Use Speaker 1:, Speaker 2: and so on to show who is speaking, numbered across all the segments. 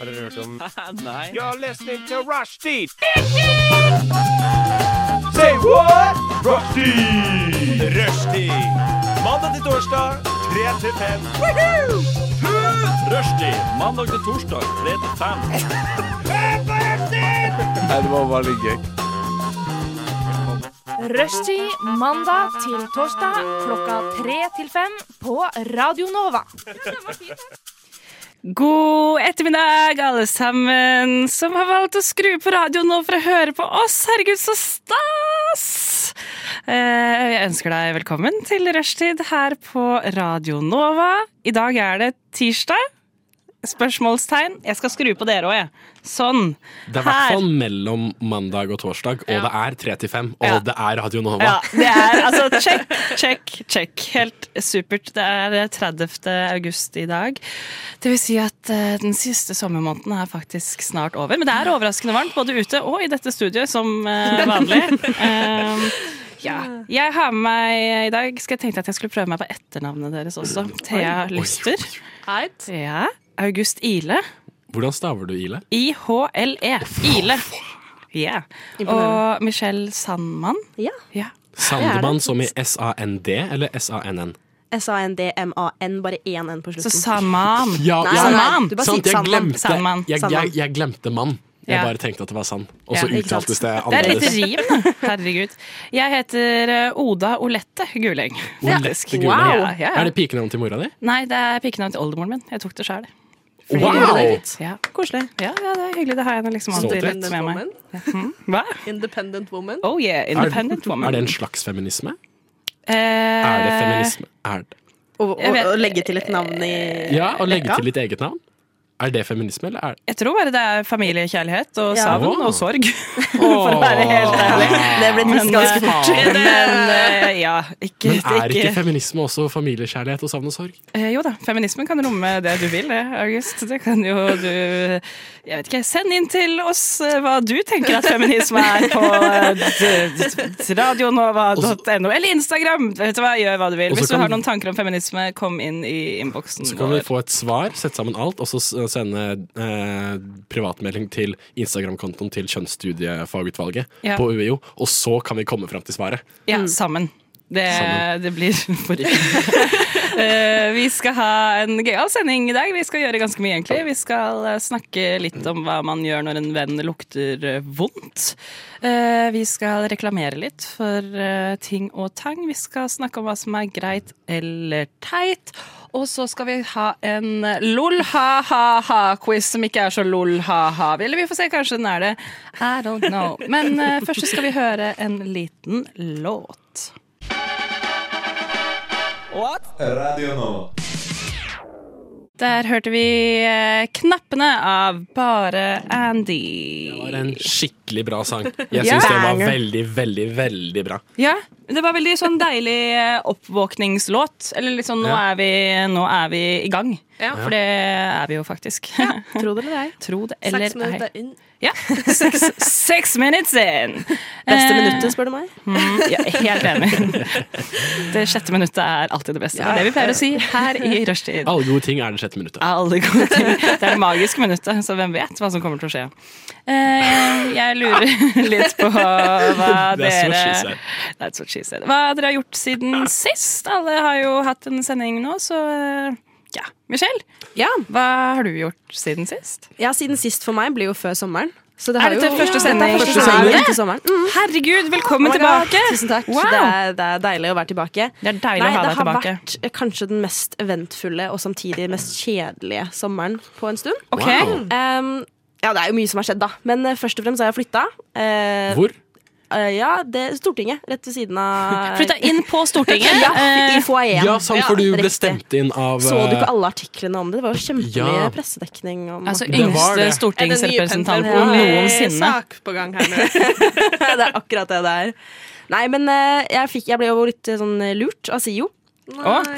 Speaker 1: Har dere hørt om
Speaker 2: Nei.
Speaker 3: You're listening to Rushdie. Say what? Rushdie. Rushdie. Mandag til torsdag, 3 til 5. Rushdie. Mandag til torsdag, 3 til 5.
Speaker 4: Nei, det var veldig gøy.
Speaker 5: Rushtid mandag til torsdag klokka tre til fem på Radio Nova.
Speaker 6: God ettermiddag, alle sammen som har valgt å skru på radioen nå for å høre på oss. Herregud, så stas! Eh, Jeg ønsker deg velkommen til rushtid her på Radio Nova. I dag er det tirsdag. Spørsmålstegn. Jeg skal skru på dere òg, jeg. Sånn.
Speaker 1: Det er i hvert fall mellom mandag og torsdag, og det er 3 til 5, og
Speaker 6: Ja.
Speaker 1: det er Radio Nova.
Speaker 6: Ja, det er altså check, check, check. Helt supert. Det er 30. august i dag. Det vil si at eh, den siste sommermåneden er faktisk snart over. Men det er overraskende varmt både ute og i dette studioet, som eh, vanlig. Um, ja. Jeg har med meg eh, i dag skal Jeg tenkte at jeg skulle prøve meg på etternavnet deres også. Thea Lyster. Thea August Ile.
Speaker 1: Hvordan staver du Ile?
Speaker 6: I-H-L-E. E. Ile. Yeah. Og Michelle Sandmann.
Speaker 7: Ja.
Speaker 6: Ja.
Speaker 1: Sandemann som i SAND eller SANN?
Speaker 7: S-A-N-D-M-A-N, bare én N på
Speaker 6: Så
Speaker 7: slutten.
Speaker 6: Saman.
Speaker 1: Ja, ja,
Speaker 7: Nei, nei,
Speaker 6: Sandmann.
Speaker 7: du bare
Speaker 1: sant,
Speaker 7: sier
Speaker 1: jeg
Speaker 7: Sandmann.
Speaker 1: glemte,
Speaker 6: Sandmann.
Speaker 1: jeg, jeg, jeg glemte mann. Jeg
Speaker 6: Ja.
Speaker 1: bare tenkte at det var sann, og
Speaker 6: Ja,
Speaker 1: så
Speaker 7: ikke sant.
Speaker 1: uttaltes det
Speaker 6: Det er et
Speaker 1: annerledes.
Speaker 6: lite rim, da. Herregud. Jeg heter eh, Oda Olette Guleng.
Speaker 1: Hvor lett det gule
Speaker 6: Wow.
Speaker 1: er.
Speaker 6: Ja, ja.
Speaker 1: Er det pikenavnet til mora di?
Speaker 6: Nei, det er pikkenavnet til oldemoren min. Jeg tok det sjøl.
Speaker 1: Wow!
Speaker 6: Ja.
Speaker 7: Koselig.
Speaker 6: Ja, ja, det er hyggelig. Det har jeg liksom alltid
Speaker 1: Stolthet.
Speaker 6: rett med meg. Hva?
Speaker 7: Independent woman.
Speaker 6: Oh yeah, independent woman.
Speaker 1: Er det en slags feminisme?
Speaker 6: Eh,
Speaker 1: Er det feminisme? Er det?
Speaker 7: Og, og,
Speaker 6: Jeg vet-
Speaker 7: og legge til et navn i
Speaker 1: Ja, å legge
Speaker 6: Ja.
Speaker 1: til ditt eget navn? Er det feminisme, eller er det
Speaker 6: Jeg tror bare det er familiekjærlighet og
Speaker 7: Ja.
Speaker 6: savn
Speaker 1: Åh.
Speaker 6: og sorg. For å være helt ærlig.
Speaker 7: Det ble trist ganske fort.
Speaker 6: Men eh, ja, ikke,
Speaker 1: Men er ikke
Speaker 6: ikke
Speaker 1: feminisme også familiekjærlighet og savn og sorg?
Speaker 6: Eh, jo da, feminismen kan romme det du vil, det, August. Det kan jo du Jeg vet ikke, send inn til oss eh, hva du tenker at feminisme er på eh, d- d- radionova.no eller Instagram. Vet du hva, gjør hva du vil.
Speaker 1: Og så
Speaker 6: Hvis du
Speaker 1: kan-
Speaker 6: har noen tanker om feminisme, kom inn i innboksen.
Speaker 1: Så kan vi
Speaker 6: vår.
Speaker 1: få et svar, sette sammen alt, og så s- sende eh, privatmelding til Instagram-kontoen til kjønnsstudiefagutvalget
Speaker 6: Ja.
Speaker 1: på UiO, og så kan vi komme fram til svaret.
Speaker 6: Ja, sammen. Det,
Speaker 1: Sammen.
Speaker 6: det blir forrykende. Eh, vi skal ha en gøyal sending i dag. Vi skal gjøre ganske mye, egentlig. Vi skal eh, snakke litt om hva man gjør når en venn lukter eh, vondt. Eh, vi skal reklamere litt for eh, ting og tang. Vi skal snakke om hva som er greit eller teit. Og så skal vi ha en lol-ha-ha-ha-quiz som ikke er så lol-ha-ha. Eller vi får se, kanskje den er det. I don't know. Men eh, først så skal vi høre en liten låt. Der hørte vi eh, knappene av Bare
Speaker 1: Det
Speaker 6: Andy.
Speaker 1: var en skikkelig bra sang. Jeg
Speaker 6: Ja.
Speaker 1: syns den var veldig, veldig, veldig bra.
Speaker 6: Ja, det var veldig sånn deilig eh, oppvåkningslåt. Eller litt sånn nå
Speaker 1: Ja.
Speaker 6: er vi, nå er vi i gang. For det er vi jo faktisk.
Speaker 7: Tror dere det er?
Speaker 6: Tro det eller
Speaker 7: Seks minutter
Speaker 6: ei.
Speaker 7: inn.
Speaker 6: Ja. Seks, seks minutes in!
Speaker 7: Beste
Speaker 6: Eh,
Speaker 7: minuttet, spør du meg.
Speaker 6: Mm, ja, helt enig. Det sjette minuttet er alltid det beste. Det er det vi pleier å si her i rushtid.
Speaker 1: Alle gode ting er det sjette minuttet.
Speaker 6: Alle gode ting. Det er det magiske minuttet, så hvem vet hva som kommer til å skje. Eh, jeg lurer litt på hva
Speaker 1: That's what she
Speaker 6: dere
Speaker 1: said.
Speaker 6: That's what she said. Hva dere har gjort siden sist. Alle har jo hatt en sending nå, så eh, ja. Michelle,
Speaker 7: Ja.
Speaker 6: hva har du gjort siden sist?
Speaker 7: ja, siden sist for meg blir jo før sommeren. Så det
Speaker 6: Er
Speaker 7: har
Speaker 6: dette
Speaker 7: jo-
Speaker 6: første
Speaker 7: Ja, dette
Speaker 6: sending?
Speaker 7: er første
Speaker 6: Første
Speaker 7: sending
Speaker 6: sending?
Speaker 7: etter sommeren. Mm.
Speaker 6: Herregud, velkommen
Speaker 7: Oh my God.
Speaker 6: tilbake!
Speaker 7: Tusen takk.
Speaker 6: Wow.
Speaker 7: Det, er, det er deilig å være tilbake.
Speaker 6: Det er deilig
Speaker 7: Nei,
Speaker 6: å ha
Speaker 7: det
Speaker 6: deg
Speaker 7: har
Speaker 6: tilbake.
Speaker 7: vært eh, kanskje den mest eventfulle og samtidig mest kjedelige sommeren på en stund.
Speaker 6: Ok.
Speaker 1: Wow.
Speaker 7: Ehm, ja, det er jo mye som har skjedd, da. Men eh, først og fremst har jeg flytta. Eh,
Speaker 1: Hvor?
Speaker 7: eh, ja, det Stortinget. Rett ved siden av
Speaker 6: Flytta inn på Stortinget.
Speaker 7: Ja,
Speaker 6: Eh,
Speaker 7: i foajeen.
Speaker 1: Ja, sant, for du ble
Speaker 7: riktig.
Speaker 1: stemt inn av
Speaker 7: Så du
Speaker 1: eh,
Speaker 7: ikke alle artiklene om det? Det var jo kjempemye
Speaker 1: Ja.
Speaker 7: pressedekning om
Speaker 6: Altså
Speaker 1: Det var
Speaker 6: yngste
Speaker 1: det.
Speaker 6: stortingsrepresentanten
Speaker 7: Er det nye
Speaker 6: noensinne.
Speaker 7: Det er akkurat det det er. Nei, men eh, jeg, fikk, jeg ble jo litt eh, sånn eh, lurt av SIO.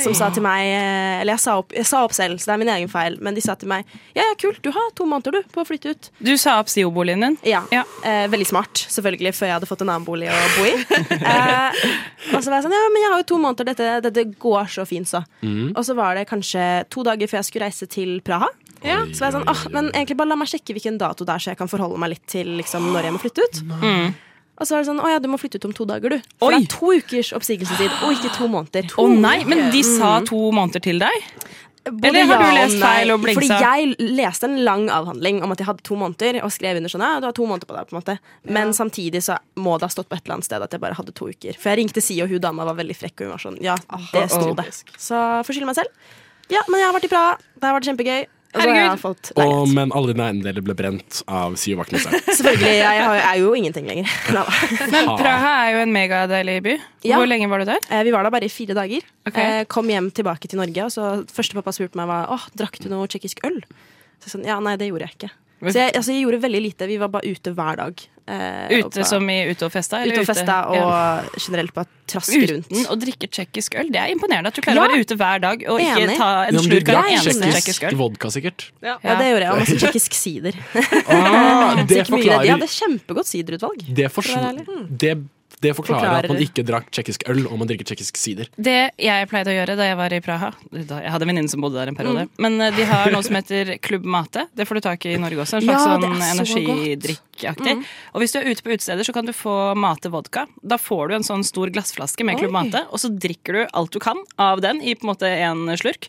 Speaker 7: Som sa til meg eh, Eller jeg sa, opp, jeg sa opp selv, så det er min egen feil. Men de sa til meg Ja, ja, kult, du har to måneder du på å flytte ut.
Speaker 6: Du sa opp SIO-boligen din.
Speaker 7: Ja,
Speaker 6: Ja.
Speaker 7: Eh, Veldig smart, selvfølgelig, før jeg hadde fått en annen bolig å bo i. eh, og så var jeg sånn Ja, men jeg har jo to måneder, dette, dette går så fint, så. Og så var det kanskje to dager før jeg skulle reise til Praha. Ja, så var jeg sånn, åh, men egentlig bare la meg sjekke hvilken dato det er, så jeg kan forholde meg litt til liksom, når jeg må flytte ut.
Speaker 6: Mm.
Speaker 7: Og så var det sånn, å ja, du må flytte ut om to dager, du. For
Speaker 6: Oi.
Speaker 7: det er to ukers oppsigelsestid, og ikke to måneder.
Speaker 6: Å nei, men de sa to måneder til deg?
Speaker 7: Oh. Mm. Både
Speaker 6: Eller har
Speaker 7: ja
Speaker 6: du
Speaker 7: og
Speaker 6: lest
Speaker 7: nei.
Speaker 6: feil og blingsa?
Speaker 7: eh, Fordi jeg leste en lang avhandling om at jeg hadde to måneder, og skrev under sånn, ja, du har to måneder på deg, på en måte. Men samtidig så må det ha stått på et eller annet sted at jeg bare hadde to uker. For jeg ringte Si, og hun dama var veldig frekk, og hun var sånn, ja,
Speaker 6: Ah,
Speaker 7: det sto det. Så forskylder meg selv. Ja, men jeg har vært i Praha, det har vært kjempegøy. Og så har jeg fått leilighet.
Speaker 1: Og, men alle dine eiendeler ble brent av SIO-vaktmesteren.
Speaker 7: Selvfølgelig. Jeg har- er jo ingenting lenger. Nei da.
Speaker 6: Men Praha er jo en megadeilig by.
Speaker 7: Ja.
Speaker 6: Hvor lenge var du der?
Speaker 7: Eh, Vi var da bare i fire dager.
Speaker 6: Ok.
Speaker 7: Eh, Kom hjem tilbake til Norge, og så første pappa spurte meg hva Åh, drakk du noe tsjekkisk øl. Så jeg sånn, ja, nei, det gjorde jeg ikke. Så jeg, altså, jeg gjorde veldig lite. Vi var bare ute hver dag. eh, og
Speaker 6: Ute
Speaker 7: bare-
Speaker 6: som i ute og festa? eller
Speaker 7: Ute og festa, og
Speaker 6: Ja.
Speaker 7: generelt bare traske rundt.
Speaker 6: Uten å drikke tsjekkisk øl. Det er imponerende at du klarer å
Speaker 7: Ja.
Speaker 6: være ute hver dag og ikke
Speaker 7: Enig.
Speaker 6: ta en
Speaker 1: Ja, men du
Speaker 6: slurk av en
Speaker 1: drakk
Speaker 6: eneste
Speaker 7: enig.
Speaker 6: tsjekkisk øl.
Speaker 1: Vodka, sikkert.
Speaker 7: Ja, det gjorde jeg. Og masse tsjekkisk sider.
Speaker 1: Ah, det
Speaker 7: Fikk mye- De
Speaker 1: forklarer
Speaker 7: hadde kjempegodt siderutvalg.
Speaker 1: det, forsv- det, det forklarer at man
Speaker 7: Hmm. Forklarer.
Speaker 1: ikke drakk tsjekkisk øl og man drikker tsjekkisk sider.
Speaker 6: Det jeg pleide å gjøre da jeg var i Praha da, Jeg hadde en venninne som bodde der en periode.
Speaker 7: Mm.
Speaker 6: Men eh, de har noe som heter Klubb Mate. Det får du tak i i Norge også. En slags
Speaker 7: Ja, det er
Speaker 6: sånn
Speaker 7: så Mm.
Speaker 6: energidrikkaktig. Og hvis du er ute på utesteder, så kan du få Mate vodka. Da får du en sånn stor glassflaske med Klubb Mate, og så drikker du alt du kan av den i på en måte en slurk.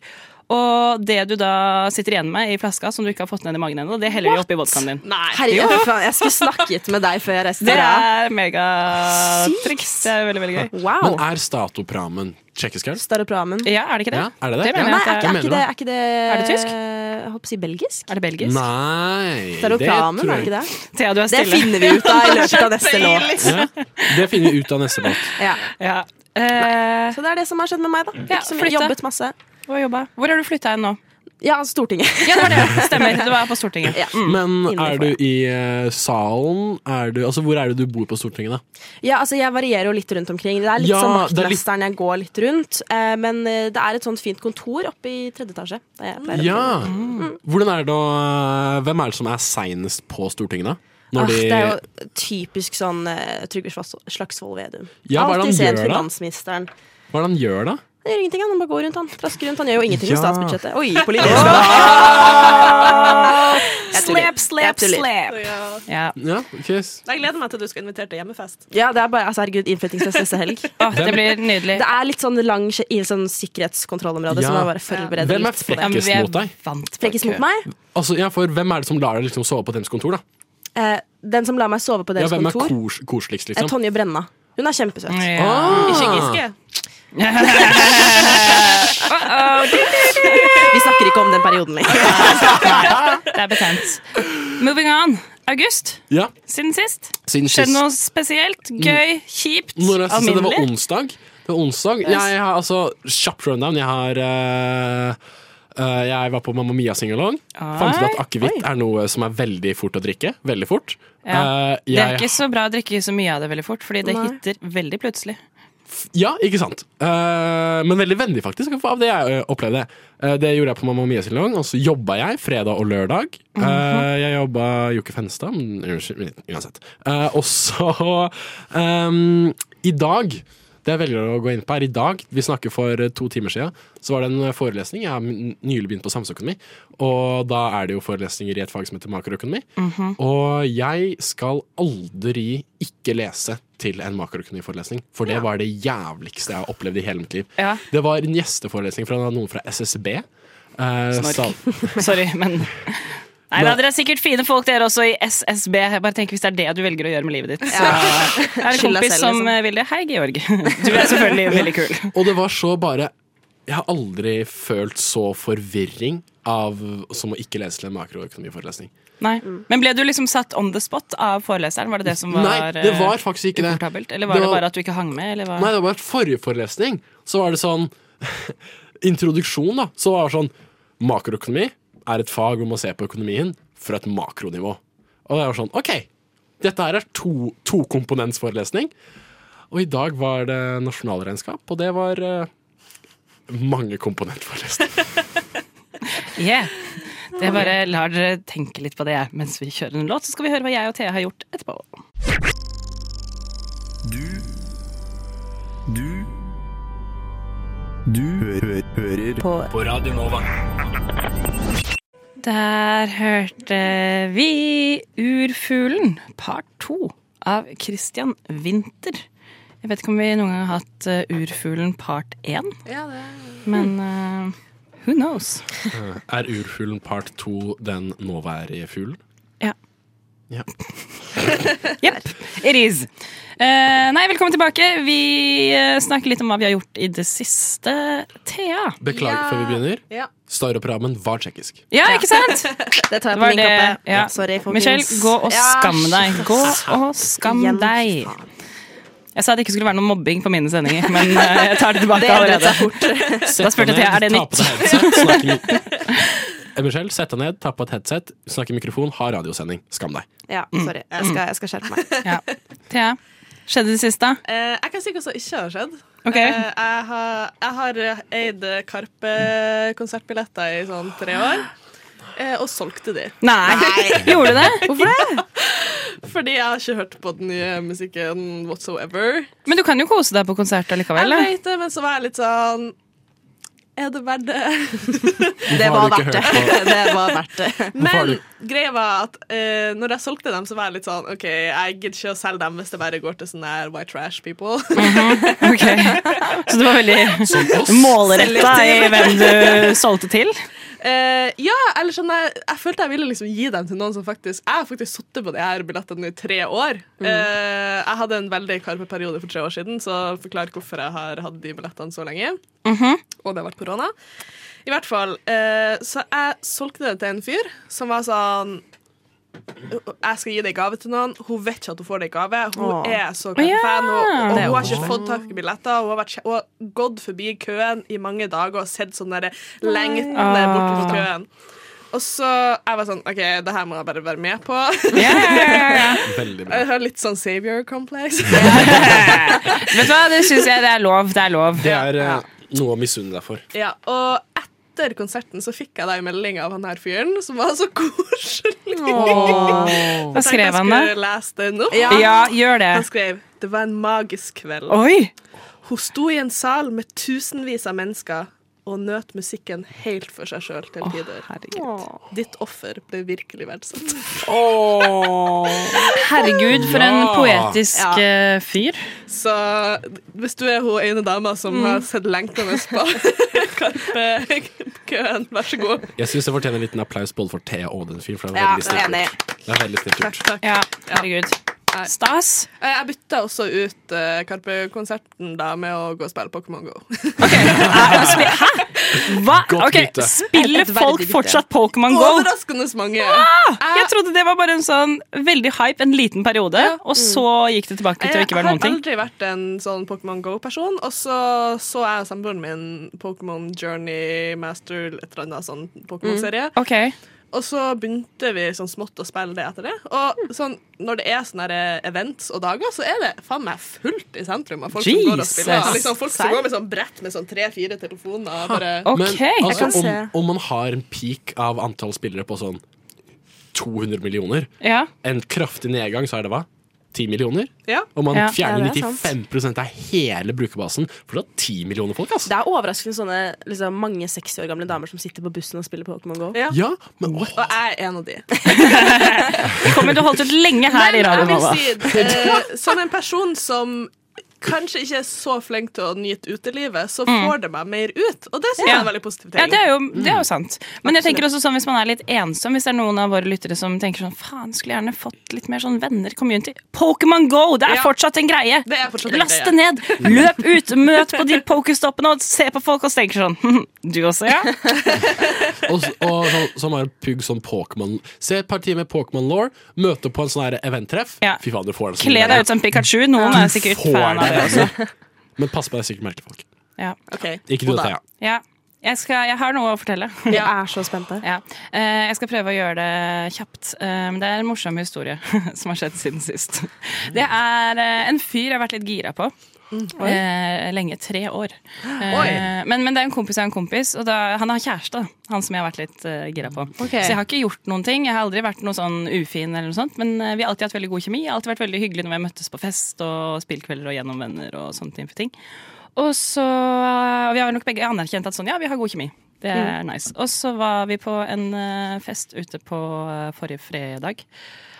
Speaker 6: Og det du da sitter igjen med i flaska som du ikke har fått ned i magen ennå, det heller du oppi vodkaen din.
Speaker 7: Herregud, for faen, jeg skulle snakket med deg før jeg reiste.
Speaker 6: Det
Speaker 7: til
Speaker 6: er megatriks. Det er veldig, veldig gøy.
Speaker 7: Praha. Wow.
Speaker 1: Men er Statopramen tsjekkisk øl?
Speaker 7: Staropramen.
Speaker 6: Ja, er det ikke det?
Speaker 1: Ja, er det det?
Speaker 6: det mener
Speaker 1: Ja.
Speaker 7: Nei,
Speaker 6: jeg
Speaker 7: er,
Speaker 6: at
Speaker 1: Hva
Speaker 6: det er.
Speaker 1: mener
Speaker 7: ikke- er, ikke
Speaker 1: du
Speaker 7: det,
Speaker 1: da?
Speaker 7: er ikke det eh,
Speaker 6: Er det tysk?
Speaker 7: Jeg holdt på å si belgisk.
Speaker 6: Er det belgisk?
Speaker 1: Nei
Speaker 7: Staropramen, er det
Speaker 1: jeg-
Speaker 7: ikke det?
Speaker 6: Thea, du er
Speaker 7: Det
Speaker 6: stille.
Speaker 7: finner vi ut av i løpet av neste låt.
Speaker 1: Ja, det finner vi ut av neste låt.
Speaker 7: Ja.
Speaker 6: Ja. Eh,
Speaker 7: Så det er det som har skjedd med meg, da. Ikke så mye,
Speaker 6: flytte.
Speaker 7: jobbet masse.
Speaker 6: hva jobba? Hvor har du flytta hen nå?
Speaker 7: Ja, altså Stortinget.
Speaker 6: Ja, det var det. Stemmer. Du var på Stortinget.
Speaker 7: Ja. mm.
Speaker 1: Men
Speaker 7: Innenfor,
Speaker 1: er du i eh, salen? Er du, altså, hvor er det du bor på Stortinget, da?
Speaker 7: Ja, altså Jeg varierer jo litt rundt omkring. Det er litt
Speaker 1: Ja,
Speaker 7: som
Speaker 1: det er litt-
Speaker 7: vaktmesteren jeg går litt rundt. Eh, men eh, det er et sånt fint kontor oppe i tredje etasje. Der jeg pleier å bo.
Speaker 1: Ja.
Speaker 7: Hmm.
Speaker 1: Hvordan er det å Hvem er det som er seinest på Stortinget, da? Når
Speaker 7: Åh,
Speaker 1: de,
Speaker 7: Ah, det er jo typisk sånn eh, Trygve Slags- Slagsvold Vedum.
Speaker 1: Ja, hva er det han
Speaker 7: Alltid sent
Speaker 1: gjør
Speaker 7: for
Speaker 1: da?
Speaker 7: finansministeren.
Speaker 1: hva er det han gjør, da?
Speaker 7: Han gjør ingenting, han. han bare går rundt, han. Trasker rundt. Han gjør jo ingenting
Speaker 1: Ja.
Speaker 7: med statsbudsjettet. Oi, politisk.
Speaker 6: Slap, slap,
Speaker 7: Jeg tuller.
Speaker 6: slap. Ja.
Speaker 1: Ja, ok.
Speaker 2: Jeg gleder meg til du skal invitere til hjemmefest.
Speaker 7: Ja, det er bare, altså herregud, innflyttingsfest neste helg.
Speaker 6: Å, det blir nydelig.
Speaker 7: Det er litt sånn lang skje- i sånn sikkerhetskontrollområde,
Speaker 1: Ja.
Speaker 7: så må jeg bare forberede
Speaker 1: Hvem er
Speaker 7: litt på
Speaker 1: frekk?
Speaker 7: det.
Speaker 6: Ja, men vi er
Speaker 1: Flekkes mot deg.
Speaker 6: vant
Speaker 7: Frekkis mot meg?
Speaker 1: Altså, ja, for hvem er det som lar deg liksom sove på deres kontor, da?
Speaker 7: Eh, den som lar meg sove på
Speaker 1: Ja,
Speaker 7: deres
Speaker 1: hvem er
Speaker 7: kontor,
Speaker 1: kos koseligst,
Speaker 7: er
Speaker 1: liksom?
Speaker 7: Ah! Tonje Brenna. Hun er kjempesøt.
Speaker 6: Ja.
Speaker 2: Ikke Giske.
Speaker 7: Vi snakker ikke om den perioden lenger.
Speaker 6: Det er betent. Moving on. August,
Speaker 1: Ja,
Speaker 6: siden sist.
Speaker 1: siden
Speaker 6: Skjedde
Speaker 1: sist.
Speaker 6: noe spesielt? Gøy? Kjipt?
Speaker 1: Når jeg synes det var
Speaker 6: Alminnelig?
Speaker 1: onsdag Det var onsdag Jeg har altså Kjapp rundown Jeg har eh, eh, Jeg var på Mamma Mia singalong Fant ut at akevitt er noe som er veldig fort å drikke Veldig fort
Speaker 6: Ja.
Speaker 1: Eh,
Speaker 6: Det er
Speaker 1: jeg-
Speaker 6: ikke så bra å drikke så mye av det veldig fort, fordi det hitter veldig plutselig.
Speaker 1: Ja, ikke sant Eh, Men veldig vennlig faktisk Av det jeg eh, opplevde Eh, Det gjorde jeg på Mamma Mia singalong Og så jobbet jeg fredag og lørdag Eh, Jeg jobbet Jokke Fenstad men unnskyld, Uansett Eh, Og så ehm, I dag det jeg velger å gå inn på er i dag, vi snakker for eh, to timer siden, så var det en eh, forelesning. Jeg har n- nylig begynt på samfunnsøkonomi, og da er det jo forelesninger i et fag som heter makroøkonomi. Og jeg skal aldri ikke lese til en makroøkonomiforelesning, for det var det jævligste jeg har opplevd i hele mitt liv.
Speaker 6: Ja.
Speaker 1: Det var en gjesteforelesning fra noen fra SSB. eh,
Speaker 6: Snork.
Speaker 1: sal-
Speaker 6: Sorry, men Nei, da, Dere er sikkert fine folk, dere også i SSB. Jeg bare tenker Hvis det er det du velger å gjøre med livet ditt, så er det en
Speaker 7: Skyld deg
Speaker 6: kompis
Speaker 7: selv,
Speaker 6: som
Speaker 7: liksom.
Speaker 6: eh, vil det. Hei, Georg. Du er selvfølgelig veldig kul.
Speaker 1: Og det var så bare Jeg har aldri følt så forvirring av, som å ikke lese til en makroøkonomiforelesning.
Speaker 6: Nei. Men ble du liksom satt on the spot av foreleseren? Var det det som var,
Speaker 1: Mm. Nei, det
Speaker 6: eh,
Speaker 1: var faktisk ikke det.
Speaker 6: komfortabelt? Eller var det,
Speaker 1: Det var-
Speaker 6: bare at du ikke hang med? Eller hva?
Speaker 1: Nei, det var et forrige forelesning. Så var det sånn Introduksjon, da. Så var det sånn Makroøkonomi er et fag om å se på økonomien fra et makronivå. Og jeg var sånn OK, dette her er to, tokomponentsforelesning. Og i dag var det nasjonalregnskap, og det var eh, mange komponentforelesninger.
Speaker 6: Yeah. Det bare lar dere tenke litt på det jeg, mens vi kjører en låt. Så skal vi høre hva jeg og Thea har gjort etterpå.
Speaker 4: Du Du Du hø hører på. på Radio Nova.
Speaker 6: Der hørte vi Urfuglen, part to av Christian Winther. Jeg vet ikke om vi noen gang har hatt eh, Urfuglen part én, men eh, who knows?
Speaker 1: Er urfuglen part to den nåværende fuglen?
Speaker 6: Jepp. It is. Eh, nei, velkommen tilbake. Vi eh, snakker litt om hva vi har gjort i det siste. Thea.
Speaker 1: Beklager
Speaker 7: Ja.
Speaker 1: før vi begynner.
Speaker 7: Ja.
Speaker 1: Staropramen var tsjekkisk.
Speaker 6: Ja, ikke sant?
Speaker 7: Det tar jeg på
Speaker 6: Var
Speaker 7: min
Speaker 6: det-
Speaker 7: kappe.
Speaker 6: ja.
Speaker 7: Sorry, folkens.
Speaker 6: Michelle, gå og
Speaker 7: Ja,
Speaker 6: skam deg. Gå og skam
Speaker 7: igjen.
Speaker 6: deg.
Speaker 7: Faen.
Speaker 6: Jeg sa det ikke skulle være noe mobbing på mine sendinger, men eh, jeg tar det tilbake
Speaker 7: Det endret
Speaker 6: allerede.
Speaker 7: seg fort.
Speaker 1: Da
Speaker 6: spurte jeg, er det nytt?
Speaker 1: Michelle, sett deg ned, ta på et headset, snakk i mikrofon, ha radiosending. Skam deg.
Speaker 7: Ja,
Speaker 6: Mm.
Speaker 7: sorry. Jeg skal, jeg skal skjerpe meg.
Speaker 6: Ja. Thea, skjedde det siste?
Speaker 2: Eh, jeg kan si hva som ikke har skjedd.
Speaker 6: Ok.
Speaker 2: Eh, jeg, har, jeg har eid Karpe-konsertbilletter i sånn tre år, eh, og solgte de.
Speaker 6: Nei. Gjorde du det? Hvorfor det?
Speaker 2: Fordi jeg har ikke hørt på den nye musikken whatsoever.
Speaker 6: Men du kan jo kose deg på konsert allikevel.
Speaker 2: Jeg
Speaker 6: da.
Speaker 2: vet det, men så var jeg litt sånn Er det verdt det?
Speaker 7: Det
Speaker 1: Hvorfor
Speaker 7: var
Speaker 1: har du ikke
Speaker 7: verdt det.
Speaker 1: hørt på-
Speaker 7: Det var verdt det.
Speaker 1: Hvorfor har
Speaker 2: Men
Speaker 1: du-
Speaker 2: greia var at eh, når jeg solgte dem, så var jeg litt sånn OK, jeg gidder ikke å selge dem hvis det bare går til sånne her white trash people.
Speaker 6: Ok. Så du var veldig
Speaker 1: Som oss.
Speaker 6: målretta i hvem du solgte til?
Speaker 2: Eh, ja, eller sånn jeg, jeg følte jeg ville liksom gi dem til noen som faktisk Jeg har faktisk sittet på de her billettene i tre år. Eh, jeg hadde en veldig Karpe-periode for tre år siden, så forklar hvorfor jeg har hatt de billettene så lenge. Og det har vært korona. I hvert fall. eh, så jeg solgte det til en fyr som var sånn jeg skal gi deg gave til noen. Hun vet ikke at hun får deg gave. Hun
Speaker 7: Åh.
Speaker 2: er så
Speaker 6: ja.
Speaker 2: Karpe-fan, og, og
Speaker 6: Det er
Speaker 2: hun har ikke fått tak i billetter. Hun har, vært, kje- hun har gått forbi køen i mange dager og sett sånn derre lengtende
Speaker 6: Ah.
Speaker 2: bortover køen. Og så jeg var sånn OK, det her må jeg bare være med på.
Speaker 6: Ja, ja, ja, ja.
Speaker 1: Veldig bra.
Speaker 2: Jeg har litt sånn savior complex.
Speaker 6: Vet du hva, det syns jeg det er lov. Det er lov.
Speaker 1: Det er eh, noe å misunne deg for.
Speaker 2: Ja, og etter konserten så fikk jeg da en melding av han her fyren, som var så koselig.
Speaker 6: Hva skrev han da?
Speaker 2: Jeg skulle lese den opp.
Speaker 6: Ja, gjør det.
Speaker 2: Han skrev det var en magisk kveld.
Speaker 6: Oi!
Speaker 2: Hun sto i en sal med tusenvis av mennesker og nøt musikken helt for seg sjøl til tider. Ditt offer ble virkelig verdsatt.
Speaker 6: Herregud, for en
Speaker 1: Ja.
Speaker 6: poetisk eh, fyr.
Speaker 2: Så hvis du er hun ene dama som
Speaker 6: Mm.
Speaker 2: har sett lengtende på Karpe-køen, vær så god.
Speaker 1: Jeg syns jeg fortjener en liten applaus både for Thea og den fyren, for det
Speaker 7: Ja,
Speaker 1: er veldig snilt
Speaker 7: enig.
Speaker 1: gjort. Det er veldig snilt gjort.
Speaker 2: Takk.
Speaker 6: Ja, herregud. Stas.
Speaker 2: Eh, Jeg bytta også ut eh, Karpe-konserten da med å gå og spille Pokémon GO.
Speaker 6: Hæ? Hva?
Speaker 1: Godt
Speaker 6: Ok,
Speaker 1: bytte.
Speaker 6: Spiller
Speaker 7: Et veldig
Speaker 6: folk
Speaker 7: bytte.
Speaker 6: fortsatt Pokémon Go?
Speaker 2: Overraskende mange.
Speaker 6: Jeg trodde det var bare en sånn veldig hype en liten periode, og så
Speaker 1: Mm.
Speaker 6: gikk det tilbake til å
Speaker 2: Jeg
Speaker 6: ikke
Speaker 2: har
Speaker 6: være noen ting.
Speaker 2: aldri vært en sånn Pokémon GO-person, og så så jeg og samboeren min Pokémon Journey Master, et eller annet sånn Pokémon-serie.
Speaker 6: Ok,
Speaker 2: Og så begynte vi sånn smått å spille det etter det. Og sånn, når det er sånne her events og dager, så er det faen meg fullt i sentrum av folk som går og spiller.
Speaker 6: Jesus.
Speaker 2: Liksom, folk som går med sånn brett med sånn tre-fire telefoner. og Bare,
Speaker 6: ok.
Speaker 1: Men
Speaker 7: kan
Speaker 1: altså,
Speaker 7: se.
Speaker 1: om, om man har en peak av antall spillere på sånn 200 millioner,
Speaker 6: Ja.
Speaker 1: en kraftig nedgang, så er det hva? 10 millioner?
Speaker 2: ja.
Speaker 1: Og man
Speaker 6: Ja.
Speaker 1: fjerner
Speaker 7: Ja, det er sant.
Speaker 1: 95 av hele brukerbasen, for da er 10 millioner folk, ass.
Speaker 7: Det er overraskende sånne liksom, mange 60 år gamle damer som sitter på bussen og spiller Pokémon GO.
Speaker 2: Ja.
Speaker 1: Ja, men what?
Speaker 2: Og jeg er en av de.
Speaker 6: Kommer til å holde ut lenge her i Radio
Speaker 2: Men
Speaker 6: Nova.
Speaker 2: jeg vil si, eh, som en person som kanskje ikke er så flink til å nyte utelivet, så får det meg mer ut. Og det synes jeg er
Speaker 6: Mm.
Speaker 2: Mm.
Speaker 6: Ja.
Speaker 2: en veldig positiv ting.
Speaker 6: Ja, det er, jo, det er jo sant. Men jeg tenker også sånn hvis man er litt ensom, hvis det er noen av våre lyttere som tenker sånn faen, skulle gjerne fått litt mer sånn venner, community. Pokémon Go, det er
Speaker 2: Ja.
Speaker 6: fortsatt en greie!
Speaker 2: Det er fortsatt en
Speaker 6: Last
Speaker 2: greie.
Speaker 6: det ned, løp ut, møt på de pokerstoppene og se på folk og så tenker sånn «Hm, Du også, ja?
Speaker 1: Og, og så, som er pugg sånn Pokémon Se et par timer Pokémon Law, møte på en sånn her eventtreff.
Speaker 6: Ja.
Speaker 1: Fy faen, du får sånn den
Speaker 6: Kle deg ut som Pikachu. Noen er sikkert fan av det også.
Speaker 1: Men pass på, det er sikkert merkefolk.
Speaker 6: Ja.
Speaker 7: Ok.
Speaker 1: Ikke du,
Speaker 7: Oda.
Speaker 1: Thea.
Speaker 6: Ja. Jeg, skal, jeg har noe å fortelle.
Speaker 7: Jeg er så spente.
Speaker 6: Ja. Eh, jeg skal prøve å gjøre det kjapt. Eh, men det er en morsom historie som har skjedd siden sist. Det er eh, en fyr jeg har vært litt gira på. Eh, lenge. Tre år. Eh, men, men det er en kompis av en kompis, og da, han har kjæreste. da, Han som jeg har vært litt eh, gira på. Så jeg har ikke gjort noen ting. Jeg har aldri vært noe sånn ufin, eller noe sånt, men eh, vi har alltid hatt veldig god kjemi. Jeg har alltid vært veldig hyggelig når vi har møttes på fest og spillkvelder og gjennom venner og sånne ting. for ting. Og så og Vi har nok begge anerkjent at sånn, ja, vi har god kjemi. Det er nice. Og så var vi på en eh, fest ute på eh, forrige fredag.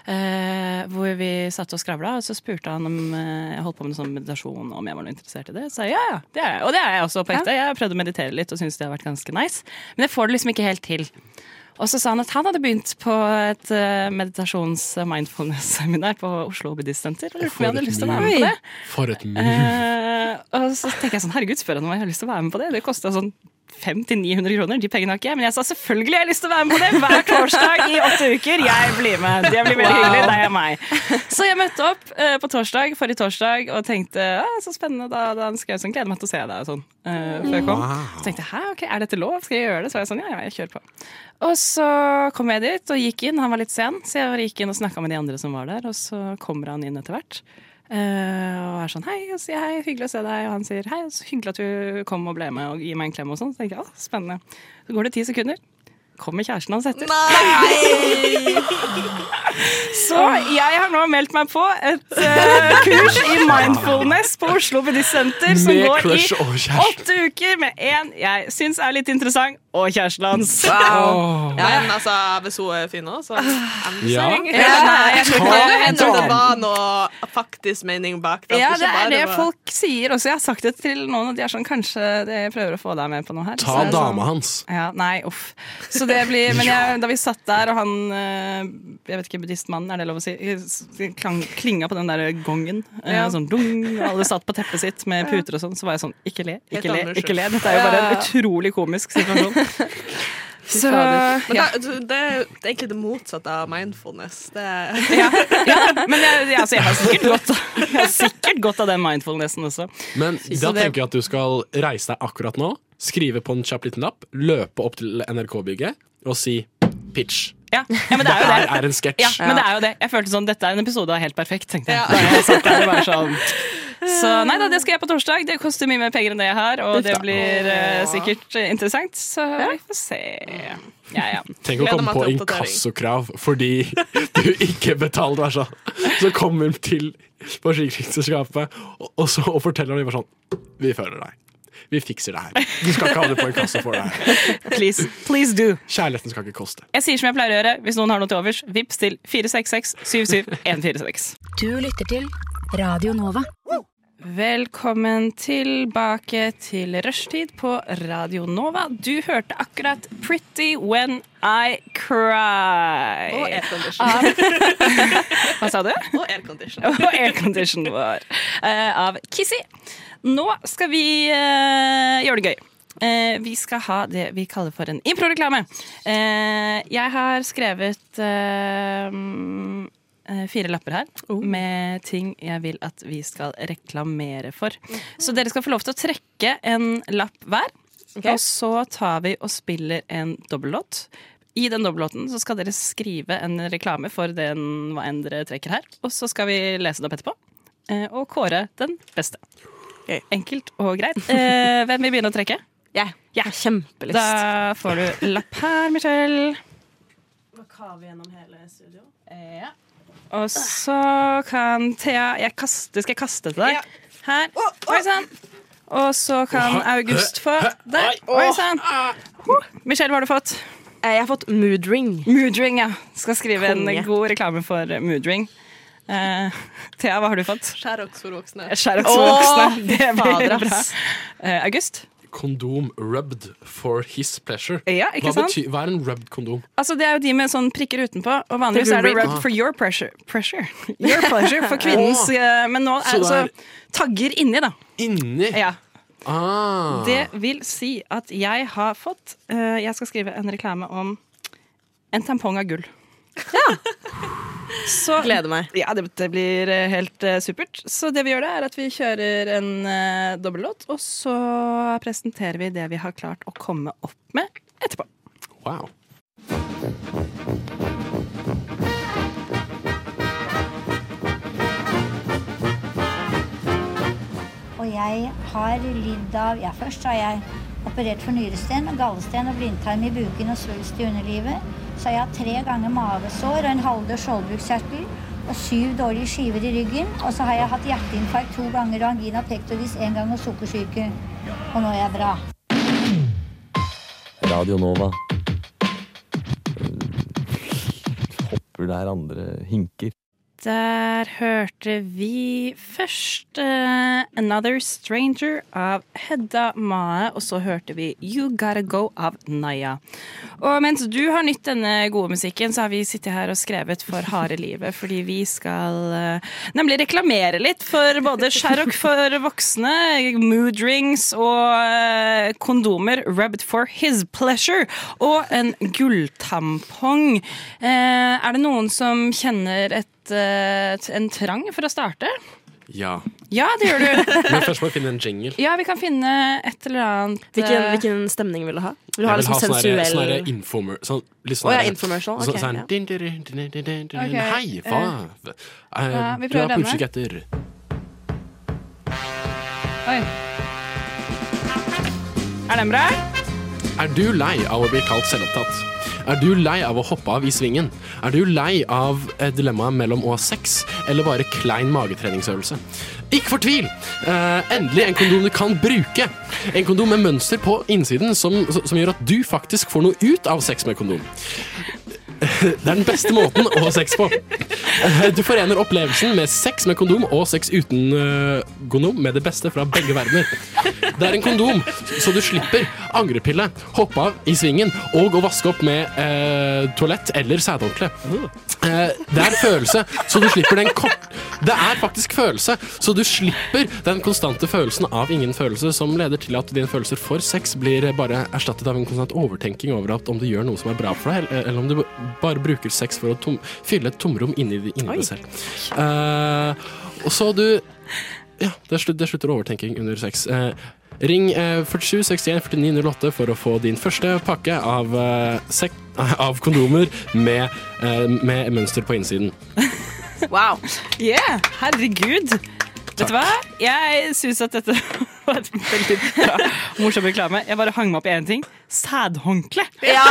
Speaker 6: eh, hvor vi satt og skravla, og så spurte han om eh, jeg holdt på med noe sånn meditasjon. Om jeg var noe interessert i det. Så jeg, ja, ja, det er jeg. Og det er jeg også på ekte. Jeg har prøvd å meditere litt og syns det har vært ganske nice. Men jeg får det liksom ikke helt til. Og så sa han at han hadde begynt på et eh, meditasjons-mindfulness-seminar på Oslo Buddhistsenter. Og lurte på om jeg hadde lyst til å være med på det.
Speaker 1: For et move.
Speaker 6: Eh, og så tenker jeg sånn, herregud, spør han om jeg har lyst til å være med på det. Det kosta sånn 500-900 kroner, de pengene har ikke jeg. Men jeg sa selvfølgelig har jeg lyst til å være med på det hver torsdag i åtte uker. Jeg blir med. Det blir veldig hyggelig. Det er meg. Så jeg møtte opp eh, på torsdag, forrige torsdag og tenkte ah, så spennende. Da, da han skrev sånn, gleder meg til å se deg og sånn. eh, før jeg kom. Så tenkte jeg hæ, ok, er dette lov? Skal jeg gjøre det? Så var jeg sånn, ja, ja, jeg kjører på. Og så kom jeg dit og gikk inn. Han var litt sen, så jeg gikk inn og snakka med de andre som var der. Og så kommer han inn etter hvert. Eh, og er sånn hei, og sier hei, hyggelig å se deg. Og han sier hei, så hyggelig at du kom og ble med og gir meg en klem og sånn. Så tenker jeg å, spennende. Så går det ti sekunder. Kommer kjæresten hans etter. Så jeg har nå meldt meg på et eh, kurs i mindfulness på Oslo Buddhistsenter som
Speaker 1: Med
Speaker 6: går i
Speaker 1: crush og kjæreste.
Speaker 6: åtte uker med én jeg syns er litt interessant, og kjæresten hans.
Speaker 2: Men altså, hvis hun er fin òg, så
Speaker 6: Ah.
Speaker 2: I'm just
Speaker 1: Ja.
Speaker 2: saying.
Speaker 6: Ja, nei, jeg
Speaker 2: Det
Speaker 6: tror
Speaker 2: kan jo
Speaker 6: ikke-
Speaker 2: hende det var noe faktisk mening bak det. at
Speaker 6: Ja,
Speaker 2: ikke
Speaker 6: det er
Speaker 2: bare
Speaker 6: det
Speaker 2: var-
Speaker 6: folk sier også. Jeg har sagt det til noen, og de er sånn Kanskje det- jeg prøver å få deg med på noe her. Så
Speaker 1: Ta
Speaker 6: jeg er sånn-
Speaker 1: dama hans.
Speaker 6: Ja, nei, uff. Så det blir, men jeg, da vi satt der, og han eh, Jeg vet ikke, buddhistmannen, er det lov å si? Eh, s- Klang, klinga på den der gongen. eh, Sånn dung. og Alle satt på teppet sitt med puter og sånn. Så var jeg sånn Ikke le,
Speaker 2: Helt
Speaker 6: ikke le,
Speaker 2: Anders
Speaker 6: ikke le. Dette er jo bare en utrolig komisk situasjon. Så
Speaker 2: Men da, du- det, er jo- det er egentlig det motsatte av mindfulness. Det er
Speaker 6: ja, ja, men jeg, jeg, altså, jeg har sikkert godt av- jeg har sikkert godt av den mindfulnessen også.
Speaker 1: Men da
Speaker 6: Så det-
Speaker 1: tenker jeg at du skal reise deg akkurat nå, skrive på en kjapp liten lapp, løpe opp til NRK-bygget og si pitch.
Speaker 6: Ja, ja men det er jo det.
Speaker 1: Her er en sketsj.
Speaker 6: Ja, men det er jo det. Jeg følte sånn, dette er en episode av Helt perfekt, tenkte jeg.
Speaker 2: Ja.
Speaker 6: Da jeg satt der og bare sånn. Så nei da, det skal jeg på torsdag. Det koster mye mer penger enn det jeg har, og det blir eh, sikkert eh, interessant. Så vi får se. Ja, ja.
Speaker 1: Tenk å
Speaker 2: Gleder
Speaker 1: komme
Speaker 2: meg
Speaker 1: på
Speaker 2: til oppdatering.
Speaker 1: inkassokrav fordi du ikke betalte, vær sånn. Så kommer de til forsikringsselskapet, og, og så og forteller de bare sånn Vi føler deg. Vi fikser det her. Du skal ikke ha det på inkasso for deg.
Speaker 6: Please, please do.
Speaker 1: Kjærligheten skal ikke koste.
Speaker 6: Jeg sier som jeg pleier å gjøre. Hvis noen har noe til overs, vips til 466 77146.
Speaker 8: Du lytter til Radio Nova.
Speaker 6: Velkommen tilbake til rushtid på Radio Nova. Du hørte akkurat 'Pretty When I Cry'.
Speaker 2: Og
Speaker 6: Ah.
Speaker 2: aircondition.
Speaker 6: Hva sa du?
Speaker 2: Og aircondition.
Speaker 6: og aircondition vår eh, av Kissy. Nå skal vi eh, gjøre det gøy. Eh, vi skal ha det vi kaller for en improreklame. Eh, jeg har skrevet eh, mm, eh, fire lapper her med ting jeg vil at vi skal reklamere for. Så dere skal få lov til å trekke en lapp hver. Og så tar vi og spiller en dobbellåt. I den dobbellåten så skal dere skrive en reklame for den, hva enn dere trekker her. Og så skal vi lese det opp etterpå. eh, Og kåre den beste.
Speaker 7: Gøy.
Speaker 6: Enkelt og greit. Eh, hvem vil begynne å trekke?
Speaker 7: Jeg har kjempelyst.
Speaker 6: Da får du lapp her, Michelle. Nå kaver vi gjennom hele studio. Eh, Ja. Og så kan Thea jeg kaster, Skal jeg kaste til deg? Her. Oi sann. Og så kan August få der. Oi sann. Michelle, hva har du fått?
Speaker 7: Eh, Jeg har fått mood ring.
Speaker 6: Moodring, ja. Skal skrive
Speaker 7: Konge.
Speaker 6: en god reklame for Moodring. Eh, Thea, hva har du fått?
Speaker 2: Skjæroks for voksne.
Speaker 6: Skjæroks for voksne. Det blir bra. Eh, August?
Speaker 1: Kondom rubbed for his pleasure.
Speaker 6: Ja, ikke
Speaker 1: Hva,
Speaker 6: sant?
Speaker 1: betyr, hva er en rubbed kondom?
Speaker 6: Altså, det er jo de med sånn prikker utenpå, og vanligvis er det rubbed for your pressure. pressure. Your pleasure for kvinnens eh, Men nå er
Speaker 1: Så
Speaker 6: det
Speaker 1: det er-
Speaker 6: altså tagger inni, da.
Speaker 1: Inni!
Speaker 6: Ja.
Speaker 1: Ah.
Speaker 6: Det vil si at jeg har fått eh, Jeg skal skrive en reklame om en tampong av gull. Så
Speaker 7: Gleder meg.
Speaker 6: Ja, det, det blir eh, helt eh, supert. Så det vi gjør da, er at vi kjører en uh, dobbellåt, og så presenterer vi det vi har klart å komme opp med etterpå.
Speaker 1: Wow.
Speaker 9: Og jeg har lidd av Ja, først har jeg operert for nyresten, gallesten og blindtarm i buken og svulst i underlivet. Så har jeg hatt tre ganger mavesår og en halvdød skjoldbruskkjertel. og syv dårlige skiver i ryggen. Og så har jeg hatt hjerteinfarkt to ganger og angina pectoris én gang og sukkersyke. Og nå er jeg bra.
Speaker 10: Radio Nova. Eh, Hopper der andre hinker.
Speaker 6: Der hørte vi først eh, 'Another Stranger' av Hedda Mae, og så hørte vi 'You Gotta Go' av Naya. Og mens du har nytt denne gode musikken, så har vi sittet her og skrevet for harde livet, fordi vi skal eh, nemlig reklamere litt for både Sherrock for voksne, mood rings og eh, kondomer rubbed for his pleasure, og en gulltampong. Eh, Er det noen som kjenner et eh, t- en trang for å starte?
Speaker 1: Ja.
Speaker 6: Ja, det gjør du.
Speaker 1: Men først må jeg finne en jingle.
Speaker 6: Ja, vi kan finne et eller annet
Speaker 7: Hvilken,
Speaker 6: eh,
Speaker 7: hvilken stemning vil du ha? Vil
Speaker 1: Jeg
Speaker 7: du ha
Speaker 1: vil
Speaker 7: liksom
Speaker 1: ha sånn her-
Speaker 7: sensuell
Speaker 1: sånn her informer... Sånn, litt
Speaker 7: Å
Speaker 1: sånn
Speaker 7: ja,
Speaker 1: her-
Speaker 7: informational,
Speaker 1: så-
Speaker 7: ok,
Speaker 1: sånn her,
Speaker 7: ja.
Speaker 1: din, din, din, din, din, din, din.
Speaker 6: Ok,
Speaker 1: Hei, hva? Eh,
Speaker 6: ja, vi
Speaker 1: du
Speaker 6: prøver
Speaker 1: er på
Speaker 6: denne.
Speaker 1: utkikk etter
Speaker 6: Oi. Er den bra?
Speaker 1: Er du lei av å bli kalt selvopptatt? Er du lei av å hoppe av i svingen? Er du lei av eh, dilemmaet mellom å ha sex eller bare klein magetreningsøvelse? Ikke fortvil! Eh, endelig en kondom du kan bruke. En kondom med mønster på innsiden som, som gjør at du faktisk får noe ut av sex med kondom. Det er den beste måten å ha sex på. Eh, Du forener opplevelsen med sex med kondom og sex uten eh, kondom med det beste fra begge verdener. Det er en kondom, så du slipper angrepille, hoppe av i svingen og å vaske opp med eh, toalett eller sædhåndkle. Eh, det er en følelse, så du slipper den kort... Det er faktisk følelse, så du slipper den konstante følelsen av ingen følelse som leder til at dine følelser for sex blir bare erstattet av en konstant overtenking over at om du gjør noe som er bra for deg, eller, eller om du bare bruker sex for å tom, fylle et tomrom inni, inni deg selv. Eh, og så du ja, det, slutter, det slutter overtenking under sex. Eh, ring eh, 47 61 49 08 for å få din første pakke av, eh, sek av kondomer med, eh, med mønster på innsiden.
Speaker 7: Wow.
Speaker 6: Yeah, herregud. Vet du hva? Jeg syns at dette var et veldig bra, morsom reklame. Jeg bare hang meg opp i én ting. Sædhåndkle.
Speaker 7: Ja,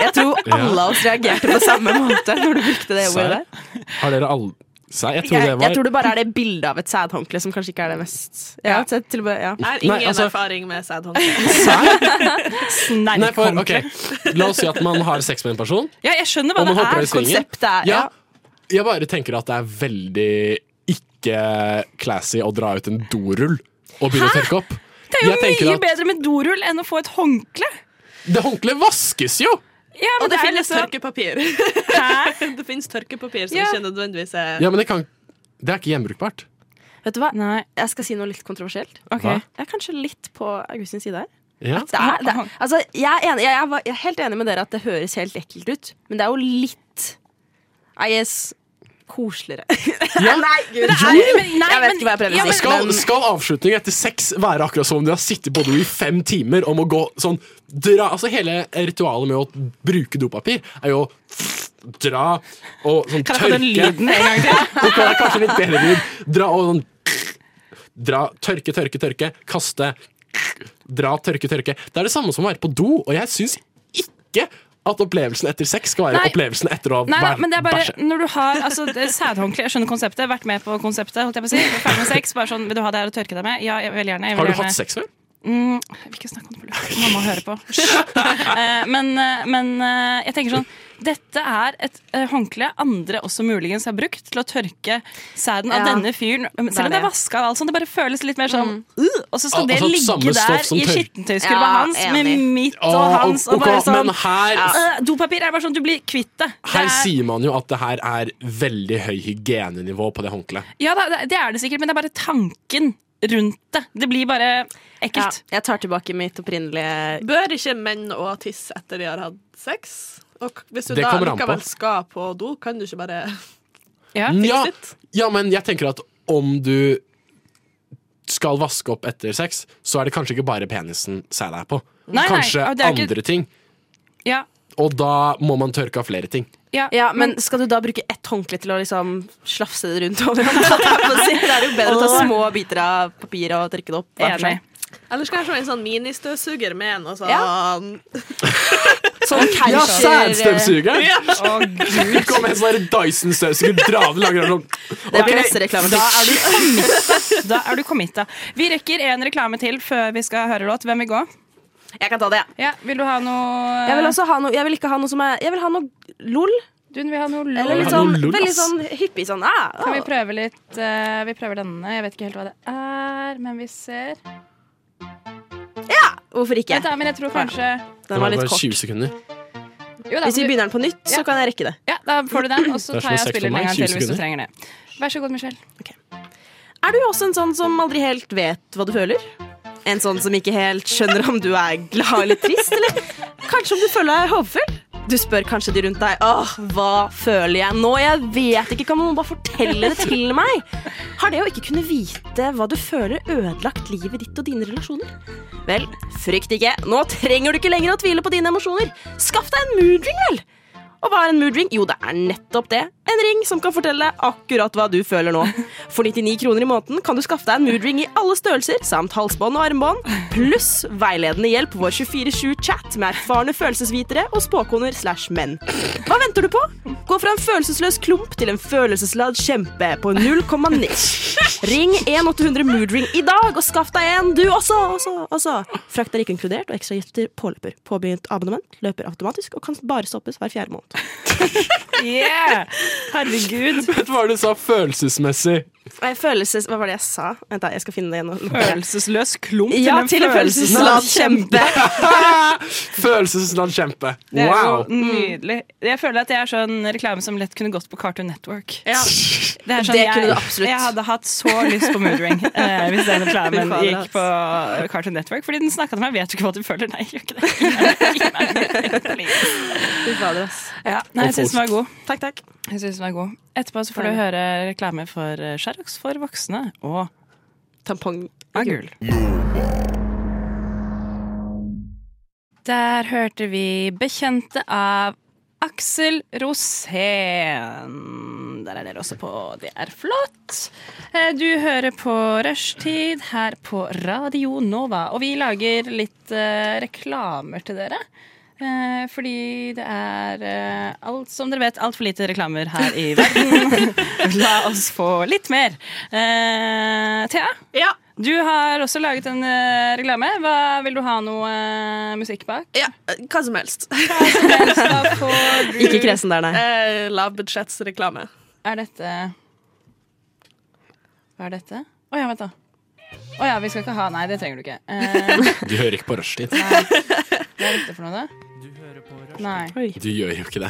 Speaker 7: jeg tror alle av oss reagerte på samme måte når du brukte det ordet der.
Speaker 1: Har dere alle Sei, jeg tror
Speaker 7: Jeg,
Speaker 1: det var
Speaker 7: jeg tror det bare er det bildet av et sædhåndkle som kanskje ikke er det mest ja, så jeg til og med, ja.
Speaker 2: Jeg har ingen
Speaker 1: Nei, altså-
Speaker 2: erfaring med sædhåndkle.
Speaker 1: Sei?
Speaker 6: sånn
Speaker 1: Nei, for,
Speaker 6: Snerkhåndkle.
Speaker 1: ok. La oss si at man har sex med en person,
Speaker 6: Ja, jeg skjønner hva
Speaker 1: og man
Speaker 6: det
Speaker 1: hopper av
Speaker 6: er.
Speaker 1: i svingen.
Speaker 7: Konseptet er ja.
Speaker 1: Ja, jeg bare tenker at det er veldig ikke classy å dra ut en dorull og begynne å tørke opp.
Speaker 6: Det er
Speaker 1: Jeg
Speaker 6: jo
Speaker 1: tenker
Speaker 6: mye
Speaker 1: at
Speaker 6: bedre med dorull enn å få et håndkle.
Speaker 1: Det håndkleet vaskes jo!
Speaker 6: Ja, men
Speaker 2: Og det
Speaker 6: er
Speaker 2: finnes
Speaker 6: liksom-
Speaker 2: tørkepapir. det finnes tørkepapir som
Speaker 6: Ja.
Speaker 2: ikke nødvendigvis er
Speaker 1: Ja, men det, kan, det er ikke gjenbrukbart.
Speaker 7: Vet du hva?
Speaker 6: Nei,
Speaker 7: Jeg skal si noe litt kontroversielt.
Speaker 6: ok.
Speaker 1: Hva?
Speaker 7: Jeg er kanskje litt på Augustins side her.
Speaker 1: Ja.
Speaker 7: Det er, det er, altså, jeg, er enig, jeg, er, var- jeg er helt enig med dere at det høres helt ekkelt ut, men det er jo litt I guess koseligere. Nei, gud.
Speaker 6: Jo, men- nei,
Speaker 7: jeg vet
Speaker 6: men-
Speaker 7: ikke hva jeg prøver å
Speaker 6: ja,
Speaker 7: si.
Speaker 6: men-
Speaker 1: Skal,
Speaker 7: men-
Speaker 1: skal avslutning etter sex være akkurat som om du har sittet på do i fem timer om å gå sånn dra, altså Hele ritualet med å bruke dopapir er jo å dra og sånn
Speaker 6: Kan jeg få den
Speaker 1: tørke
Speaker 6: lyden en gang til?
Speaker 1: Ok, det er Kanskje litt bedre lyd. Dra og sånn Dra, tørke, tørke, tørke. Kaste. Dra, tørke, tørke. Det er det samme som å være på do, og jeg syns ikke at opplevelsen etter sex skal være
Speaker 6: Nei.
Speaker 1: opplevelsen etter å
Speaker 6: Nei, da,
Speaker 1: bæ-
Speaker 6: men det er
Speaker 1: bæsje.
Speaker 6: bare når du har altså, det er sædhåndkle Jeg skjønner konseptet, vært med på konseptet. Holdt jeg på å si. Ferdig med sex. Bare sånn, vil du ha det her å tørke deg med? Ja, jeg vil gjerne. Jeg vil
Speaker 1: Har du
Speaker 6: gjerne.
Speaker 1: hatt sex før?
Speaker 6: Mm, jeg vil ikke snakke om det på luften. Mamma hører på. Eh, men eh, men eh, jeg tenker sånn Dette er et eh, håndkle andre også muligens har brukt til å tørke sæden av
Speaker 7: Ja.
Speaker 6: denne fyren. Selv om det
Speaker 7: det.
Speaker 6: er vaska og alt sånt. Det bare føles litt mer sånn uh, Og så
Speaker 1: Al-
Speaker 6: skal det
Speaker 1: altså, samme
Speaker 6: ligge
Speaker 1: stoff
Speaker 6: der
Speaker 1: som
Speaker 6: i
Speaker 1: tørk-
Speaker 6: skittentøyskurva
Speaker 7: Ja,
Speaker 6: hans
Speaker 7: enig.
Speaker 6: med mitt og
Speaker 1: Å,
Speaker 6: hans, og
Speaker 1: ok,
Speaker 6: bare sånn
Speaker 1: Men her
Speaker 6: eh, Dopapir er bare sånn du blir kvitt det. Det
Speaker 1: Her
Speaker 6: er-
Speaker 1: sier man jo at det her er veldig høy hygienenivå på det håndkleet.
Speaker 6: Ja, da, det- det er det sikkert, men det er bare tanken rundt det. Det blir bare
Speaker 7: Ja,
Speaker 6: ekkelt.
Speaker 7: jeg tar tilbake mitt opprinnelige
Speaker 2: Bør ikke menn òg tisse etter de har hatt sex? Og k- hvis du
Speaker 1: Det
Speaker 2: da
Speaker 1: kommer an på.
Speaker 2: likevel skal på do, kan du ikke bare
Speaker 6: Ja.
Speaker 1: Ja,
Speaker 2: it.
Speaker 1: ja, men jeg tenker at om du skal vaske opp etter sex, så er det kanskje ikke bare penisen sæd er på.
Speaker 6: Nei, nei,
Speaker 1: kanskje
Speaker 6: og det er ikke-
Speaker 1: andre ting.
Speaker 6: Ja.
Speaker 1: Og da må man tørke av flere ting.
Speaker 6: Ja.
Speaker 7: ja, men skal du da bruke ett håndkle til å liksom slafse det rundt overalt? holdt jeg på å si? Det er jo bedre å ta små biter av papir og tørke det opp. hver for seg.
Speaker 6: Enig.
Speaker 2: Eller skal jeg ha en sånn ministøvsuger med noe sånn
Speaker 7: Ja. Sånn
Speaker 1: Ja,
Speaker 7: coucher-
Speaker 1: sædstøvsugeren!
Speaker 7: Ja.
Speaker 1: Det kom en sånn der Dyson-støvsuger drave langer sånn.
Speaker 6: Det blir
Speaker 1: Ok,
Speaker 6: neste reklame. Da er du committa. Da er du committa. Vi rekker en reklame til før vi skal høre låt. Hvem vil gå?
Speaker 7: Jeg kan ta det,
Speaker 6: ja. Vil du ha noe
Speaker 7: Jeg vil, også ha noe, jeg vil ikke ha noe som er Jeg vil ha noe LOL.
Speaker 6: Du vil ha noe LOL.
Speaker 7: Eller litt
Speaker 6: Ha noe
Speaker 7: sånn,
Speaker 6: LOL,
Speaker 7: veldig
Speaker 6: ass.
Speaker 7: sånn hyppig sånn ah, ah.
Speaker 6: Kan vi prøve litt eh, Vi prøver denne. Jeg vet ikke helt hva det er, men vi ser.
Speaker 7: Hvorfor ikke?
Speaker 6: Vent da, men jeg tror kanskje
Speaker 1: Det var bare 20 sekunder.
Speaker 6: Jo da,
Speaker 7: Hvis vi
Speaker 6: du-
Speaker 7: begynner den på nytt,
Speaker 6: Ja.
Speaker 7: så kan jeg rekke det.
Speaker 6: Ja, da får du den, og så
Speaker 7: Det er som
Speaker 6: tar jeg og
Speaker 7: en sekk
Speaker 6: spiller den
Speaker 7: for meg,
Speaker 6: en gang
Speaker 7: 20
Speaker 6: til hvis du
Speaker 7: sekunder.
Speaker 6: trenger det. Vær så god, Michelle.
Speaker 7: Er du også en sånn som aldri helt vet hva du føler? En sånn som ikke helt skjønner om du er glad eller trist, eller kanskje om du føler deg håpefull? Du spør kanskje de rundt deg Åh, hva føler jeg nå? Jeg vet ikke, kan noen bare fortelle det til meg? Har det å ikke kunne vite hva du føler ødelagt livet ditt og dine relasjoner? Vel, frykt ikke, nå trenger du ikke lenger å tvile på dine emosjoner. Skaff deg en moodring, vel! Og hva er en moodring? Jo, det er nettopp det. En ring som kan fortelle deg akkurat hva du føler nå. For 99 kroner i måneden kan du skaffe deg en moodring i alle størrelser, samt halsbånd og armbånd, pluss veiledende hjelp på vår 24-7-chat med erfarne følelsesvitere og spåkoner slash menn. Hva venter du på? Gå fra en følelsesløs klump til en følelsesladd kjempe på 0,9. Ring 1800 Moodring i dag og skaff deg en, du også! også, også. Frakt er ikke inkludert, og ekstragifter påløper. Påbegynt abonnement løper automatisk og kan bare stoppes hver fjerde måned.
Speaker 6: Yeah! Herregud.
Speaker 1: Vet du hva du sa følelsesmessig?
Speaker 7: Nei, Følelses... Hva var det jeg sa? Vent da, jeg skal finne det igjen. nå.
Speaker 6: Følelsesløs klump
Speaker 7: Ja, til en følelsesladd kjempe.
Speaker 1: Følelsesladd kjempe.
Speaker 6: Det er
Speaker 1: Wow.
Speaker 7: Mm.
Speaker 6: jo nydelig. Jeg føler at jeg er sånn reklame som lett kunne gått på Cartoon Network. Det, er sånn,
Speaker 7: Det
Speaker 6: jeg,
Speaker 7: kunne du absolutt.
Speaker 6: Jeg hadde hatt så lyst på Moodring eh, hvis den reklamen
Speaker 7: Fy fader,
Speaker 6: gikk på Cartoon Network. Fordi den snakka til meg. Vet du ikke hva du føler? Nei, jeg gjør ikke det.
Speaker 7: Fy fader, ass.
Speaker 6: Ja, nei, jeg syns den var god.
Speaker 7: Takk, takk.
Speaker 6: Jeg synes den var god. Etterpå så får du høre reklame for eh, Xerox for voksne og
Speaker 7: Tampong
Speaker 6: av gull. Der hørte vi 'Bekjente' av Aksel Rosén. Der er dere også på. Det er flott. Eh, Du hører på Rushtid her på Radio Nova, og vi lager litt eh, reklamer til dere. Eh, fordi det er eh, alt, som dere vet, altfor lite reklamer her i verden. La oss få litt mer. Eh, Thea, du har også laget en eh, reklame. Hva, vil du ha noe eh, musikk bak?
Speaker 2: Ja, hva som helst.
Speaker 7: Ikke kresen der, nei.
Speaker 2: Eh, Lavbudsjettsreklame.
Speaker 6: Er dette Hva er dette? Å ja, vent, da. Å ja, vi skal ikke ha Nei, det trenger du ikke. Eh,
Speaker 1: Du hører ikke på rushtid.
Speaker 6: hva er dette for noe, da? Nei.
Speaker 1: Du gjør jo ikke det.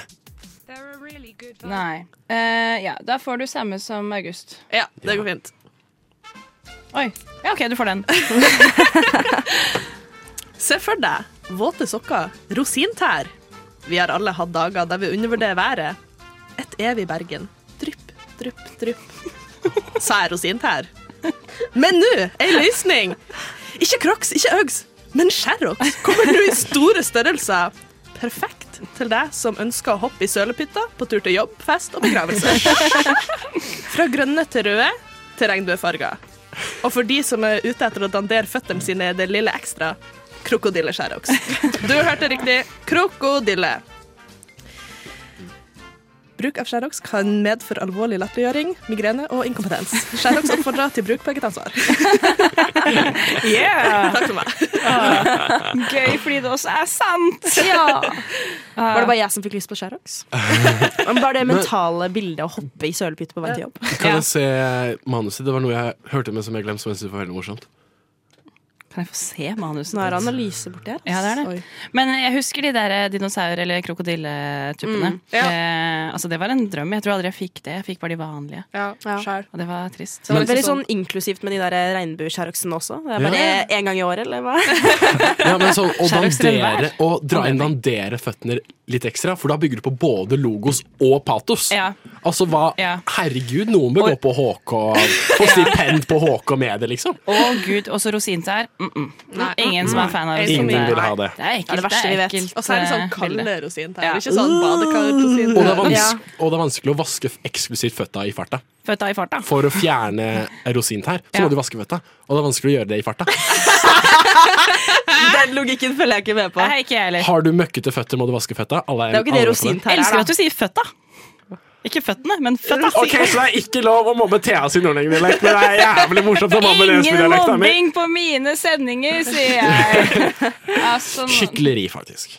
Speaker 6: Nei. Eh, ja, da får du samme som August.
Speaker 2: Ja, det går fint.
Speaker 6: Oi. Ja, OK, du får den.
Speaker 2: Se for deg våte sokker, rosintær. Vi har alle hatt dager der vi undervurderer været. Et evig Bergen. Drypp, drypp, drypp. Sa jeg rosintær? Men nå, ei løsning! Ikke Crocs, ikke Uggs, men Sherrox kommer nå i store størrelser. Perfekt til deg som ønsker å hoppe i sølepytta på tur til jobb, fest og begravelse. Fra grønne til røde til regnbuefarger. Og for de som er ute etter å dandere føttene sine det lille ekstra, krokodilleskjæroks. Du hørte riktig. Krokodille. Bruk av skjæroks kan medføre alvorlig latterliggjøring, migrene og inkompetens. Skjæroks oppfordrer til bruk på eget ansvar.
Speaker 6: Yeah!
Speaker 2: Takk for meg.
Speaker 6: Gøy fordi det også er sant.
Speaker 7: Ja. Var det bare jeg som fikk lyst på Xerox? Men Bare det mentale bildet å hoppe i sølepytte på vei til jobb.
Speaker 1: Kan jeg se manuset? Det var noe jeg hørte men som jeg glemte, som jeg syntes var veldig morsomt.
Speaker 6: Kan jeg få se manuset?
Speaker 7: Nå er det analyse borti her. ass.
Speaker 6: Ja, det er det.
Speaker 7: Oi.
Speaker 6: Men jeg husker de der eh, dinosaur- eller krokodilletuppene.
Speaker 7: Mm, ja.
Speaker 6: eh, altså det var en drøm. Jeg tror aldri jeg fikk det. Jeg fikk bare de vanlige.
Speaker 7: Ja.
Speaker 6: Og det var trist.
Speaker 7: Så det var veldig sånn inklusivt med de der regnbueskjæroksene også. Det er bare
Speaker 6: Ja.
Speaker 7: én gang i året, eller hva?
Speaker 1: Ja, men sånn, å
Speaker 6: Skjærøks til
Speaker 1: dandere,
Speaker 6: enhver.
Speaker 1: og dra inn dandere føttene litt ekstra, for da bygger du på både logos og patos.
Speaker 6: Ja.
Speaker 1: Altså hva Herregud, noen bør gå på HK Få stipend på HK Medie, liksom.
Speaker 6: Å gud, også rosintær. Mm -mm.
Speaker 2: Nei.
Speaker 6: Ingen som er fan av
Speaker 1: Nei.
Speaker 6: rosintær.
Speaker 1: Ingen vil ha det.
Speaker 6: Det er ekkelt.
Speaker 1: Det er det verste vi vet.
Speaker 6: ekkelt,
Speaker 2: Og så er det sånn
Speaker 6: eh,
Speaker 2: kalde
Speaker 6: bilde.
Speaker 2: rosintær,
Speaker 6: Ja.
Speaker 2: ikke sånn badekar-rosintær.
Speaker 1: Og det, er vans-
Speaker 2: Ja.
Speaker 1: og det er vanskelig å vaske f- eksklusivt føtta i farta.
Speaker 6: Føtta i farta.
Speaker 1: For å fjerne rosintær,
Speaker 6: Ja.
Speaker 1: så må du vaske føtta. Og det er vanskelig å gjøre det i farta.
Speaker 7: Den logikken følger jeg ikke med på.
Speaker 6: Nei, ikke jeg heller.
Speaker 1: Har du møkkete føtter, må du vaske føtta. Alle
Speaker 7: Det er jo ikke det
Speaker 1: alle på
Speaker 7: rosintær er,
Speaker 6: Elsker
Speaker 7: da.
Speaker 6: at du sier føtta. Ikke føttene, men føtta.
Speaker 1: Ok, Så det er ikke lov å mobbe Thea sin nordlendingdialekt, men det er jævlig morsomt å mobbe deres
Speaker 6: Ingen
Speaker 1: dialekt. da, men
Speaker 6: mobbing på mine sendinger, sier jeg. Altså, nå-
Speaker 1: Skikleri, faktisk.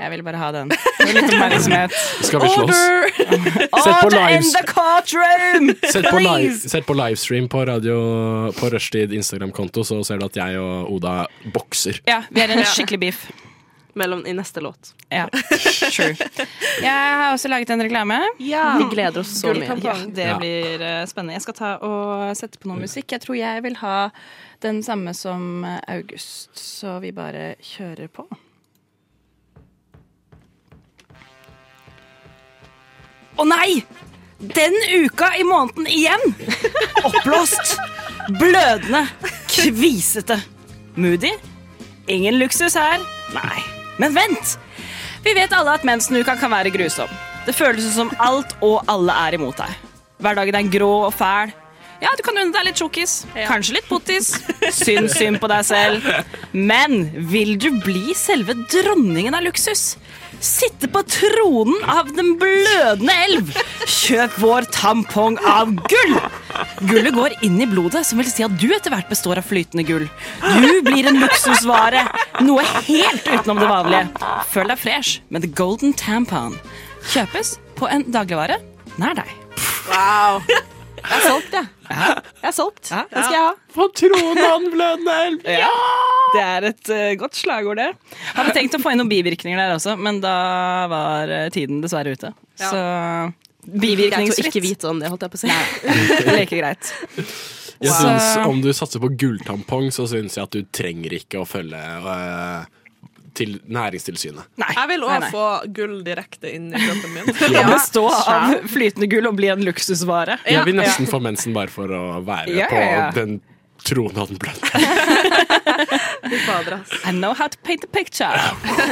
Speaker 6: jeg ville bare ha den. Litt oppmerksomhet.
Speaker 1: Skal vi slåss? Sett på
Speaker 6: Order in
Speaker 1: lives.
Speaker 6: the courtroom!
Speaker 1: Sett på, live,
Speaker 6: Please!
Speaker 1: sett på livestream på radio På Rushtid Instagram-konto, så ser du at jeg og Oda bokser.
Speaker 6: Ja, vi er en skikkelig beef.
Speaker 7: Mellom i neste låt.
Speaker 6: Ja, sure. Jeg har også laget en reklame.
Speaker 7: Vi gleder oss så mye.
Speaker 6: Ja, det
Speaker 1: Ja.
Speaker 6: blir eh, spennende. Jeg skal ta og sette på noe musikk. Jeg tror jeg vil ha den samme som eh, August, så vi bare kjører på. Å nei! Den uka i måneden igjen! Oppblåst, blødende, kvisete. Moody? Ingen luksus her. Nei. Men vent! Vi vet alle at mensenuka kan være grusom. Det føles som alt og alle er imot deg. Hverdagen er grå og fæl. Ja, du kan unne deg litt tjukkis. Kanskje litt pottis. Synd synd på deg selv. Men vil du bli selve dronningen av luksus? Sitte på tronen av den blødende elv. Kjøp vår tampong av gull! Gullet går inn i blodet, som vil si at du etter hvert består av flytende gull. Du blir en luksusvare. Noe helt utenom det vanlige. Føl deg fresh med The Golden Tampon. Kjøpes på en dagligvare nær deg.
Speaker 7: Wow. Jeg er solgt, jeg. Jeg er solgt.
Speaker 6: Ja.
Speaker 7: Den skal jeg ha.
Speaker 6: Ja! Det er et eh, godt slagord, det. Hadde tenkt å få inn noen bivirkninger der også, men da var eh, tiden dessverre ute. Så eh,
Speaker 7: Jeg tror ikke
Speaker 6: bivirkningsfritt
Speaker 7: vite om det, holdt jeg på å si.
Speaker 6: leker greit.
Speaker 1: Jeg
Speaker 6: Wow.
Speaker 1: synes
Speaker 6: Så-
Speaker 1: Om du satser på gulltampong, så syns jeg at du trenger ikke å følge øh, til Næringstilsynet.
Speaker 6: Nei.
Speaker 2: Jeg vil
Speaker 6: Nei,
Speaker 2: òg
Speaker 6: nei.
Speaker 2: få gull direkte inn i kroppen min.
Speaker 6: Ja, Bestå av flytende gull og bli en luksusvare.
Speaker 1: Jeg vil nesten få mensen bare for å være
Speaker 6: Ja,
Speaker 1: på
Speaker 6: ja, ja.
Speaker 1: den tronen av den bløte.
Speaker 6: I know how to paint a picture.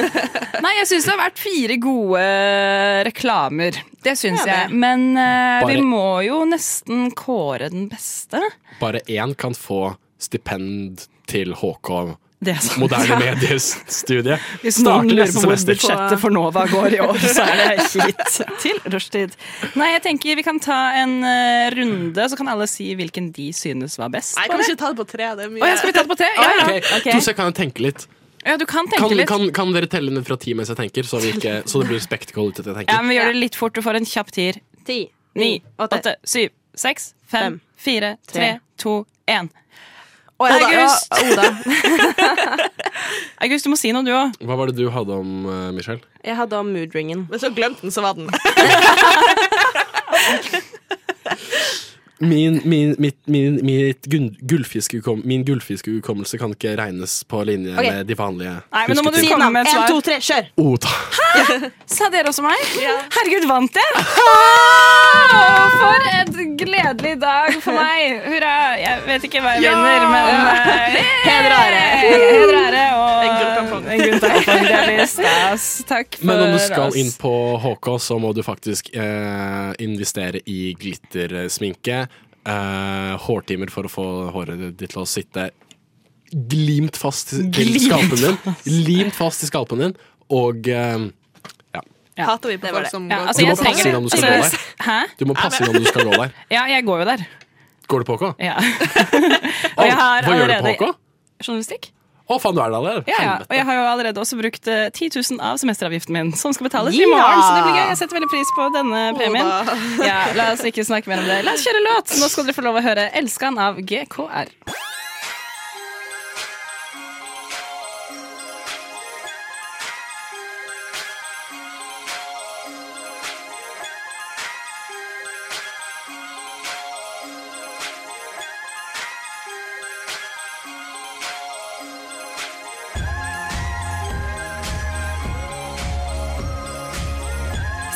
Speaker 6: Nei, jeg syns det har vært fire gode eh, reklamer. Det syns jeg. Men eh, vi
Speaker 1: Bare-
Speaker 6: må jo nesten kåre den beste.
Speaker 1: Bare én kan få stipend til HK
Speaker 6: Det er sant.
Speaker 1: Moderne Medies studie.
Speaker 6: Hvis noen
Speaker 1: Starter
Speaker 6: lurer
Speaker 1: neste
Speaker 6: på hvor
Speaker 1: semester.
Speaker 6: budsjettet for Nova går i år, så er det hit til rushtid. Nei, jeg tenker vi kan ta en eh, runde, så kan alle si hvilken de synes var best.
Speaker 2: Nei, kan vi
Speaker 6: bare.
Speaker 2: ikke ta det på tre? Det er mye.
Speaker 6: Å, ja, skal vi ta det på tre? Ja, ja.
Speaker 1: Ok, To sek, kan jeg tenke litt.
Speaker 6: ja du kan tenke
Speaker 1: Kan,
Speaker 6: litt.
Speaker 1: kan, kan dere telle ned fra ti mens jeg tenker, så, vi ikke, så det blir spectacle ut at jeg
Speaker 6: Ja,
Speaker 1: tenker?
Speaker 6: men vi gjør det litt fort. Du får en kjapp tier.
Speaker 7: Ti,
Speaker 6: Ni,
Speaker 7: åtte.
Speaker 6: åtte, syv, seks, fem,
Speaker 7: Fem,
Speaker 6: fire, tre,
Speaker 7: tre,
Speaker 6: to, én.
Speaker 7: Oda,
Speaker 6: August.
Speaker 7: ja, Oda.
Speaker 6: August, du må si noe, du òg.
Speaker 1: Hva var det du hadde om eh, Michelle?
Speaker 7: Jeg hadde om moodringen.
Speaker 2: Hvis du har glemt den, så var den.
Speaker 1: Min, min, mitt, min, mitt gun- gullfiskehukom- min gullfiskehukommelse kan ikke regnes på linje
Speaker 7: Ok.
Speaker 1: med de vanlige.
Speaker 6: Nei, men nå må du
Speaker 1: husketingene.
Speaker 6: komme med et
Speaker 7: En, to,
Speaker 6: svar.
Speaker 7: tre, kjør!
Speaker 1: Oda.
Speaker 6: Sa dere også meg? Herregud, vant jeg! For et gledelig dag Ah! for meg! Hurra! Jeg vet ikke hva jeg vinner, men eh,
Speaker 7: Heder og ære.
Speaker 6: Heder og ære og
Speaker 2: En gulltampong.
Speaker 6: En gulltampong. Det blir stas. Takk for
Speaker 1: Men om du skal
Speaker 6: oss.
Speaker 1: inn på HK, så må du faktisk eh, investere i glittersminke. Eh, hårtimer for å få håret ditt til å sitte glimt fast til
Speaker 6: Glimt
Speaker 1: skalpen din. Limt fast til skalpen din. Og eh,
Speaker 2: Hater vi på
Speaker 7: Det var
Speaker 2: folk
Speaker 7: det.
Speaker 2: som
Speaker 6: Ja,
Speaker 2: går
Speaker 6: altså,
Speaker 1: Du
Speaker 6: jeg
Speaker 1: må passe
Speaker 6: trenger det.
Speaker 1: inn om du skal gå der.
Speaker 6: Hæ?
Speaker 1: du må passe inn om du skal gå der.
Speaker 6: Ja, jeg går jo der.
Speaker 1: Går du på HK?
Speaker 6: Ja.
Speaker 1: Å,
Speaker 6: jeg har
Speaker 1: Hva gjør du på
Speaker 6: allerede-
Speaker 1: HK?
Speaker 6: Journalistikk?
Speaker 1: Å, faen, du er der allerede?
Speaker 6: Ja, ja.
Speaker 1: Helvete.
Speaker 6: Og jeg har jo allerede også brukt eh, 10 000 av semesteravgiften min, som skal betales i
Speaker 7: Ja!
Speaker 6: morgen. Så det blir gøy. Jeg setter veldig pris på denne premien. Ja, la oss ikke snakke mer om det. La oss kjøre låt. Nå skal dere få lov å høre 'Elskan' av GKR.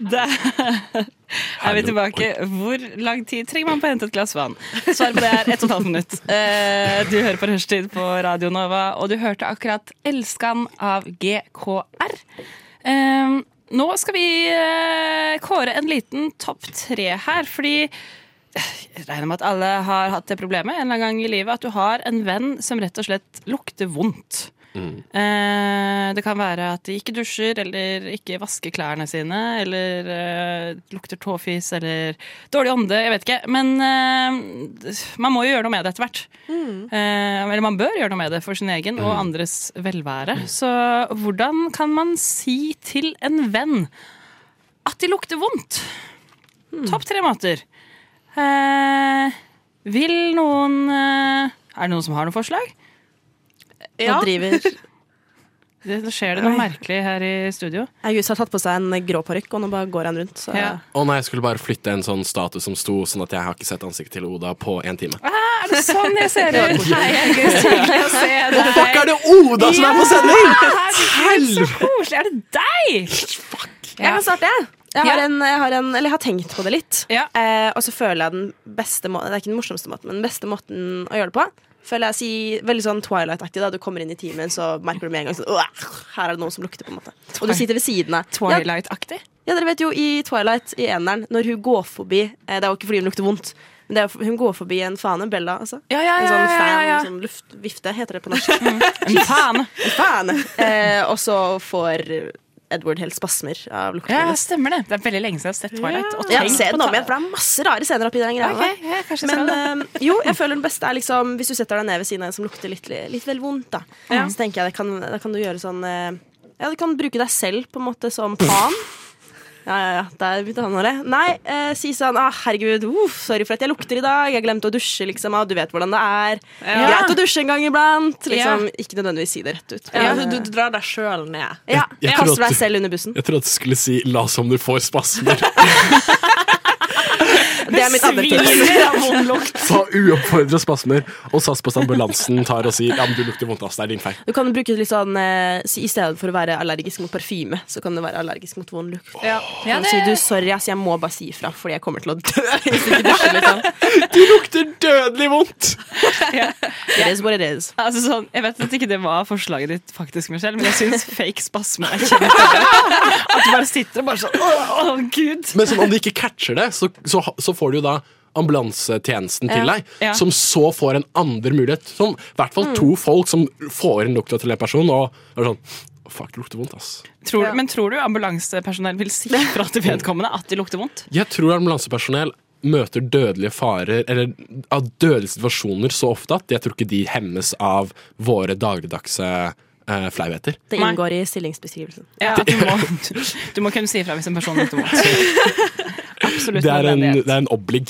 Speaker 6: Da er vi tilbake. Hvor lang tid trenger man på å hente et glass vann? Svaret på det er 1 12 minutt. Eh, Du hører på Rushtid på Radio Nova, og du hørte akkurat 'Elskan' av GKR. Eh, Nå skal vi eh, kåre en liten topp tre her, fordi eh, jeg regner med at alle har hatt det problemet en eller annen gang i livet, at du har en venn som rett og slett lukter vondt. Eh, det kan være at de ikke dusjer eller ikke vasker klærne sine eller eh, lukter tåfis eller dårlig ånde, jeg vet ikke. Men eh, man må jo gjøre noe med det etter hvert. Eh, eller man bør gjøre noe med det for sin egen og andres velvære. Så hvordan kan man si til en venn at de lukter vondt? Topp tre måter. Eh, vil noen eh, Er det noen som har noen forslag?
Speaker 7: Nå driver
Speaker 6: Det, nå skjer det noe
Speaker 7: Nei.
Speaker 6: merkelig her i studio.
Speaker 7: August har tatt på seg en grå parykk, og nå bare går han rundt. Så.
Speaker 6: Ja.
Speaker 1: Å nei, jeg skulle bare flytte en sånn status som sto sånn at jeg har ikke sett ansiktet til Oda på en time.
Speaker 6: Ah, er det sånn jeg ser ut? Hei, August. Hyggelig å se deg.
Speaker 1: Fuck, er det Oda som er på sending?!
Speaker 6: herregud, så koselig. Er det deg?
Speaker 7: Jeg kan starte, jeg. Jeg har,
Speaker 6: Ja.
Speaker 7: en, jeg har en, eller jeg har tenkt på det litt. Eh, og så føler jeg den beste måten Det er ikke den morsomste måten, men den beste måten å gjøre det på. Føler jeg si, Veldig sånn Twilight-aktig. da Du kommer inn i timen, så merker du med en gang sånn, «Åh, Her er det noen som lukter. på en måte Og du sitter ved siden av.
Speaker 6: Twilight-aktig?
Speaker 7: Ja, ja, dere vet jo i Twilight, i eneren, når hun går forbi eh, Det er jo ikke fordi hun lukter vondt, men det er, jo- hun går forbi en fane, Bella, altså.
Speaker 6: ja,
Speaker 7: en
Speaker 6: ja,
Speaker 7: sånn
Speaker 6: ja,
Speaker 7: fan,
Speaker 6: ja.
Speaker 7: sånn luftvifte, heter det på norsk.
Speaker 6: En fan.
Speaker 7: En fan. Eh, og så får Edward helt spasmer av lukten
Speaker 6: Ja,
Speaker 7: hennes.
Speaker 6: stemmer det. Det er veldig lenge siden jeg har sett Twilight. og
Speaker 7: Ja,
Speaker 6: tenkt
Speaker 7: se
Speaker 6: på
Speaker 7: den om
Speaker 6: Twilight.
Speaker 7: igjen, for det er masse rare scener oppi den greia
Speaker 6: Ok,
Speaker 7: der.
Speaker 6: ja, kanskje jeg
Speaker 7: Men
Speaker 6: skal
Speaker 7: eh, jo, jeg føler den beste er liksom hvis du setter deg ned ved siden av en som lukter litt, litt vel vondt, da.
Speaker 6: Ja.
Speaker 7: Så tenker jeg det kan, da kan du gjøre sånn eh, Ja, du kan bruke deg selv på en måte som pan. Ja, ja, ja. Der begynte han å le. Nei, eh, si sånn ah, 'Herregud, uff, sorry for at jeg lukter i dag. Jeg glemte å dusje.' liksom ah, Du vet hvordan det er.
Speaker 2: Ja.
Speaker 7: Greit å dusje en gang iblant.
Speaker 2: Ja.
Speaker 7: Liksom, Ikke nødvendigvis si det rett ut.
Speaker 2: Ja,
Speaker 7: men,
Speaker 2: du,
Speaker 7: eh,
Speaker 2: du drar deg sjøl ned.
Speaker 7: ja,
Speaker 1: Jeg tror
Speaker 7: Kaster
Speaker 1: at
Speaker 7: deg
Speaker 1: du-
Speaker 7: selv under bussen.
Speaker 1: Jeg trodde du skulle si 'la som du får spasmer'.
Speaker 7: Det er mitt andre
Speaker 6: Svir av
Speaker 7: tips.
Speaker 6: vond lukt.
Speaker 1: Ta uoppfordra spasmer, og sats på at ambulansen tar og sier 'ja, men du lukter vondt, ass, det er din feil'.
Speaker 7: Du kan bruke litt sånn eh, si- I stedet for å være allergisk mot parfyme, så kan du være allergisk mot vond lukt.
Speaker 2: Ja.
Speaker 7: Ja,
Speaker 6: det-
Speaker 7: Si du 'sorry, ass, jeg må bare si ifra, fordi jeg kommer til å dø'. hvis ikke
Speaker 1: Du lukter dødelig vondt!
Speaker 7: It is what it is.
Speaker 6: Altså sånn, jeg vet at ikke det var forslaget ditt, faktisk, Michelle, men jeg syns fake spasme er kjempebra. At du bare sitter og bare sånn Å, å, gud.
Speaker 1: Men sånn, om de ikke catcher det, så, så, så får du jo da ambulansetjenesten til
Speaker 6: Ja.
Speaker 1: deg,
Speaker 6: Ja. Mm.
Speaker 1: som så får en andre mulighet. Som i hvert fall to folk som får inn lukta til en person, og er sånn Fuck, det lukter vondt, ass.
Speaker 6: Tror, Men tror du ambulansepersonell vil sikre at det vedkommende at de lukter vondt?
Speaker 1: Jeg tror ambulansepersonell møter dødelige farer, eller av dødelige situasjoner så ofte at jeg tror ikke de hemmes av våre dagligdagse eh, flauheter.
Speaker 7: Det
Speaker 6: Nei.
Speaker 7: inngår i stillingsbeskrivelsen.
Speaker 6: Ja, at du, må, du må kunne si ifra hvis en person lukter vondt. Absolutt
Speaker 1: Det er en,
Speaker 6: nødvendighet.
Speaker 1: det er en oblig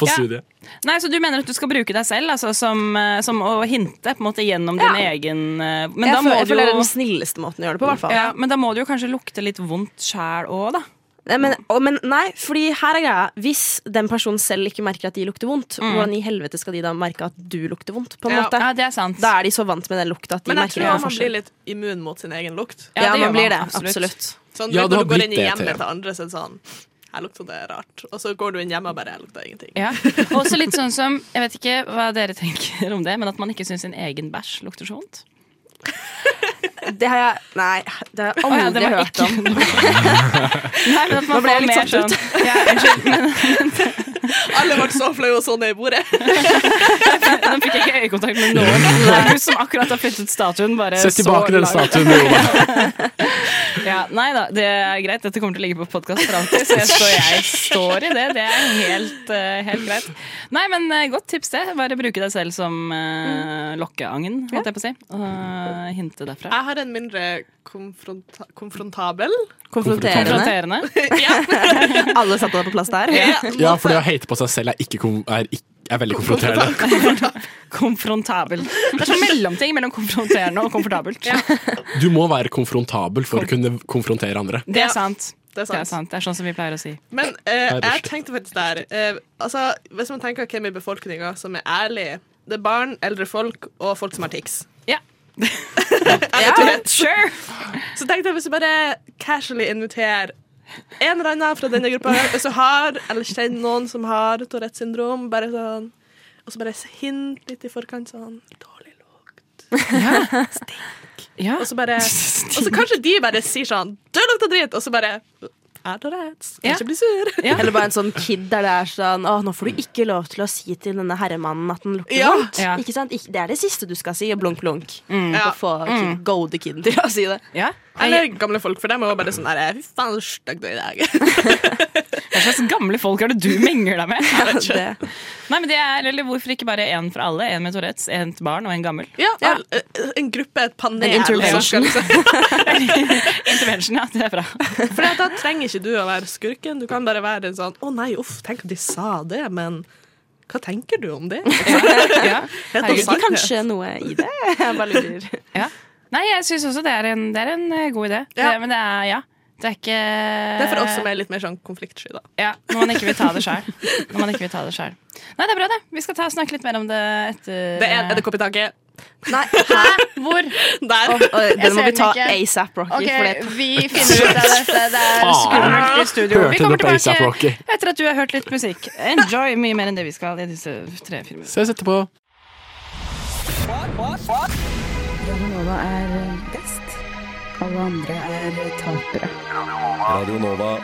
Speaker 1: på
Speaker 6: Ja.
Speaker 1: studiet.
Speaker 6: Nei, Så du mener at du skal bruke deg selv altså, som, eh, som å hinte på en måte gjennom din
Speaker 7: Ja.
Speaker 6: egen eh, Men
Speaker 7: Jeg
Speaker 6: da
Speaker 7: føler,
Speaker 6: må
Speaker 7: jeg
Speaker 6: du
Speaker 7: føler det er
Speaker 6: jo
Speaker 7: den snilleste måten å gjøre det på. i hvert fall
Speaker 6: ja, Men da må det jo kanskje lukte litt vondt sjæl òg, da.
Speaker 7: Nei, men, å, men nei, fordi her er greia. Hvis den personen selv ikke merker at de lukter vondt, hvordan i helvete skal de da merke at du lukter vondt? På en
Speaker 2: Ja.
Speaker 7: måte
Speaker 6: Ja, det er sant.
Speaker 7: Da er de så vant med den lukta at de
Speaker 2: Men jeg
Speaker 7: merker
Speaker 2: tror
Speaker 7: ingen
Speaker 2: man
Speaker 7: forskjell.
Speaker 2: blir litt immun mot sin egen lukt.
Speaker 7: Ja,
Speaker 6: det
Speaker 7: man
Speaker 6: gjør
Speaker 7: blir det.
Speaker 6: man, absolutt.
Speaker 7: Absolutt.
Speaker 2: Sånn,
Speaker 1: Ja, det
Speaker 2: når
Speaker 1: har
Speaker 2: du går
Speaker 1: blitt
Speaker 2: inn i
Speaker 1: det,
Speaker 2: hjemmet
Speaker 1: Thea.
Speaker 2: til andre, så er det sånn Her lukter det rart. Og så går du inn hjemme og bare Jeg lukter ingenting.
Speaker 6: Ja. Også litt sånn som Jeg vet ikke hva dere tenker om det, men at man ikke syns sin egen bæsj lukter så vondt.
Speaker 7: Det har jeg Nei, det har jeg
Speaker 6: Å ja,
Speaker 7: aldri
Speaker 6: det var
Speaker 7: hørt
Speaker 6: ikke
Speaker 7: om.
Speaker 6: Nei, men at man
Speaker 7: Nå ble
Speaker 6: får
Speaker 7: jeg litt
Speaker 6: mer
Speaker 7: satt ut.
Speaker 6: sånn- Ja, unnskyld, men
Speaker 2: Alle ble så flaue og sånn i bordet.
Speaker 6: Nå fikk jeg ikke øyekontakt med noen. Det er hun som akkurat har flyttet statuen. Bare
Speaker 1: Sett tilbake
Speaker 6: så
Speaker 1: den
Speaker 6: langt.
Speaker 1: statuen, Oda.
Speaker 6: Ja, nei da, det er greit. Dette kommer til å ligge på podkast fram til, så jeg står, jeg står i det. Det er helt, eh, helt greit. Nei, men eh, godt tips, det. Bare bruke deg selv som
Speaker 2: Mm.
Speaker 6: eh, lokkeangen, holdt jeg på å si. Og eh, hinte derfra.
Speaker 2: Jeg har en mindre konfronta konfrontabel
Speaker 7: Konfronterende.
Speaker 6: Konfronterende.
Speaker 2: ja,
Speaker 7: Alle satte deg på plass der.
Speaker 1: Ja, for det å hate på seg selv er, ikke, kom- er, ikk- er veldig konfronterende.
Speaker 6: Konfrontabel. Det er sånn mellomting mellom konfronterende og komfortabelt.
Speaker 1: Du må være konfrontabel for å kunne konfrontere andre.
Speaker 6: Det er sant.
Speaker 2: det er
Speaker 6: Det er
Speaker 2: sant.
Speaker 6: sant. Det er sånn som vi pleier å si.
Speaker 2: Men
Speaker 1: Nei,
Speaker 2: eh,
Speaker 1: det er
Speaker 2: jeg
Speaker 1: slik.
Speaker 2: tenkte faktisk der eh, altså, Hvis man tenker hvem i befolkninga som er ærlig Det er barn, eldre folk og folk som har tics.
Speaker 6: Ja.
Speaker 2: Jeg vet du vet.
Speaker 6: Sure.
Speaker 2: Så tenkte jeg hvis du bare casually inviterer en eller annen fra denne gruppa hvis du har, eller kjenner noen som har Tourettes syndrom, bare sånn Og så bare hint litt i forkant sånn Dårlig lukt. Stink. Og så bare Og så kanskje de bare sier sånn Du lukter dritt! Og så bare Er Tourettes. Kan ikke bli sur.
Speaker 7: Eller bare en sånn kid der det er sånn Å, nå får du ikke lov til å si til denne herremannen at den lukter
Speaker 2: Mm. Ja.
Speaker 7: vondt.
Speaker 2: Ja.
Speaker 7: Ikke sant? Ikke, det er det siste du skal si. Blunk, blunk.
Speaker 2: Mm.
Speaker 7: For
Speaker 2: Ja.
Speaker 7: å få kid,
Speaker 2: Mm.
Speaker 7: goade kiden til å si det.
Speaker 2: Eller gamle folk, for dem er jo bare sånn der Fy faen, så stygg du er i dag.
Speaker 6: Hva slags gamle folk er det du mingler deg med?
Speaker 2: Jeg vet ikke.
Speaker 6: Nei, men det er, eller Hvorfor ikke bare én for alle? Én med Tourettes, én til barn og én gammel.
Speaker 2: Ja, all- En gruppe, et panel.
Speaker 6: En intervention.
Speaker 2: som skal liksom-
Speaker 6: Intervention, ja. Det er bra.
Speaker 2: For da trenger ikke du å være skurken. Du kan bare være en sånn Å nei, uff, tenk at de sa det, men hva tenker du om det?
Speaker 6: Ja.
Speaker 2: Helt
Speaker 7: Herregud,
Speaker 2: sannhet.
Speaker 7: kanskje noe i det? Jeg bare lurer.
Speaker 6: Nei, jeg syns også det er en, det er en eh, god idé.
Speaker 2: Ja.
Speaker 6: Det, men det er, ja. Det er ikke
Speaker 2: Det er for oss som er litt mer sånn konfliktsky, da.
Speaker 6: Ja, når man ikke vil ta det sjøl. Når man ikke vil ta det selv. Nei, det er bra, det. Vi skal ta og snakke litt mer om det etter eh,
Speaker 2: Det er, er det kopp i taket?
Speaker 6: Nei, hæ? Hvor?
Speaker 2: Der.
Speaker 7: Og, og,
Speaker 6: Jeg
Speaker 7: den må
Speaker 6: ser
Speaker 7: vi ta
Speaker 6: den ikke.
Speaker 7: ASAP, Rocky.
Speaker 6: Ok,
Speaker 7: for det-
Speaker 6: vi finner ut av dette. Det er skummelt i studio.
Speaker 1: Hørte
Speaker 6: Vi kommer
Speaker 1: du på A$AP
Speaker 6: tilbake
Speaker 1: Rocky?
Speaker 6: etter at du har hørt litt musikk. Enjoy mye mer enn det vi skal i disse tre filmene.
Speaker 1: Ses etterpå.
Speaker 11: Radionova er best. Alle andre er tapere.
Speaker 4: Radio Nova.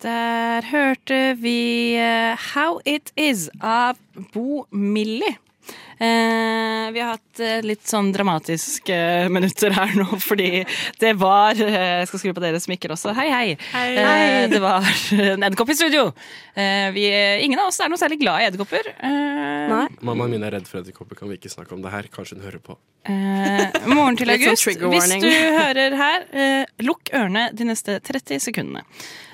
Speaker 6: Der hørte vi eh, How It Is av Bo Millie. Eh, vi har hatt eh, litt sånn dramatiske minutter her nå, fordi det var eh, Jeg skal skru på deres mikker også. Hei, hei.
Speaker 12: Hei.
Speaker 6: Eh,
Speaker 12: Hei.
Speaker 6: det var en edderkopp i studio. Eh, vi, ingen av oss er noe særlig glad i edderkopper. Eh,
Speaker 1: Mammaen min er redd for edderkopper. Kan vi ikke snakke om det her? Kanskje hun hører på.
Speaker 6: Eh, morgen til
Speaker 1: Litt sånn
Speaker 6: august.
Speaker 1: trigger
Speaker 6: Hvis
Speaker 1: warning.
Speaker 6: du hører her, eh, lukk ørene de neste 30 sekundene.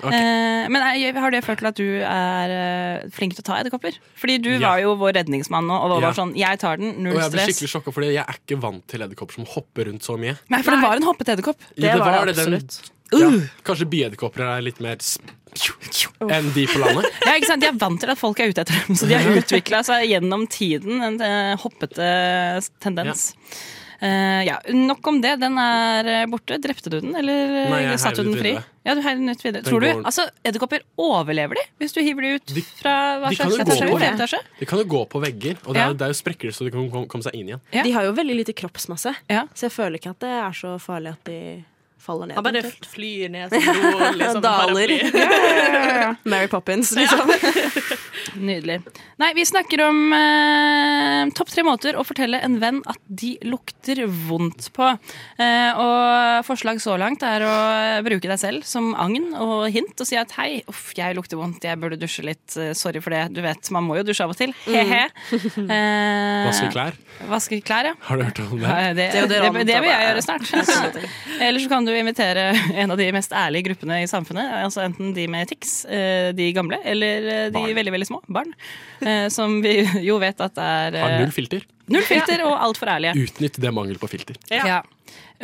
Speaker 1: Ok.
Speaker 6: Eh, men er, har det ført til at du er eh, flink til å ta edderkopper? Fordi du
Speaker 1: Ja.
Speaker 6: var jo vår redningsmann nå, og var
Speaker 1: Ja.
Speaker 6: bare sånn Jeg tar den,
Speaker 1: Og
Speaker 6: null
Speaker 1: jeg ble
Speaker 6: stress.
Speaker 1: skikkelig sjokka, Fordi jeg er ikke vant til edderkopper som hopper rundt så mye.
Speaker 6: Nei, for det var en hoppete edderkopp.
Speaker 1: Ja, den- ja, kanskje byedderkopper er litt mer s- enn de på landet.
Speaker 6: Ja, ikke sant? De er vant til at folk er ute etter dem, så de har utvikla seg gjennom tiden en eh, hoppete tendens. Eh, ja, Nok om det. Den er eh, borte. Drepte du den, eller eh,
Speaker 1: Nei, jeg
Speaker 6: satte du den
Speaker 1: heiv den ut
Speaker 6: fri?
Speaker 1: videre.
Speaker 6: Ja, du heiv den ut videre.
Speaker 1: Den
Speaker 6: Tror du,
Speaker 1: går-
Speaker 6: altså, Edderkopper overlever de hvis du hiver de ut fra hva
Speaker 1: De kan,
Speaker 6: slags
Speaker 1: jo gå
Speaker 6: etasje?
Speaker 1: på,
Speaker 6: Femte etasje?
Speaker 1: de kan jo gå på vegger, og det
Speaker 6: Ja.
Speaker 1: er, det er jo sprekker så de kan kom- komme seg inn igjen.
Speaker 7: De har jo veldig lite kroppsmasse,
Speaker 6: Ja.
Speaker 7: så jeg føler ikke at det er så farlig at de faller ned.
Speaker 2: Han bare
Speaker 7: eventuelt.
Speaker 2: flyr ned som blod, liksom.
Speaker 7: Daler.
Speaker 2: paraply.
Speaker 7: Mary Poppins, liksom.
Speaker 6: Nydelig. Nei, vi snakker om eh, topp tre måter å fortelle en venn at de lukter vondt på. Eh, og forslag så langt er å bruke deg selv som agn og hint og si at hei, uff, jeg lukter vondt, jeg burde dusje litt, eh, sorry for det. Du vet, man må jo dusje av og til. He-he. Eh,
Speaker 1: Mm. Vaske klær.
Speaker 6: Vaske klær, ja.
Speaker 1: Har du hørt om det?
Speaker 6: Ja, Det, det, det, vil jeg gjøre snart. Eller så kan du invitere en av de mest ærlige gruppene i samfunnet. Altså Enten de med tics, eh, de gamle, eller eh, de veldig veldig små, barn. eh, Som vi jo vet at er eh,
Speaker 1: Har null filter.
Speaker 6: Null filter og altfor ærlige.
Speaker 1: Utnytt det mangel på filter.
Speaker 6: Ja.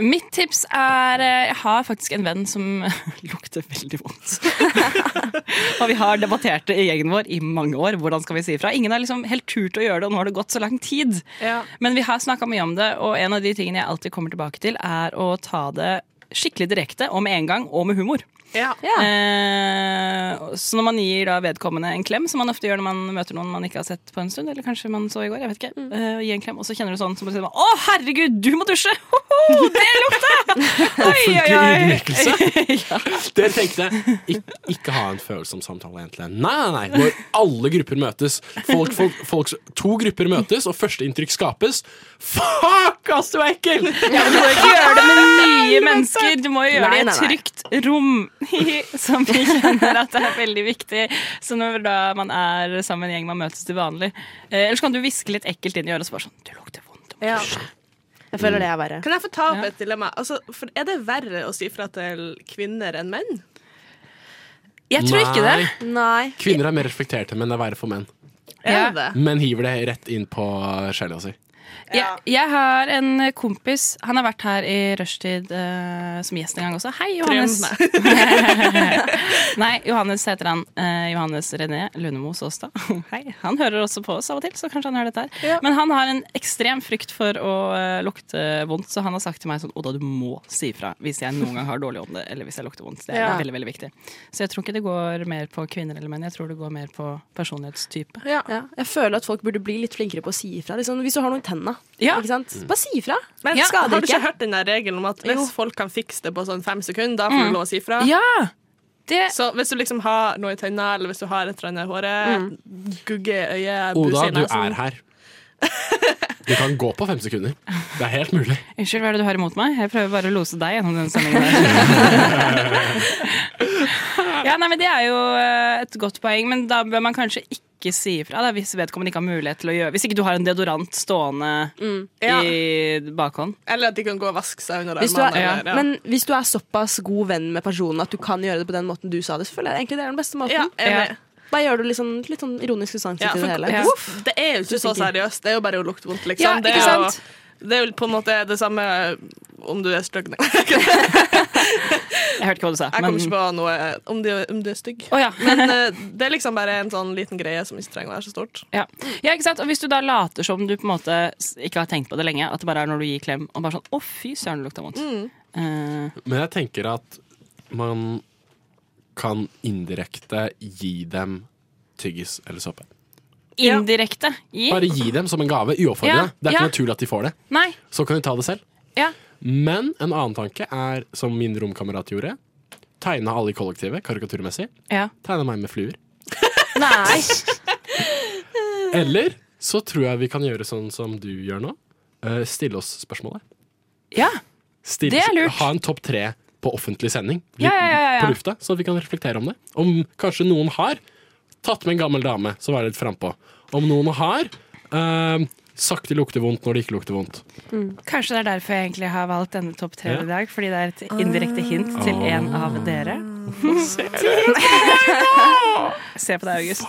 Speaker 6: Mitt tips er eh, Jeg har faktisk en venn som lukter veldig vondt. og vi har debattert det i gjengen vår i mange år. Hvordan skal vi si ifra? Ingen har liksom helt turt å gjøre det, og nå har det gått så lang tid. Men vi har snakka mye om det, og en av de tingene jeg alltid kommer tilbake til, er å ta det skikkelig direkte og med en gang, og med humor. Eh, så når man gir da vedkommende en klem, som man ofte gjør når man møter noen man ikke har sett på en stund, eller kanskje man så i går, jeg vet ikke, eh, gi en klem, og så kjenner du sånn som bare sier Å, herregud, du må dusje! Hoho, det lukta! Oi, oi,
Speaker 1: Offentlig
Speaker 6: oi!
Speaker 1: ydmykelse. Det tenkte jeg. Ik ikke ha en følsom samtale, egentlig. Nei, nei, nei. Når alle grupper møtes. Folk, folk, folks- to grupper møtes, og førsteinntrykk skapes. Fuck, ass, du er ekkel!
Speaker 6: Ja, men du må ikke gjøre det med nye mennesker. Du må jo gjøre
Speaker 1: Nei,
Speaker 6: det i et
Speaker 1: nei, nei.
Speaker 6: trygt rom, som vi kjenner at det er veldig viktig. Så når da man er sammen med en gjeng man møtes til vanlig. Eh, ellers kan du hviske litt ekkelt inn i øret og så bare sånn Du lukter vondt.
Speaker 2: Ja.
Speaker 7: Jeg føler det er verre.
Speaker 2: Kan jeg få ta opp et dilemma? Altså, for er det verre å si fra til kvinner enn menn?
Speaker 1: Jeg tror ikke det.
Speaker 7: Nei.
Speaker 1: Kvinner er mer reflekterte, men det er verre for menn.
Speaker 2: Er det det?
Speaker 1: Menn hiver det rett inn på sjela si.
Speaker 6: Jeg, jeg har en kompis Han har vært her i rushtid eh, som gjest en gang også. Hei, Johannes! Nei, Johannes heter han. Eh, Johannes René Lundemo Saastad. Hei. Han hører også på oss av og til, så kanskje han hører dette her. Men han har en ekstrem frykt for å eh, lukte vondt, så han har sagt til meg sånn Oda, du må si ifra hvis jeg noen gang har dårlig ånde, eller hvis jeg lukter vondt. Det er
Speaker 2: Ja.
Speaker 6: veldig, veldig viktig. Så jeg tror ikke det går mer på kvinner eller menn, jeg tror det går mer på personlighetstype.
Speaker 7: Ja. Jeg føler at folk burde bli litt flinkere på å si ifra. Liksom, hvis du har noe i tenna. Ikke sant? Bare si ifra.
Speaker 2: Men
Speaker 7: Ja.
Speaker 2: har du
Speaker 7: Skader
Speaker 2: ikke
Speaker 7: ikke.
Speaker 2: hørt den der regelen om at hvis
Speaker 7: Jo.
Speaker 2: folk kan fikse det på sånn fem sekunder, da får
Speaker 7: Mm.
Speaker 2: du lov å si fra? Så hvis du liksom har noe i tennene, eller hvis du har et eller annet i håret,
Speaker 7: Mm.
Speaker 2: gugge i øyet,
Speaker 1: Oda,
Speaker 2: buse i
Speaker 1: du
Speaker 6: sånn.
Speaker 2: nesen
Speaker 1: er her. Du kan gå på fem sekunder. Det er helt mulig.
Speaker 6: Unnskyld, hva er det du har imot meg? Jeg prøver bare å lose deg gjennom denne sendingen. her. ja, nei, men Det er jo eh, et godt poeng, men da bør man kanskje ikke si ifra da, hvis vedkommende ikke har mulighet til å gjøre Hvis ikke du har en deodorant stående
Speaker 7: Mm.
Speaker 6: i bakhånd.
Speaker 2: Eller at de kan gå og vaske seg under
Speaker 7: Hvis du er,
Speaker 2: armene. eller- ja.
Speaker 7: Men hvis du er såpass god venn med personen at du kan gjøre det på den måten du sa det, så føler jeg egentlig det er den beste måten.
Speaker 2: Ja, enig. Ja.
Speaker 7: Da gjør du litt sånn, litt sånn ironisk distanse
Speaker 2: Ja,
Speaker 7: til
Speaker 2: for-
Speaker 7: det hele.
Speaker 2: ja.
Speaker 7: Uff.
Speaker 2: Det er jo ikke så seriøst. Det er jo bare å lukte vondt, liksom.
Speaker 7: Ja,
Speaker 2: det,
Speaker 7: ikke
Speaker 2: er jo,
Speaker 7: sant?
Speaker 2: det er jo på en måte det samme om du er stygg Nei,
Speaker 6: Jeg hørte ikke hva du sa.
Speaker 2: Jeg kommer ikke på noe om du, om du er stygg. Men eh, det er liksom bare en sånn liten greie som ikke trenger å være så stort.
Speaker 6: Ja. ja, ikke sant? Og hvis du da later som du på en måte s- ikke har tenkt på det lenge, at det bare er når du gir klem og bare sånn 'Å, fy søren, det lukta vondt'.
Speaker 2: Mm.
Speaker 6: Eh,
Speaker 1: Men jeg tenker at man kan indirekte gi dem tyggis eller såpe.
Speaker 6: indirekte. Gi.
Speaker 1: Bare gi dem som en gave,
Speaker 6: Ja,
Speaker 1: uoppfordrende. Det er ikke
Speaker 6: ja.
Speaker 1: naturlig at de får det.
Speaker 6: Nei.
Speaker 1: Så kan de ta det selv.
Speaker 6: Ja.
Speaker 1: Men en annen tanke er, som min romkamerat gjorde, tegna alle i kollektivet karikaturmessig.
Speaker 6: Ja.
Speaker 1: Tegna meg med fluer.
Speaker 6: Nei.
Speaker 1: Eller så tror jeg vi kan gjøre sånn som du gjør nå. Eh, stille oss spørsmålet.
Speaker 6: Ja.
Speaker 1: Stille,
Speaker 6: Det er lurt.
Speaker 1: Ha en topp tre på offentlig sending
Speaker 6: Ja, ja, ja, ja, ja.
Speaker 1: på lufta, så vi kan reflektere om det. Om kanskje noen har tatt med en gammel dame som var litt frampå. Om noen har eh, sagt det lukter vondt når det ikke lukter vondt.
Speaker 6: Kanskje det er derfor jeg egentlig har valgt denne topp tre
Speaker 1: Ja.
Speaker 6: i dag. Fordi det er et indirekte hint til
Speaker 1: Ah.
Speaker 6: en av dere. Se på deg, August.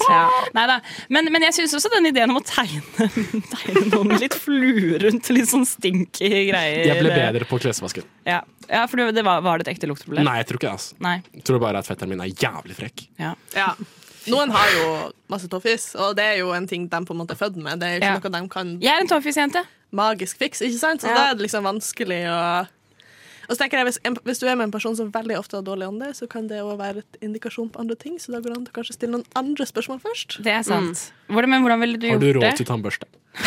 Speaker 6: Neida. Men, men jeg syns også den ideen om å tegne, tegne noen med litt flue rundt, litt sånn stinky greier
Speaker 1: Jeg ble bedre på klesvasken.
Speaker 6: Ja, ja for det var, var det et ekte lukteproblem?
Speaker 1: Nei, jeg tror ikke det. Altså.
Speaker 6: Nei.
Speaker 1: Jeg tror bare at fetteren min er jævlig frekk.
Speaker 6: Ja.
Speaker 2: Ja. Noen har jo masse toffis, og det er jo en ting de på en måte er født med. Det er jo ikke
Speaker 6: Ja.
Speaker 2: noe de kan
Speaker 6: Jeg er en toffisjente.
Speaker 2: magisk fiks, ikke sant? Så
Speaker 6: Ja.
Speaker 2: da er det liksom vanskelig å og så tenker jeg, hvis, en, hvis du er med en person som veldig ofte har dårlig ånde, så kan det også være et indikasjon på andre ting, så da går det an til å kanskje stille noen andre spørsmål først.
Speaker 6: Det er sant. Hvordan, men hvordan ville du
Speaker 1: Har du
Speaker 6: gjort det?
Speaker 1: råd til tannbørste?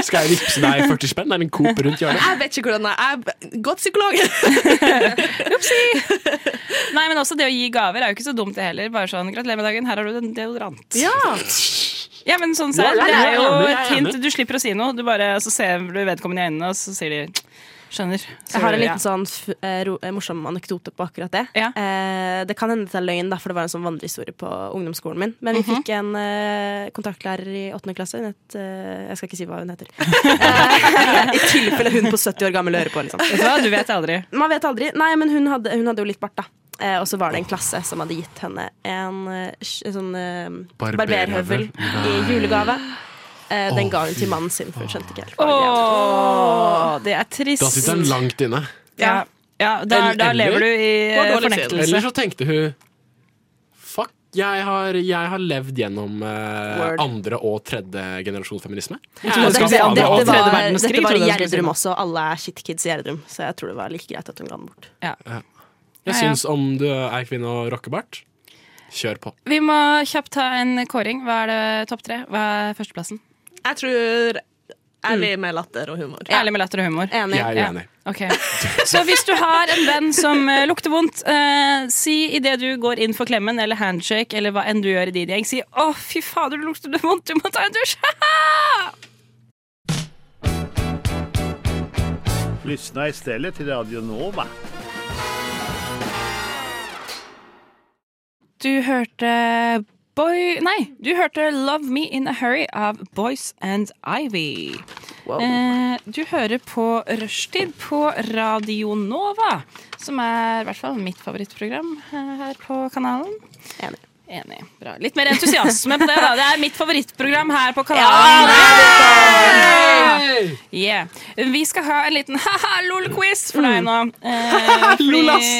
Speaker 1: Skal jeg vippse deg 40 spenn? Det er en Coop rundt hjørnet.
Speaker 2: Jeg vet ikke hvordan jeg Jeg er godt psykolog.
Speaker 6: Nei, men også det å gi gaver er jo ikke så dumt det heller. Bare sånn, gratulerer med dagen, her har du en deodorant.
Speaker 2: Ja.
Speaker 6: Ja, men sånn ser
Speaker 2: Ja,
Speaker 6: det
Speaker 2: ja, ja,
Speaker 6: er jo
Speaker 2: jeg er enig, jeg er
Speaker 6: et hint.
Speaker 2: enig.
Speaker 6: Du slipper å si noe. Du bare, så ser du vedkommende i øynene, og så sier de skjønner. Så,
Speaker 7: Jeg har en
Speaker 6: ja.
Speaker 7: liten sånn f eh, ro eh, morsom anekdote på akkurat det. Eh, det kan hende det er løgn, da, for det var en sånn vandrehistorie på ungdomsskolen min. Men vi
Speaker 6: Mhm.
Speaker 7: fikk en eh, kontaktlærer i åttende klasse. Hun het, eh, jeg skal ikke si hva hun heter. I tilfelle hun på 70 år gammel hører på. Liksom.
Speaker 6: Vet du hva, du vet aldri.
Speaker 7: Man vet aldri. Nei, men hun hadde, hun hadde jo litt bart, da. Eh, og så var det en klasse som hadde gitt henne en, eh, sj- sånn eh,
Speaker 1: Barberhøvel.
Speaker 7: barberhøvel i julegave. Eh, den
Speaker 1: Å,
Speaker 7: ga hun til
Speaker 1: fy
Speaker 7: mannen sin, for hun skjønte ikke helt.
Speaker 6: Åh, det er trist.
Speaker 1: Da sitter den langt inne.
Speaker 6: Ja, ja da,
Speaker 1: Eller-
Speaker 6: da lever du i
Speaker 1: Var
Speaker 6: eh,
Speaker 1: dårlig siden. Eller
Speaker 7: liksom.
Speaker 6: fornektelse.
Speaker 1: så tenkte hun Fuck, jeg har, jeg har levd gjennom eh,
Speaker 7: Word.
Speaker 1: andre og tredje generasjon feminisme.
Speaker 7: Ja,
Speaker 1: Jeg
Speaker 7: og
Speaker 1: skal
Speaker 7: dette,
Speaker 1: faen meg
Speaker 7: dette,
Speaker 1: ha tredje
Speaker 7: var,
Speaker 1: verdenskrig,
Speaker 7: dette var
Speaker 1: trodde
Speaker 7: i
Speaker 1: jeg skulle si.
Speaker 7: Gjerdrum også. Alle er shitkids i Gjerdrum, så jeg tror det var like greit at hun ga den bort.
Speaker 1: Ja.
Speaker 6: Ja,
Speaker 1: Jeg
Speaker 6: ja.
Speaker 1: syns om du er kvinne og rockebart, kjør på.
Speaker 6: Vi må kjapt ta en kåring. Hva er det topp tre? Hva er førsteplassen?
Speaker 2: Jeg tror ærlig med latter og humor.
Speaker 6: Ærlig med latter og humor.
Speaker 7: Enig.
Speaker 1: Jeg er
Speaker 6: Ja.
Speaker 1: uenig.
Speaker 6: Ok. Så hvis du har en venn som eh, lukter vondt, eh, si idet du går inn for klemmen eller handshake eller hva enn du gjør i din gjeng, si 'Å, fy fader, du lukter vondt, du må ta en dusj'.
Speaker 12: Lyssna istället till Radio Nova.
Speaker 6: Du hørte Boy Nei, du hørte 'Love Me In A Hurry' av Boys and Ivy. Eh, du hører på Rushtid på Radio Nova, som er i hvert fall mitt favorittprogram eh, her på kanalen.
Speaker 7: Enig.
Speaker 6: Enig. Bra. Litt mer entusiasme på det, da. Det er mitt favorittprogram her på kanalen.
Speaker 1: Hey!
Speaker 6: Yeah. Vi skal ha en liten ha-ha-lol-quiz for
Speaker 7: Mm.
Speaker 6: deg nå. Eh,
Speaker 1: Ha-ha,
Speaker 6: fordi-
Speaker 1: lol-ass.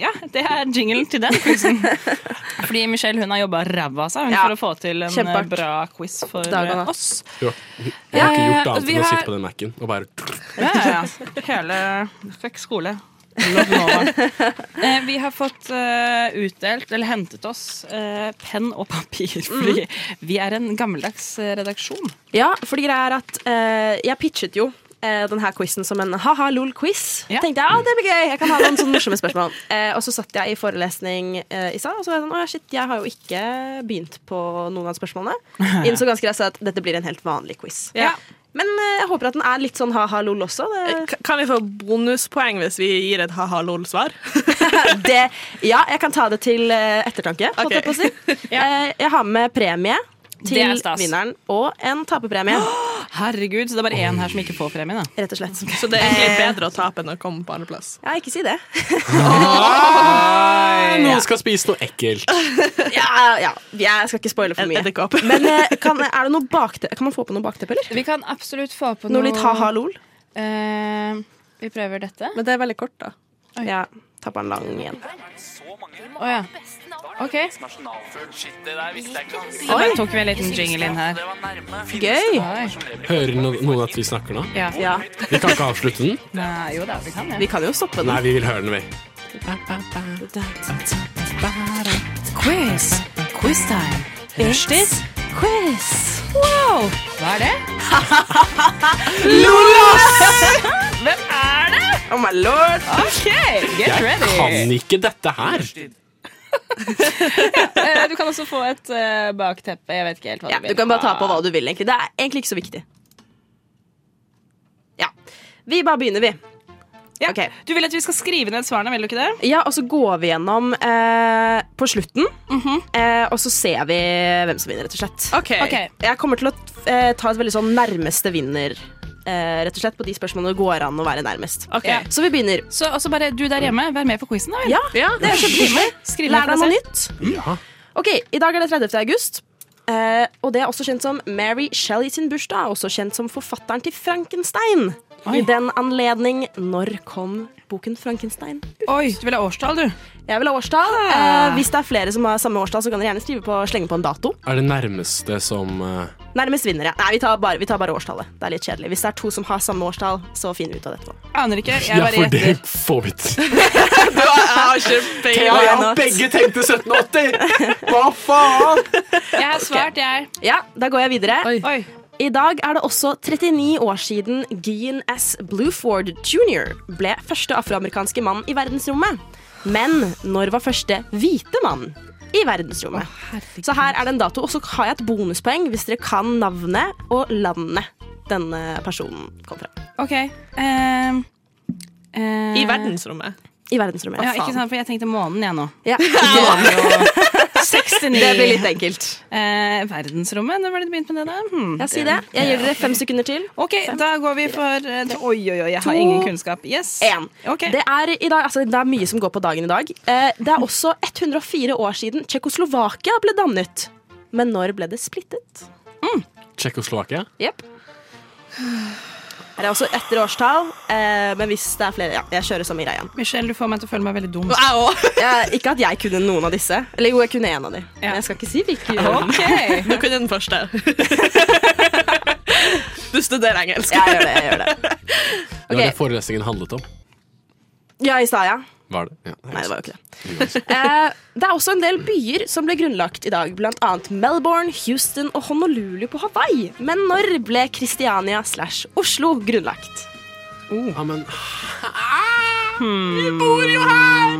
Speaker 6: Ja, det er jinglen til den quizen. Fordi Michelle hun har jobba ræva av seg hun,
Speaker 7: Ja.
Speaker 6: for å få til en eh,
Speaker 7: Kjempehardt.
Speaker 6: bra quiz for
Speaker 7: Dag og
Speaker 6: eh,
Speaker 7: natt.
Speaker 6: oss.
Speaker 1: Du har, du har ikke
Speaker 6: Eh,
Speaker 1: gjort annet
Speaker 6: vi
Speaker 1: enn å
Speaker 6: har-
Speaker 1: sitte på den Mac-en og bare
Speaker 6: Ja, ja. ja. Hele Fikk skole. Lov Nova. Eh, vi har fått eh, utdelt, eller hentet oss, eh, penn og papir.
Speaker 7: Mm.
Speaker 6: Fordi vi er en gammeldags eh, redaksjon.
Speaker 7: Ja, for det greia er at eh, jeg pitchet jo eh, denne quizen som en ha-ha-lol-quiz. Tenkte jeg, ja, det blir gøy, jeg kan ha noen sånne morsomme spørsmål. Eh, og så satt jeg i forelesning eh, i stad, og så var jeg sånn, å ja, shit, jeg har jo ikke begynt på noen av spørsmålene. Innså ganske raskt at dette blir en helt vanlig quiz.
Speaker 2: Ja.
Speaker 7: Men eh, jeg håper at den er litt sånn ha-ha-lol også. Det...
Speaker 2: Kan vi få bonuspoeng hvis vi gir et ha-ha-lol-svar?
Speaker 7: det, ja, jeg kan ta det til eh, ettertanke, holdt jeg på å si. Eh, jeg har med premie
Speaker 6: Det er
Speaker 7: til
Speaker 6: stas.
Speaker 7: vinneren, og en taperpremie.
Speaker 6: Herregud, så det er bare én her som ikke får premien. Da.
Speaker 7: Rett og slett. Eh,
Speaker 2: Så det er egentlig bedre å tape enn å komme på andreplass.
Speaker 7: Ja, ikke si det.
Speaker 1: Nei, Noen skal spise noe ekkelt.
Speaker 7: ja, ja, jeg skal ikke spoile for mye. Men eh, kan, er det noe bakte, kan man få på noe bakteppe, eller?
Speaker 6: Vi kan absolutt få på eh,
Speaker 7: Noe litt ha-ha-lol?
Speaker 6: vi prøver dette.
Speaker 2: Men det er veldig kort, da.
Speaker 7: Ja, ta på en lang igjen.
Speaker 6: Å ja. OK.
Speaker 13: Oi.
Speaker 6: Så bare tok vi en liten jingle inn her.
Speaker 7: Gøy.
Speaker 1: Hører no- noen at vi snakker nå?
Speaker 6: Ja.
Speaker 1: Vi kan ikke avslutte den?
Speaker 6: Nei, jo da, vi kan det.
Speaker 7: Vi kan jo stoppe den.
Speaker 1: Nei, vi vil høre den, vi.
Speaker 6: Quiz. Quiztime. Rushtid. Quiz. Wow! Hva er det? Hvem er det?
Speaker 7: Oh my lord!
Speaker 6: OK, get
Speaker 1: Jeg
Speaker 6: ready.
Speaker 1: kan ikke dette her.
Speaker 6: Eh, Du kan også få et eh, bakteppe. Jeg vet ikke helt hva
Speaker 7: Ja,
Speaker 6: du vil.
Speaker 7: du kan bare ta på hva du vil, egentlig. Det er egentlig ikke så viktig. Ja. Vi bare begynner, vi.
Speaker 6: Ja. Du vil at vi skal skrive ned svarene, vil du ikke det?
Speaker 7: Ja, og så går vi gjennom eh, på slutten, eh, og så ser vi hvem som vinner, rett og slett.
Speaker 2: Ok.
Speaker 6: Ok.
Speaker 7: Jeg kommer til å eh, ta et veldig sånn nærmeste vinner, eh, rett og slett, på de spørsmålene det går an å være nærmest.
Speaker 6: Ok.
Speaker 7: Ja. Så vi begynner.
Speaker 6: Så også bare du der hjemme, vær med på quizen, da. vel?
Speaker 7: Ja, det er kjempehyggelig.
Speaker 6: Skriv ned
Speaker 7: Lær deg
Speaker 6: for
Speaker 7: noe
Speaker 6: deg
Speaker 7: nytt. Ok, I dag er det 30. august, eh, og det er også kjent som Mary Shelley sin bursdag. Også kjent som forfatteren til Frankenstein. I den anledning, når kom boken Frankenstein?
Speaker 6: Oi, du vil ha årstall, du.
Speaker 7: Jeg vil ha årstall. Eh, hvis det er flere som har samme årstall, så kan dere gjerne skrive på, slenge på en dato.
Speaker 1: Er det nærmeste som eh,
Speaker 7: Nærmest vinner, ja. Nei, vi tar, bare, vi tar bare årstallet. Det er litt kjedelig. Hvis det er to som har samme årstall, så finner vi ut av det etterpå.
Speaker 6: Aner ikke. Jeg
Speaker 1: Ja,
Speaker 6: bare
Speaker 1: for
Speaker 6: gjetter.
Speaker 1: det får vi ikke.
Speaker 6: Ja, ja,
Speaker 1: Begge tenkte 1780! Hva faen?
Speaker 6: Jeg har svart, jeg.
Speaker 7: Ja, da går jeg videre. I dag er det også 39 år siden Gian S. Blueford jr. ble første afroamerikanske mann i verdensrommet. Men når var første hvite mann i verdensrommet? Så her er det en dato, og så har jeg et bonuspoeng hvis dere kan navnet og landet denne personen kom fra.
Speaker 6: OK. ehm, eh,
Speaker 2: I verdensrommet.
Speaker 7: I verdensrommet.
Speaker 6: Ja, ikke sant, for jeg tenkte månen, jeg nå.
Speaker 7: Ja.
Speaker 6: Det var jo 69.
Speaker 7: Det blir litt enkelt.
Speaker 6: Eh, verdensrommet, når var det du begynte med det? da? Hmm.
Speaker 7: Ja, si det. Jeg gir dere fem sekunder til.
Speaker 6: OK, da går vi for eh, Oi, oi, oi, jeg har
Speaker 7: To.
Speaker 6: ingen kunnskap. Yes.
Speaker 7: En.
Speaker 6: Ok.
Speaker 7: Det, er i dag, altså, det er mye som går på dagen i dag. Eh, det er også 104 år siden Tsjekkoslovakia ble dannet. Men når ble det splittet?
Speaker 1: Tsjekkoslovakia?
Speaker 7: Jepp. Det er også etter årstall, eh, men hvis det er flere Ja, jeg kjører som Ira igjen.
Speaker 6: Michelle, du får meg til å føle meg veldig dum.
Speaker 7: Eh, ikke at jeg kunne noen av disse. Eller jo, jeg kunne en av de. Men jeg skal ikke si hvilken.
Speaker 6: Ok.
Speaker 2: Du kunne den første. Du studerer engelsk.
Speaker 7: Jeg gjør det. jeg gjør det
Speaker 1: Det var det forelesningen handlet om.
Speaker 7: Ja, i stad, ja.
Speaker 1: Var det? Ja,
Speaker 7: Nei, det var jo ikke det. Eh, det er også en del byer som ble grunnlagt i dag, bl.a. Melbourne, Houston og Honolulu på Hawaii. Men når ble Kristiania slash Oslo grunnlagt?
Speaker 1: Ja, men
Speaker 6: Vi bor jo her!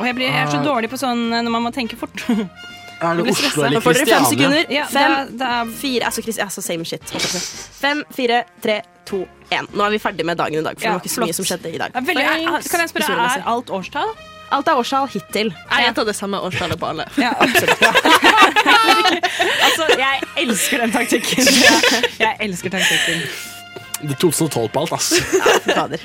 Speaker 6: Og jeg, blir, jeg
Speaker 7: Ah.
Speaker 6: er så dårlig på sånn eh, når man må tenke fort.
Speaker 1: Er
Speaker 6: Jeg blir
Speaker 1: det Oslo
Speaker 6: stresset.
Speaker 1: eller
Speaker 7: Nå får dere fem
Speaker 1: Kristiania?
Speaker 7: sekunder.
Speaker 6: Ja,
Speaker 7: fem,
Speaker 6: da-
Speaker 7: fire altså, Kristi- altså same shit. holdt jeg på å si. Fem, fire, tre, to, én. Nå er vi ferdig med dagen i dag, for
Speaker 6: Ja,
Speaker 7: det var ikke så
Speaker 6: flott.
Speaker 7: mye som skjedde i dag.
Speaker 6: Ja, veldig, er,
Speaker 7: Thanks.
Speaker 6: kan jeg spørre,
Speaker 7: Historiemessig.
Speaker 6: er alt årstall?
Speaker 7: Alt er årstall hittil.
Speaker 2: Jeg gjetter det samme årstallet på alle.
Speaker 6: Ja,
Speaker 7: Altså, jeg elsker den taktikken.
Speaker 6: Jeg elsker taktikken.
Speaker 1: Det er 2012 på alt, ass.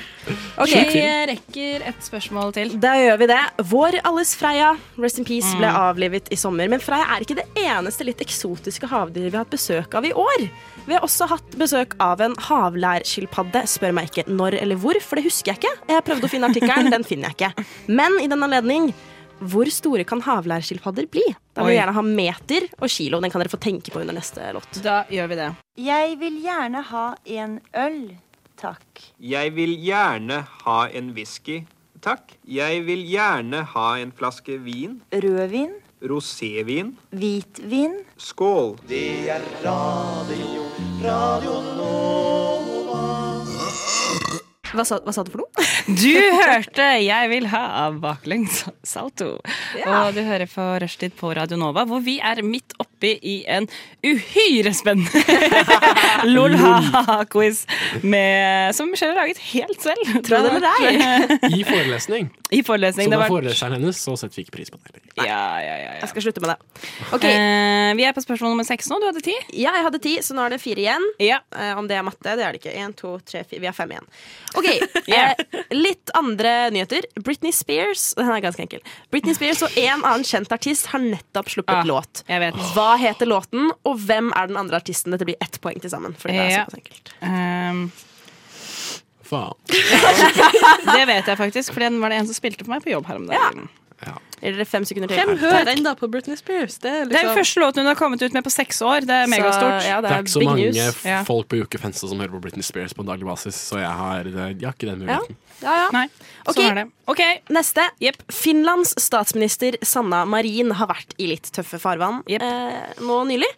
Speaker 7: Ok,
Speaker 1: Sjuk film.
Speaker 7: rekker et spørsmål til. Da gjør vi det. Vår alles Freya, rest in peace, ble avlivet i sommer. Men Freya er ikke det eneste litt eksotiske havdyret vi har hatt besøk av i år. Vi har også hatt besøk av en havlærskilpadde. Spør meg ikke når eller hvor, for det husker jeg ikke. Jeg prøvde å finne artikkelen, den finner jeg ikke. Men i den anledning hvor store kan havlærskilpadder bli? Da vil
Speaker 13: Oi.
Speaker 7: vi gjerne ha meter og kilo. Den kan dere få tenke på under neste låt. Da gjør vi det.
Speaker 13: Jeg vil gjerne ha en øl, takk.
Speaker 14: Jeg vil gjerne ha en whisky, takk. Jeg vil gjerne ha en flaske vin.
Speaker 13: Rødvin,
Speaker 14: Rosévin.
Speaker 13: hvitvin.
Speaker 14: Skål.
Speaker 13: Det er radio, radio nå.
Speaker 7: Hva sa, hva sa du for noe?
Speaker 6: Du hørte 'Jeg vil ha' av baklengs salto. Og du hører på Rushtid på Radio Nova, hvor vi er midt oppi i en uhyre spennende lol-ha-ha-quiz som Michelle har laget helt selv.
Speaker 7: Tro det eller
Speaker 1: I forelesning.
Speaker 6: I forelesning.
Speaker 1: Som
Speaker 6: det
Speaker 1: er
Speaker 6: har vært
Speaker 1: foreleseren hennes, så setter vi ikke pris på det.
Speaker 6: ja, ja, ja, ja.
Speaker 7: Jeg skal slutte med det. Ok.
Speaker 6: Eh, vi er på spørsmål nummer seks nå. Du hadde ti?
Speaker 7: Ja, jeg hadde ti, så nå er det fire igjen. Eh, om det er matte, det er det ikke. Én, to, tre, fire. Vi er fem igjen. Ok, eh, Litt andre nyheter. Britney Spears Den er ganske enkel. Britney Spears og en annen kjent artist har nettopp sluppet
Speaker 6: Ah,
Speaker 7: låt. Hva heter låten, og hvem er den andre artisten? Dette blir ett poeng til sammen. For det er
Speaker 6: Ja.
Speaker 7: såpass enkelt.
Speaker 6: Ehm,
Speaker 1: Faen.
Speaker 6: det vet jeg faktisk, for den var det en som spilte for meg på jobb her om dagen.
Speaker 7: Gir dere fem sekunder til?
Speaker 2: Hvem hører ennå på Britney Spears? Det er
Speaker 6: Det er den
Speaker 2: liksom
Speaker 6: første låten hun har kommet ut med på seks år. Det er
Speaker 7: Så,
Speaker 6: megastort.
Speaker 7: ja,
Speaker 1: Det er ikke så mange f-
Speaker 6: Ja.
Speaker 1: folk på Jokke Fenstad som hører på Britney Spears på en daglig basis, så jeg har, eh, jeg har ikke den
Speaker 7: Ja.
Speaker 1: muligheten.
Speaker 7: Ja, ja.
Speaker 6: sånn
Speaker 7: Ok, Neste. Finlands statsminister Sanna Marin har vært i litt tøffe farvann eh, nå nylig.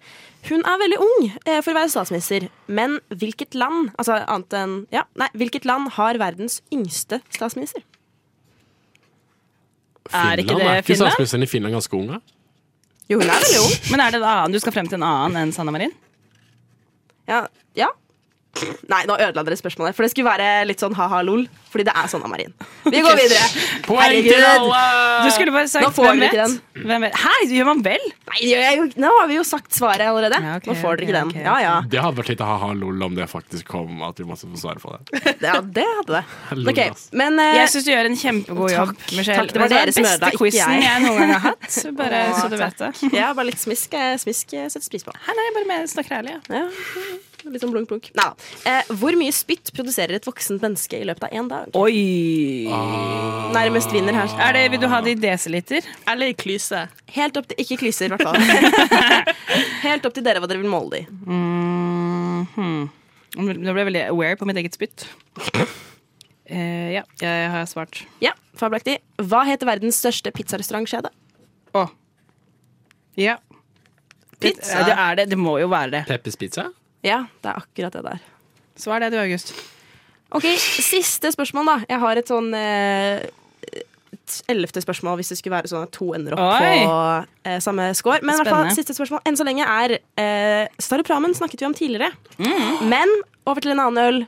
Speaker 7: Hun er veldig ung eh, for å være statsminister, men hvilket land altså annet enn, ja, nei, hvilket land har verdens yngste statsminister?
Speaker 6: Er ikke
Speaker 1: Finland,
Speaker 6: det
Speaker 1: er ikke
Speaker 6: Finland?
Speaker 1: statsministeren i Finland ganske ung, da?
Speaker 7: Jo, hun er veldig ung.
Speaker 6: Men er det en annen? Du skal frem til en annen enn Sanna Marin?
Speaker 7: Ja, ja. Nei, nå ødela dere spørsmålet, for det skulle være litt sånn ha-ha-lol. Fordi det er Sanna Marin. Vi går videre. Herregud.
Speaker 6: Du skulle bare
Speaker 7: Nå
Speaker 6: sagt
Speaker 7: får
Speaker 6: hvem
Speaker 7: dere ikke
Speaker 6: vet?
Speaker 7: den.
Speaker 6: hvem vet? Hæ, gjør man vel?
Speaker 7: Nei, det gjør jeg jo ikke. nå har vi jo sagt svaret allerede. nå får dere ikke den. Ja, ja.
Speaker 1: Det hadde vært litt ha-ha-lol om det faktisk kom, at vi måtte få svare på det.
Speaker 7: Ja, det hadde det.
Speaker 1: Lol,
Speaker 7: Ok,
Speaker 1: ass.
Speaker 7: men eh,
Speaker 6: Jeg syns du gjør en kjempegod jobb. Michelle.
Speaker 7: Takk, det var dere som
Speaker 6: den
Speaker 7: ødela,
Speaker 6: beste
Speaker 7: ikke
Speaker 6: quizen
Speaker 7: jeg.
Speaker 6: jeg. noen gang har hatt. så Bare
Speaker 7: Å,
Speaker 6: så du vet det.
Speaker 7: takk. Ja, bare litt smisk. eh, Smisk eh, settes pris på.
Speaker 6: Nei, nei, bare med snakker ærlig, ja.
Speaker 7: Ja, litt sånn blunk, blunk. Neida. Eh, hvor mye spytt produserer et voksent menneske i løpet av én dag?
Speaker 6: Oi!
Speaker 7: Nærmest vinner her.
Speaker 6: Er det, vil du ha det i desiliter?
Speaker 2: Eller i klyse.
Speaker 7: Helt opp til, ikke klyser, i hvert fall. Helt opp til dere hva dere vil måle det i.
Speaker 6: Mhm. Nå ble jeg veldig aware på mitt eget spytt. Eh, ja, jeg har svart.
Speaker 7: Ja, fabelaktig. Hva heter verdens største pizzarestaurantkjede?
Speaker 6: Å. Ja.
Speaker 7: Pizza.
Speaker 6: Det, det er det. Det må jo være det.
Speaker 1: Peppers pizza?
Speaker 7: Ja, det er akkurat det der.
Speaker 6: Svar det du, August.
Speaker 7: Ok, Siste spørsmål, da. Jeg har et sånn ellevte spørsmål, hvis det skulle være sånn at to ender opp
Speaker 6: Oi.
Speaker 7: på eh, samme score. Men i hvert fall
Speaker 6: Spennende.
Speaker 7: siste spørsmål enn så lenge er eh, Stare Pramen snakket vi om tidligere.
Speaker 6: Mm.
Speaker 7: Men over til en annen øl.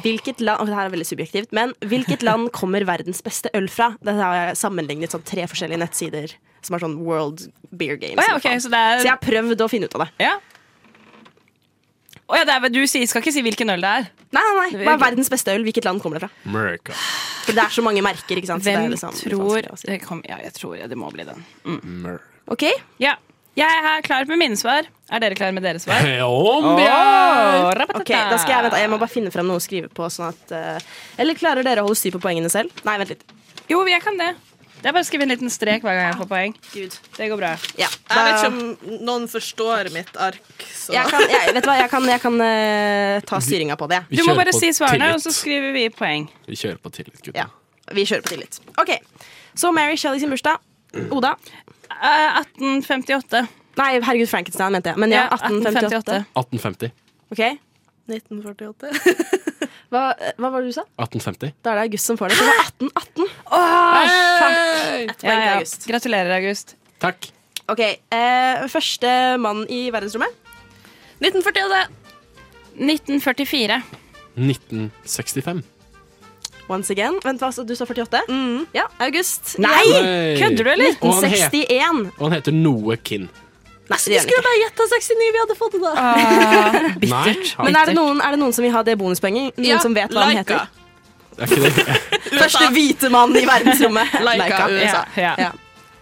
Speaker 7: Hvilket land, og det her er veldig subjektivt, men hvilket land kommer verdens beste øl fra? Dette har jeg sammenlignet sånn tre forskjellige nettsider som er sånn World Beer Games.
Speaker 6: Å ja,
Speaker 7: eller
Speaker 6: ok,
Speaker 7: faen.
Speaker 6: så det er-
Speaker 7: jeg har prøvd å finne ut av det.
Speaker 6: Å ja, det er, hva du sier, skal ikke si hvilken øl det er.
Speaker 7: Nei, nei, nei. Hva er verdens beste øl? Hvilket land kommer det fra?
Speaker 1: America.
Speaker 7: For det er så mange merker. ikke sant? Så det
Speaker 6: Hvem
Speaker 7: er liksom,
Speaker 6: tror det kom, Ja, jeg tror ja, det må bli den.
Speaker 1: Mer-
Speaker 7: Ok,
Speaker 6: Ja. Jeg er klar med mine svar. Er dere klare med deres svar?
Speaker 1: Om vi
Speaker 6: Åh,
Speaker 1: er
Speaker 6: rapatata.
Speaker 7: Ok, da skal Jeg vente. Jeg må bare finne frem noe å skrive på. Sånn at, eh, eller klarer dere å holde styr på poengene selv? Nei, vent litt.
Speaker 6: Jo, jeg kan det. Det er bare å skrive en liten strek hver gang jeg får poeng. Det går bra.
Speaker 2: Jeg vet ikke om noen forstår mitt ark. Så.
Speaker 7: Jeg kan, jeg, vet du hva, jeg kan, jeg kan eh, ta styringa på det.
Speaker 1: Vi- vi Du må kjører bare på si svarene, tillit. og så
Speaker 6: skriver vi poeng.
Speaker 1: Vi kjører på tillit, gutter.
Speaker 7: Ja, vi kjører på tillit. Ok, Så Mary Shelley sin bursdag. Oda?
Speaker 6: Eh, 1858.
Speaker 7: Nei, herregud, Frankenstein mente jeg. Men ja, 1858.
Speaker 1: 1850.
Speaker 7: Ok. 1948. hva, hva var det du sa?
Speaker 1: 1850.
Speaker 7: Da er det August som får det. Så det var 1818.
Speaker 6: Hey!
Speaker 7: Ett poeng til
Speaker 6: Ja, ja.
Speaker 7: August.
Speaker 6: Gratulerer, August.
Speaker 1: Takk.
Speaker 7: Ok, eh, Første mann i verdensrommet?
Speaker 6: 1948. 1944.
Speaker 1: 1965.
Speaker 7: Once again. Mm. Vent, hva, så du sa 48? Ja, August.
Speaker 1: Nei! Kødder du, eller? Og han het-
Speaker 7: 1961.
Speaker 1: Og han heter Noe Kinn.
Speaker 7: Nei,
Speaker 2: Vi skulle bare gjette 69, vi hadde fått det da.
Speaker 1: Bittert.
Speaker 7: Men er det, noen, er det noen som vil ha det bonuspoenget? Noen
Speaker 2: Ja,
Speaker 7: som vet hva han
Speaker 2: Laika.
Speaker 7: heter? Første hvite mann i verdensrommet.
Speaker 2: Laika,
Speaker 6: USA. Ja.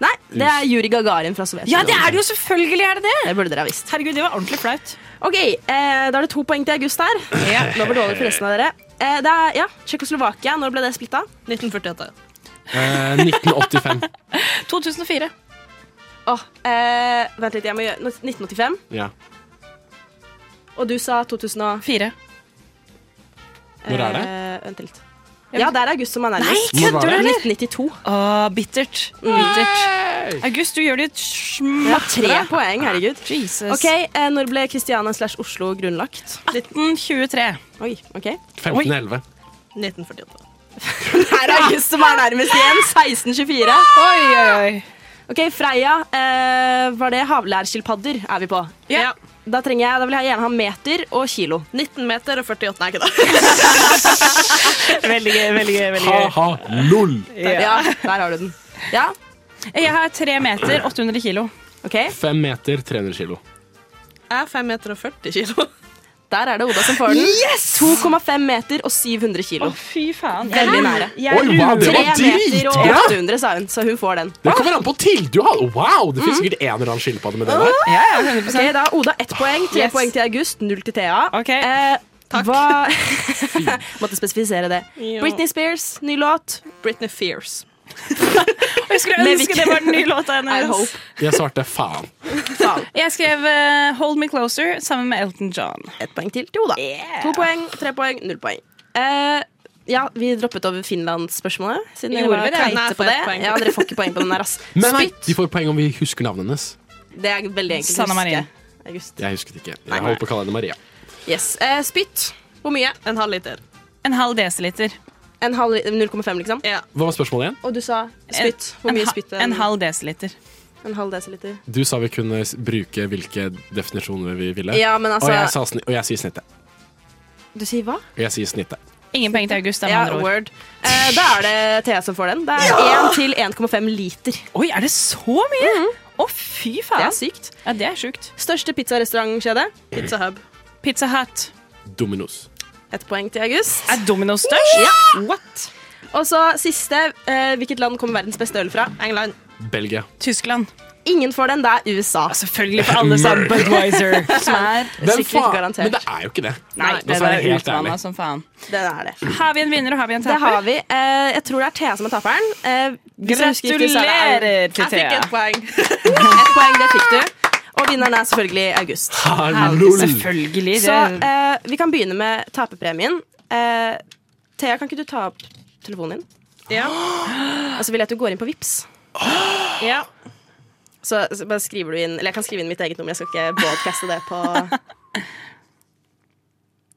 Speaker 7: Nei, det er Juri Gagarin fra Sovjetunionen.
Speaker 6: Ja, det er det jo! Selvfølgelig er det det!
Speaker 7: Det burde dere ha visst.
Speaker 6: Herregud, det var ordentlig flaut.
Speaker 7: Ok, eh, Da er det to poeng til August her. Nå blir det over for resten av dere. Eh, det er, ja, Tsjekkoslovakia, når ble det splitta?
Speaker 2: 1948.
Speaker 1: Eh, 1985.
Speaker 7: 2004. Åh, eh, vent litt, jeg må gjøre 1985.
Speaker 1: Ja.
Speaker 7: Og du sa 2004.
Speaker 1: Hvor er det?
Speaker 7: Eh, vent litt. Ja, det er August som er nærmest.
Speaker 1: Nei, Hvor var kødder du, det? eller?
Speaker 7: 1992.
Speaker 6: Åh, bittert. bittert. August, du gjør ditt
Speaker 7: Ja,
Speaker 6: smatt
Speaker 7: tre poeng, herregud.
Speaker 6: Jesus.
Speaker 7: Ok, eh, Når ble Kristiania slash Oslo grunnlagt?
Speaker 6: 1823.
Speaker 7: Oi, ok.
Speaker 1: 1511.
Speaker 2: 1948.
Speaker 7: Her er August som er nærmest igjen. 1624.
Speaker 6: Oi, oi, oi.
Speaker 7: Ok, Freya. Eh, var det havlærskilpadder er vi på?
Speaker 2: Ja.
Speaker 7: Da, trenger jeg, da vil jeg gjerne ha meter og kilo.
Speaker 2: 19 meter og 48 Nei, ikke da.
Speaker 6: Veldig gøy, veldig gøy. veldig gøy.
Speaker 1: Ha-ha, lol!
Speaker 7: Ja. der har du den. Ja.
Speaker 6: Jeg har tre meter, 800 kilo.
Speaker 1: Fem meter, 300 kilo.
Speaker 2: Jeg er 5 meter og 40 kilo.
Speaker 7: Der er det Oda som får den.
Speaker 6: Yes!
Speaker 7: 2,5 meter og 700 kilo.
Speaker 6: Fy faen.
Speaker 7: Veldig nære.
Speaker 1: Jeg Oi, wow, det var
Speaker 7: 3 meter og
Speaker 1: dritbra!
Speaker 7: 800, sa hun, så hun får den.
Speaker 1: Det kommer an på til du har. Wow, det finnes sikkert en eller annen skilpadde med den her.
Speaker 6: Ja, ja,
Speaker 7: Ok, da har Oda ett poeng, tre
Speaker 6: Yes.
Speaker 7: poeng til August, null til Thea. Eh, Hva Måtte spesifisere det.
Speaker 2: Jo.
Speaker 7: Britney Spears, ny låt.
Speaker 2: Britney Fears.
Speaker 6: Jeg skulle
Speaker 7: Med
Speaker 6: ønske
Speaker 7: hvilken-
Speaker 6: det var den nye låta
Speaker 7: I hope.
Speaker 6: hennes.
Speaker 1: Jeg svarte faen.
Speaker 6: Jeg skrev eh, Hold Me Closer sammen med Elton John.
Speaker 7: Ett poeng til til Oda. To poeng, tre poeng, null poeng. Eh, ja, vi droppet over Finland-spørsmålet, siden dere
Speaker 2: Gjorde vi
Speaker 7: var
Speaker 2: det? Nei,
Speaker 7: teite
Speaker 2: jeg
Speaker 7: på
Speaker 2: får
Speaker 7: det.
Speaker 2: ett poeng.
Speaker 7: Ja, dere får ikke poeng på den der, ass.
Speaker 1: Men nei, de får poeng om vi husker navnet hennes.
Speaker 7: Det er veldig enkelt
Speaker 6: Sanna
Speaker 7: å huske.
Speaker 6: Marin.
Speaker 7: August.
Speaker 1: Jeg husket ikke. Jeg holdt på å kalle henne Maria.
Speaker 7: Yes. Eh, spytt. Hvor mye?
Speaker 2: En halv liter.
Speaker 6: En halv desiliter.
Speaker 7: En halv 0,5, liksom?
Speaker 1: Hva var spørsmålet igjen?
Speaker 7: Og du sa spytt. Hvor
Speaker 6: En-
Speaker 7: mye
Speaker 6: en ha-
Speaker 7: spytt?
Speaker 6: En halv desiliter.
Speaker 7: En halv desiliter.
Speaker 1: Du sa vi kunne s- bruke hvilke definisjoner vi ville.
Speaker 7: Ja, men
Speaker 1: og,
Speaker 7: altså-
Speaker 1: jeg sa sni og jeg sier snittet.
Speaker 7: Du sier hva?
Speaker 1: Og jeg sier snittet.
Speaker 6: Ingen penger til August, det er med
Speaker 7: Ja,
Speaker 6: andre ord.
Speaker 7: word. Eh, da er det Thea som får den. Det er 1 til 1,5 liter.
Speaker 6: Oi, er det så mye? Å, fy faen.
Speaker 7: Det er sykt.
Speaker 6: Ja, det er sjukt.
Speaker 7: Største pizzarestaurantkjede?
Speaker 2: Pizza Hub.
Speaker 6: Pizza Hut.
Speaker 1: Dominos.
Speaker 7: Ett poeng til August.
Speaker 6: Er Domino størst?
Speaker 7: Ja.
Speaker 6: What?
Speaker 7: Og så siste. Eh, hvilket land kommer verdens beste øl fra?
Speaker 2: England.
Speaker 1: Belgia.
Speaker 6: Tyskland.
Speaker 7: Ingen får den. Det er USA.
Speaker 6: Selvfølgelig, for alle sa
Speaker 1: Mørk.
Speaker 6: Budwiser. Som er
Speaker 1: Hvem
Speaker 7: Sikkert
Speaker 1: faen?
Speaker 7: garantert.
Speaker 1: Men det er jo ikke det.
Speaker 6: Nei,
Speaker 1: La
Speaker 6: det
Speaker 1: oss være
Speaker 6: var
Speaker 1: helt
Speaker 6: utvanna
Speaker 1: ærlig.
Speaker 6: som faen.
Speaker 7: Den er det.
Speaker 6: Har vi en vinner, og har vi en
Speaker 7: Det har
Speaker 6: taper?
Speaker 7: vi. Eh, jeg tror det er Thea som er taperen. Eh, hvis jeg husker riktig, så er
Speaker 6: Gratulerer
Speaker 7: det-
Speaker 6: til
Speaker 7: Jeg
Speaker 6: Thea.
Speaker 7: fikk ett poeng. ett poeng, det fikk du. Og vinneren er selvfølgelig August.
Speaker 1: Hallo.
Speaker 6: Selvfølgelig. Det
Speaker 7: Så eh, vi kan begynne med taperpremien. Eh, Thea, kan ikke du ta opp telefonen din?
Speaker 2: Ja.
Speaker 7: Og så Altså, vil jeg at du går inn på Vips
Speaker 2: ja.
Speaker 7: Så, så Altså, bare skriver du inn Eller jeg kan skrive inn mitt eget nummer, jeg skal ikke broadcaste det på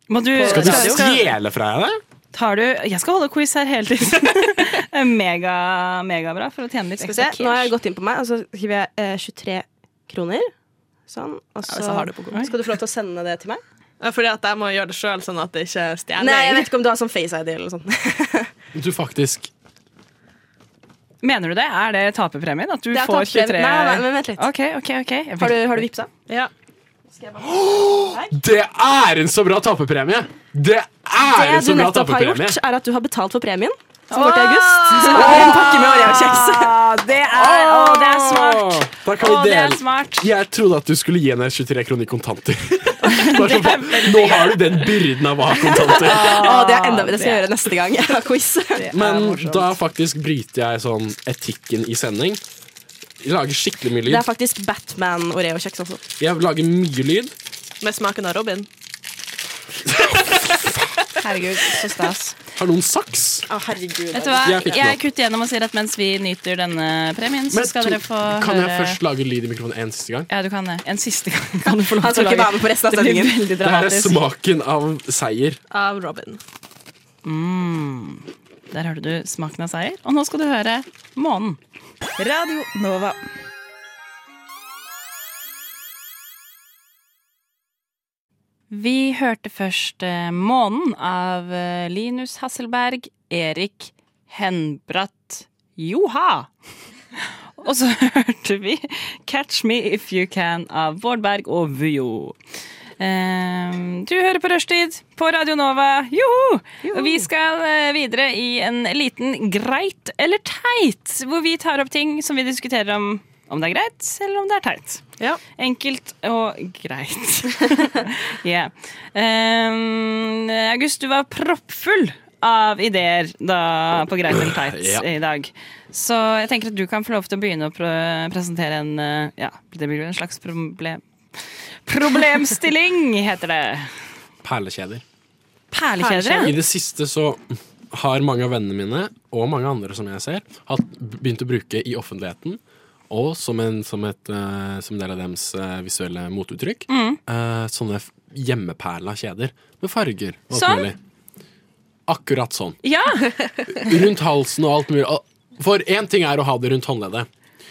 Speaker 6: Må du
Speaker 1: Skal du
Speaker 6: Radio?
Speaker 1: stjele fra deg det?
Speaker 6: Tar du Jeg skal holde quiz her hele tiden. Eh, mega, megabra for å tjene litt
Speaker 7: Skal vi
Speaker 6: ekstra
Speaker 7: se,
Speaker 6: cash.
Speaker 7: nå har jeg gått inn på meg, og så skriver jeg eh, 23 kroner. Sånn. Og så,
Speaker 2: hvis jeg har det på konto.
Speaker 7: skal du få lov til å sende det til meg?
Speaker 2: Ja, Fordi at jeg må gjøre det sjøl, sånn at det ikke er stjeling.
Speaker 7: Nei, jeg vet ikke om du har sånn face-ID eller noe sånt.
Speaker 1: Du faktisk
Speaker 6: Mener du det? Er det taperpremien? At du
Speaker 7: Det er
Speaker 6: får 23
Speaker 7: taperpremien. Nei, nei, nei, men vent litt.
Speaker 6: Ok, ok, ok. Jeg
Speaker 7: Har du, har du vipsa?
Speaker 2: Ja.
Speaker 1: Det er en så bra taperpremie! Det er
Speaker 7: Det
Speaker 1: en
Speaker 7: du
Speaker 1: så bra
Speaker 7: nettopp har
Speaker 1: taperpremie!
Speaker 7: gjort, er at du har betalt for premien. Som går til august. Så da er det en pakke med Oreo-kjeks.
Speaker 6: Det er, å, det er smart.
Speaker 1: Da
Speaker 6: Å,
Speaker 1: kan vi
Speaker 6: det er
Speaker 1: dele.
Speaker 6: smart.
Speaker 1: Jeg trodde at du skulle gi henne 23 kroner i kontanter. Bare sånn, faen, Nå har du den byrden av å ha kontanter.
Speaker 7: Å, det, er enda, det skal jeg gjøre neste gang jeg har quiz.
Speaker 1: Men da faktisk bryter jeg sånn etikken i sending. Jeg lager skikkelig mye
Speaker 7: Det er
Speaker 1: lyd.
Speaker 7: faktisk Batman Oreo-kjeks også.
Speaker 1: Jeg lager mye lyd.
Speaker 2: Med smaken av Robin.
Speaker 6: Herregud, så stas.
Speaker 1: Har noen saks?
Speaker 7: Å, herregud.
Speaker 6: Vet du hva?
Speaker 1: Jeg
Speaker 6: Jeg,
Speaker 1: fikk den opp.
Speaker 6: kutter gjennom og sier at mens vi nyter denne premien, så
Speaker 1: Men
Speaker 6: skal
Speaker 1: to-
Speaker 6: dere få
Speaker 1: kan
Speaker 6: høre
Speaker 1: jeg først lage lyd i mikrofonen en siste gang?
Speaker 6: Ja, du kan det. En siste gang kan du få lov
Speaker 7: Han
Speaker 6: til å
Speaker 7: skal ikke
Speaker 6: lage.
Speaker 7: være med på resten av
Speaker 6: Det blir
Speaker 7: sendingen.
Speaker 6: veldig
Speaker 1: Det her er
Speaker 6: dramatisk.
Speaker 1: smaken av seier.
Speaker 2: Av Robin.
Speaker 6: Mm. Der hørte du smaken av seier. Og nå skal du høre månen.
Speaker 15: Radio Nova.
Speaker 6: Vi hørte først eh, Månen av eh, Linus Hasselberg, Erik Henbratt Joha. Og så hørte vi Catch Me If You Can av Bård Berg og Vujo. Ehm, du hører på Rushtid på Radio Nova. Joho! Og Vi skal eh, videre i en liten greit eller teit, hvor vi tar opp ting som vi diskuterer om om det er greit, eller om det er teit. Enkelt og greit. yeah. Ehm, August, du var proppfull av ideer da, på greit eller teit
Speaker 16: Ja.
Speaker 6: i dag. Så jeg tenker at du kan få lov til å begynne å pre- presentere en eh, Ja, det blir jo en slags problem... Problemstilling heter det.
Speaker 1: Perlekjeder. I
Speaker 6: Perlekjeder.
Speaker 1: det siste så har mange av vennene mine, og mange andre som jeg ser, hatt, begynt å bruke i offentligheten. Og som en som et, eh, som del av deres eh, visuelle motuttrykk.
Speaker 6: Mm.
Speaker 1: eh, sånne f- hjemmeperla kjeder med farger. og alt
Speaker 6: Sånn?
Speaker 1: mulig. Akkurat sånn.
Speaker 6: Ja!
Speaker 1: Rundt halsen og alt mulig. Al- For én ting er å ha det rundt håndleddet,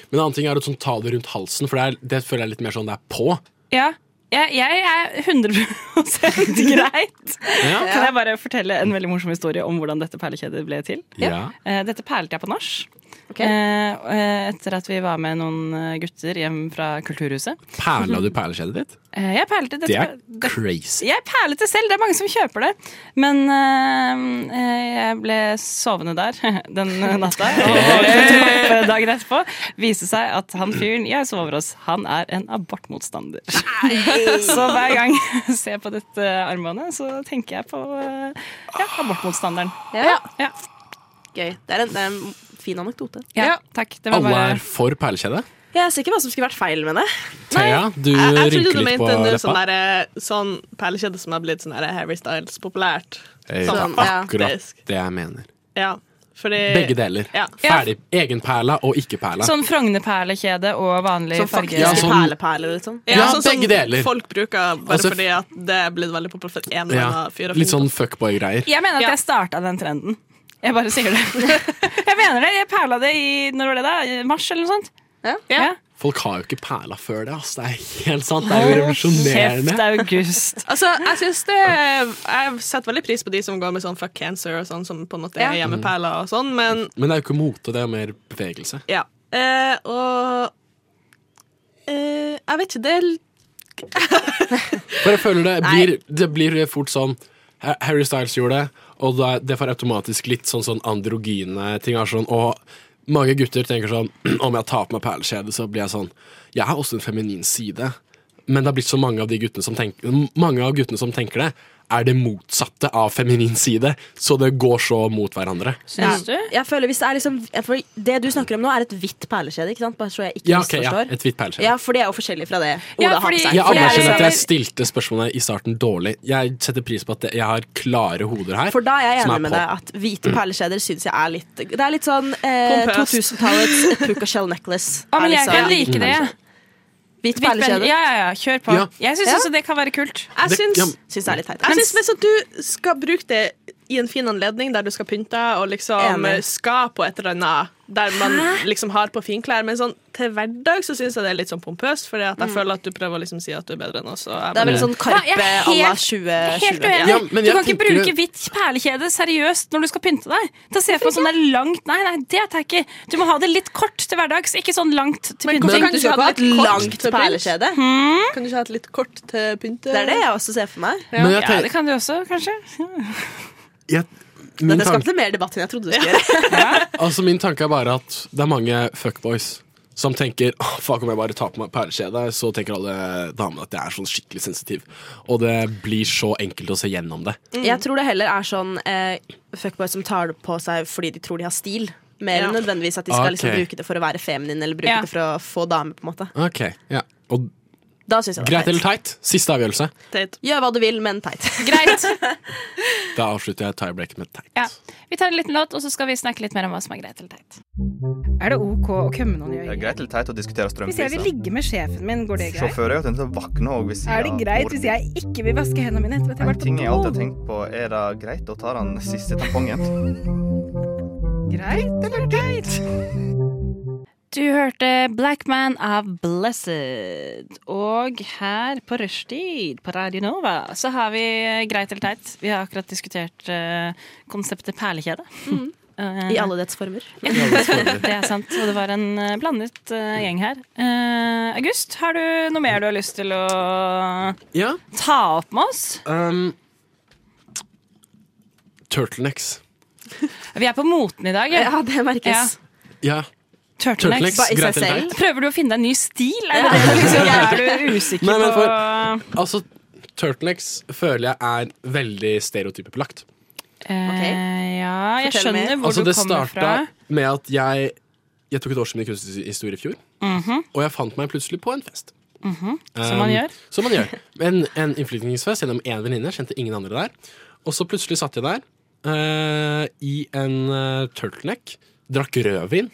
Speaker 1: men en annen ting er å sånn, ta det rundt halsen, for det, er, det føler jeg litt mer sånn det er på.
Speaker 6: ja. Jeg, jeg er 100 greit.
Speaker 1: Ja.
Speaker 6: Kan jeg bare fortelle en veldig morsom historie om hvordan dette perlekjedet ble til?
Speaker 1: Ja.
Speaker 6: Eh, Dette perlet jeg på nach. Eh, og, eh, Etter at vi var med noen eh, gutter hjem fra Kulturhuset.
Speaker 1: Perla du perlekjedet ditt?
Speaker 6: Eh, Jeg perlet dette
Speaker 1: Det er
Speaker 6: per-
Speaker 1: crazy.
Speaker 6: Jeg perlet det selv, det er mange som kjøper det. Men eh, eh, jeg ble sovende der den natta. Og våknet opp dagen etterpå. Viste seg at han fyren jeg sover hos, han er en abortmotstander. Så hver gang jeg ser på dette armbåndet, så tenker jeg på eh, ja, abortmotstanderen.
Speaker 7: Ja.
Speaker 6: Ja.
Speaker 7: Gøy. Det er en, det er en fin anekdote.
Speaker 6: Ja, takk. Det var
Speaker 1: Alle
Speaker 6: bare
Speaker 1: er for perlekjede?
Speaker 7: Jeg ser ikke hva som skulle vært feil med det.
Speaker 1: Thea, du
Speaker 2: Jeg, jeg trodde
Speaker 1: rynker
Speaker 2: du
Speaker 1: litt på
Speaker 2: mente nå sånn,
Speaker 1: leppa.
Speaker 2: der, eh, sånn perlekjede som har blitt sånn der Harry Styles-populært.
Speaker 1: Eh,
Speaker 2: Sånn,
Speaker 1: Akkurat
Speaker 2: faktisk.
Speaker 1: det jeg mener.
Speaker 2: Ja, fordi
Speaker 1: Begge deler.
Speaker 2: Ja.
Speaker 1: Ferdig. Egenperla og ikke-perla.
Speaker 6: sånn Frognerperlekjede og vanlig
Speaker 1: Sånn
Speaker 6: farge.
Speaker 1: faktisk Ja, sånn-
Speaker 7: perleperler, liksom.
Speaker 2: Ja,
Speaker 1: Ja,
Speaker 2: sånn som
Speaker 1: begge deler.
Speaker 2: folk bruker bare
Speaker 1: Altså, f-
Speaker 2: fordi at det er blitt veldig populært for en eller
Speaker 1: Ja.
Speaker 2: annen fyr. å
Speaker 1: Litt
Speaker 2: finne
Speaker 1: sånn fuckboy-greier.
Speaker 6: Jeg mener at jeg starta den trenden. Jeg bare sier det. jeg mener det. Jeg perla det i når var det da? I Mars eller noe sånt? Ja.
Speaker 1: Folk har jo ikke perla før det. Ass. Det er helt sant. Det er jo revolusjonerende.
Speaker 6: August.
Speaker 2: Altså, jeg synes det Jeg setter veldig pris på de som går med sånn fuck cancer og sånn, som på en måte er
Speaker 1: Ja.
Speaker 2: hjemmeperler og sånn, men
Speaker 1: Men det er jo ikke mote, det er mer bevegelse.
Speaker 2: ja. Eh, og eh, Jeg vet ikke, det er
Speaker 1: For jeg føler det blir, det blir fort sånn Ha- Harry Styles gjorde det, og da, det får automatisk litt sånn, sånn androgyne ting. er Sånn, og mange gutter tenker sånn Om jeg tar på meg perlekjede, så blir jeg sånn Jeg har også en feminin side. Men det har blitt så mange av de guttene som tenker, mange av guttene som tenker det, er det motsatte av feminin side. Så det går så mot hverandre.
Speaker 6: Syns
Speaker 7: du? Jeg føler hvis Det er liksom jeg føler Det du snakker om nå, er et hvitt perlekjede, ikke sant? Bare så jeg ikke
Speaker 1: Ja, ok, ja,
Speaker 7: misforstår.
Speaker 1: et hvitt perlekjede.
Speaker 7: Ja, for det er jo forskjellig fra det Oda
Speaker 6: Ja,
Speaker 7: har på
Speaker 6: fordi-
Speaker 7: seg.
Speaker 1: Jeg
Speaker 7: For det er
Speaker 1: anerkjenner at jeg
Speaker 7: liksom-
Speaker 1: stilte spørsmålet i starten dårlig. Jeg setter pris på at jeg har klare hoder her.
Speaker 7: For da er jeg
Speaker 1: som
Speaker 7: enig med
Speaker 1: på.
Speaker 7: deg at hvite perlekjeder syns jeg er litt Det er litt sånn eh,
Speaker 6: Pompøst.
Speaker 7: 2000-tallets puka shell necklace.
Speaker 6: Å, men
Speaker 7: er
Speaker 6: jeg
Speaker 7: liksom-
Speaker 6: kan like det.
Speaker 7: Hvit
Speaker 6: Hvit perle-
Speaker 7: perlekjede.
Speaker 6: Ja, ja, ja, kjør på.
Speaker 7: Ja.
Speaker 6: Jeg syns
Speaker 7: Ja.
Speaker 6: også det kan være kult.
Speaker 2: Jeg syns,
Speaker 7: Syns det er litt teit.
Speaker 2: jeg syns hvis at sånn, du skal bruke det i en fin anledning der du skal pynte deg og liksom
Speaker 7: Enig.
Speaker 2: skal på et eller annet der man liksom har på finklær, men sånn til hverdag så syns jeg det er litt sånn pompøst, fordi at jeg
Speaker 7: Mm.
Speaker 2: føler at du prøver å liksom si at du er bedre enn oss. og jeg
Speaker 7: Det er
Speaker 2: bare-
Speaker 7: vel sånn
Speaker 6: Ja, jeg
Speaker 7: Karpe
Speaker 6: er
Speaker 7: à la
Speaker 6: helt-
Speaker 7: 2020.
Speaker 6: Helt uenig.
Speaker 1: Ja, men
Speaker 6: du
Speaker 1: jeg
Speaker 6: kan ikke
Speaker 1: tenker-
Speaker 6: bruke hvitt perlekjede seriøst når du skal pynte deg. Da ser jeg på sånn der langt Nei, nei, det tar jeg ikke. Du må ha det litt kort til hverdags, ikke sånn langt til
Speaker 7: Men
Speaker 6: pynting.
Speaker 7: kan du ikke ha et langt
Speaker 6: til pynt?
Speaker 7: perlekjede?
Speaker 2: Kan du ikke ha et litt kort til pynte?
Speaker 7: Det er det jeg også ser for meg.
Speaker 1: Men jeg
Speaker 6: Ja,
Speaker 1: tenker-
Speaker 6: det kan du også, kanskje.
Speaker 1: Jeg, min
Speaker 7: Dette
Speaker 1: tanke-
Speaker 7: skapte mer debatt enn jeg trodde det skulle gjøre.
Speaker 1: Altså Min tanke er bare at det er mange fuckboys som tenker «Åh, fuck om jeg bare tar på meg perlekjede, så tenker alle damene at jeg er sånn skikkelig sensitiv. Og det blir så enkelt å se gjennom det.
Speaker 7: Jeg tror det heller er sånn eh, fuckboys som tar det på seg fordi de tror de har stil. Mer
Speaker 1: Ja.
Speaker 7: enn nødvendigvis at de skal liksom
Speaker 1: Ok.
Speaker 7: bruke det for å være feminin eller bruke
Speaker 1: Ja.
Speaker 7: det for å få dame. på en måte
Speaker 1: Ok, ja Og
Speaker 7: Da synes jeg det
Speaker 1: Greit
Speaker 7: var
Speaker 1: eller teit? Siste avgjørelse.
Speaker 2: teit.
Speaker 7: Gjør hva du vil, men teit.
Speaker 6: Greit.
Speaker 1: Da avslutter jeg tiebreaken med teit.
Speaker 6: Ja. Vi tar en liten låt, og så skal vi snakke litt mer om hva som er greit eller teit.
Speaker 11: Er det OK å kømme noen i
Speaker 17: Det
Speaker 11: øyet?
Speaker 17: er greit eller teit å diskutere
Speaker 11: Hvis jeg vil
Speaker 17: strømpriser.
Speaker 11: ligge med sjefen min, går det greit?
Speaker 17: Sjåfører er jo tenkt å våkne også hvis
Speaker 11: Er det greit hvis jeg ikke vil vaske hendene mine etter at jeg
Speaker 17: En
Speaker 11: har vært
Speaker 17: ting jeg alltid har
Speaker 11: på do?
Speaker 17: tenkt på, er det greit å ta den siste tampongen?
Speaker 11: Greit eller teit?
Speaker 6: Du hørte Black Man av Blessed. Og her på rushtid på Radio Nova
Speaker 11: Mhm.
Speaker 6: så har vi eh, greit eller teit. Vi har akkurat diskutert eh, konseptet perlekjede. Eh,
Speaker 7: I alle dets former.
Speaker 6: Ja, det er sant. Og det var en eh, blandet eh, gjeng her. Eh, August, har du noe mer du har lyst til å
Speaker 1: Ja.
Speaker 6: ta opp med oss?
Speaker 1: Um, turtlenecks.
Speaker 6: Vi er på moten i dag.
Speaker 7: Ja, det merkes.
Speaker 1: Ja.
Speaker 6: Turtlenecks.
Speaker 1: Turtlenecks, greit eller teit?
Speaker 6: Prøver du å finne deg en ny stil? Er, det det, liksom, er du usikker
Speaker 1: Nei, men
Speaker 6: på
Speaker 1: for, altså, turtlenecks føler jeg er veldig stereotypebelagt.
Speaker 6: Eh, Ja, jeg
Speaker 7: Fortell mer.
Speaker 6: skjønner hvor
Speaker 1: Altså,
Speaker 6: du
Speaker 1: det
Speaker 6: kommer
Speaker 1: starta
Speaker 6: fra.
Speaker 1: med at jeg, jeg tok et årsmøte i kunsthistorie i fjor,
Speaker 6: Mhm,
Speaker 1: og jeg fant meg plutselig på en fest.
Speaker 6: mhm. Som man
Speaker 1: Um,
Speaker 6: gjør.
Speaker 1: Som man gjør. En, en innflytningsfest gjennom én venninne. Kjente ingen andre der. Og så plutselig satt jeg der eh, i en eh, turtleneck, drakk rødvin,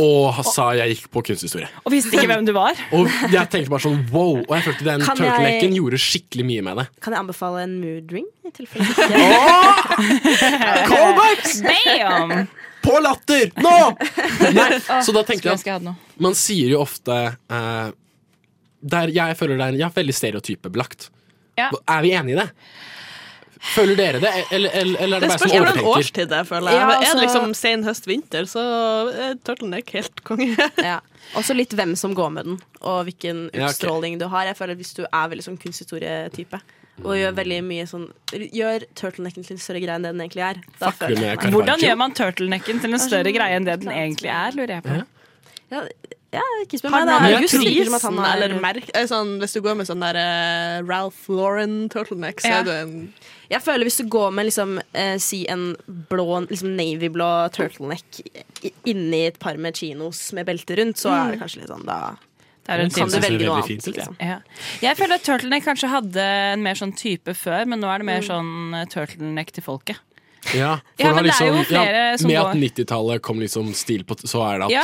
Speaker 1: og ha- sa jeg gikk på kunsthistorie.
Speaker 6: Og visste ikke hvem du var.
Speaker 1: Og jeg tenkte bare sånn wow! Og jeg følte den
Speaker 7: Kan jeg-
Speaker 1: turtlenecken gjorde skikkelig mye med det.
Speaker 7: Kan jeg anbefale en mood ring? I tilfelle
Speaker 6: Eh.
Speaker 1: Callbacks!
Speaker 6: Bam!
Speaker 1: På latter! Nå! Nei, så da tenkte
Speaker 6: Skulle
Speaker 1: jeg
Speaker 6: ønske jeg hadde noe.
Speaker 1: Man sier jo ofte eh, der, Jeg føler det er ja, veldig stereotypebelagt.
Speaker 6: Ja.
Speaker 1: Er vi enige i det? Føler dere det, eller, eller, eller er det,
Speaker 2: Det
Speaker 1: bare
Speaker 2: spørs
Speaker 1: som
Speaker 2: hvordan
Speaker 1: overtenker?
Speaker 2: årstid det er, føler jeg.
Speaker 7: Ja,
Speaker 2: er
Speaker 7: altså-
Speaker 2: det liksom sen høst-vinter, så er turtleneck helt konge.
Speaker 7: ja. Også litt hvem som går med den, og hvilken
Speaker 2: Ja, ok.
Speaker 7: utstråling du har. Jeg føler at Hvis du er veldig sånn kunsthistorie-type og gjør veldig mye sånn Gjør turtlenecken til en større greie enn det den egentlig er. Da føler jeg-
Speaker 6: Hvordan gjør man turtlenecken
Speaker 7: Altså,
Speaker 6: til en større greie enn det den egentlig er? lurer jeg på.
Speaker 7: Ja, ja, ikke spør meg.
Speaker 2: Har
Speaker 7: Det
Speaker 2: han
Speaker 7: er
Speaker 2: noe
Speaker 7: August. det virker som at
Speaker 2: prisen
Speaker 7: han er-
Speaker 2: eller merk? eh, Sånn, hvis du går med sånn der eh, Ralph Lauren turtleneck, så
Speaker 7: Ja.
Speaker 2: er du en
Speaker 7: Jeg føler hvis du går med liksom, eh, si en blå, liksom navyblå turtleneck i- inni et par med chinos med belte rundt, så er det kanskje litt sånn da
Speaker 6: Det er en
Speaker 7: kan
Speaker 6: type.
Speaker 7: du
Speaker 1: Det ser
Speaker 7: velge noe
Speaker 1: veldig
Speaker 7: annet.
Speaker 1: fint ut, ja.
Speaker 7: liksom.
Speaker 6: Ja. Jeg føler at turtleneck kanskje hadde en mer sånn type før, men nå er det
Speaker 7: Mm.
Speaker 6: mer sånn eh, turtleneck til folket.
Speaker 1: Ja,
Speaker 6: Ja,
Speaker 1: for det
Speaker 6: men det er jo
Speaker 1: liksom,
Speaker 6: flere som
Speaker 1: med
Speaker 6: går-
Speaker 1: at 90-tallet kom liksom stil på t- Så er det at
Speaker 6: Ja.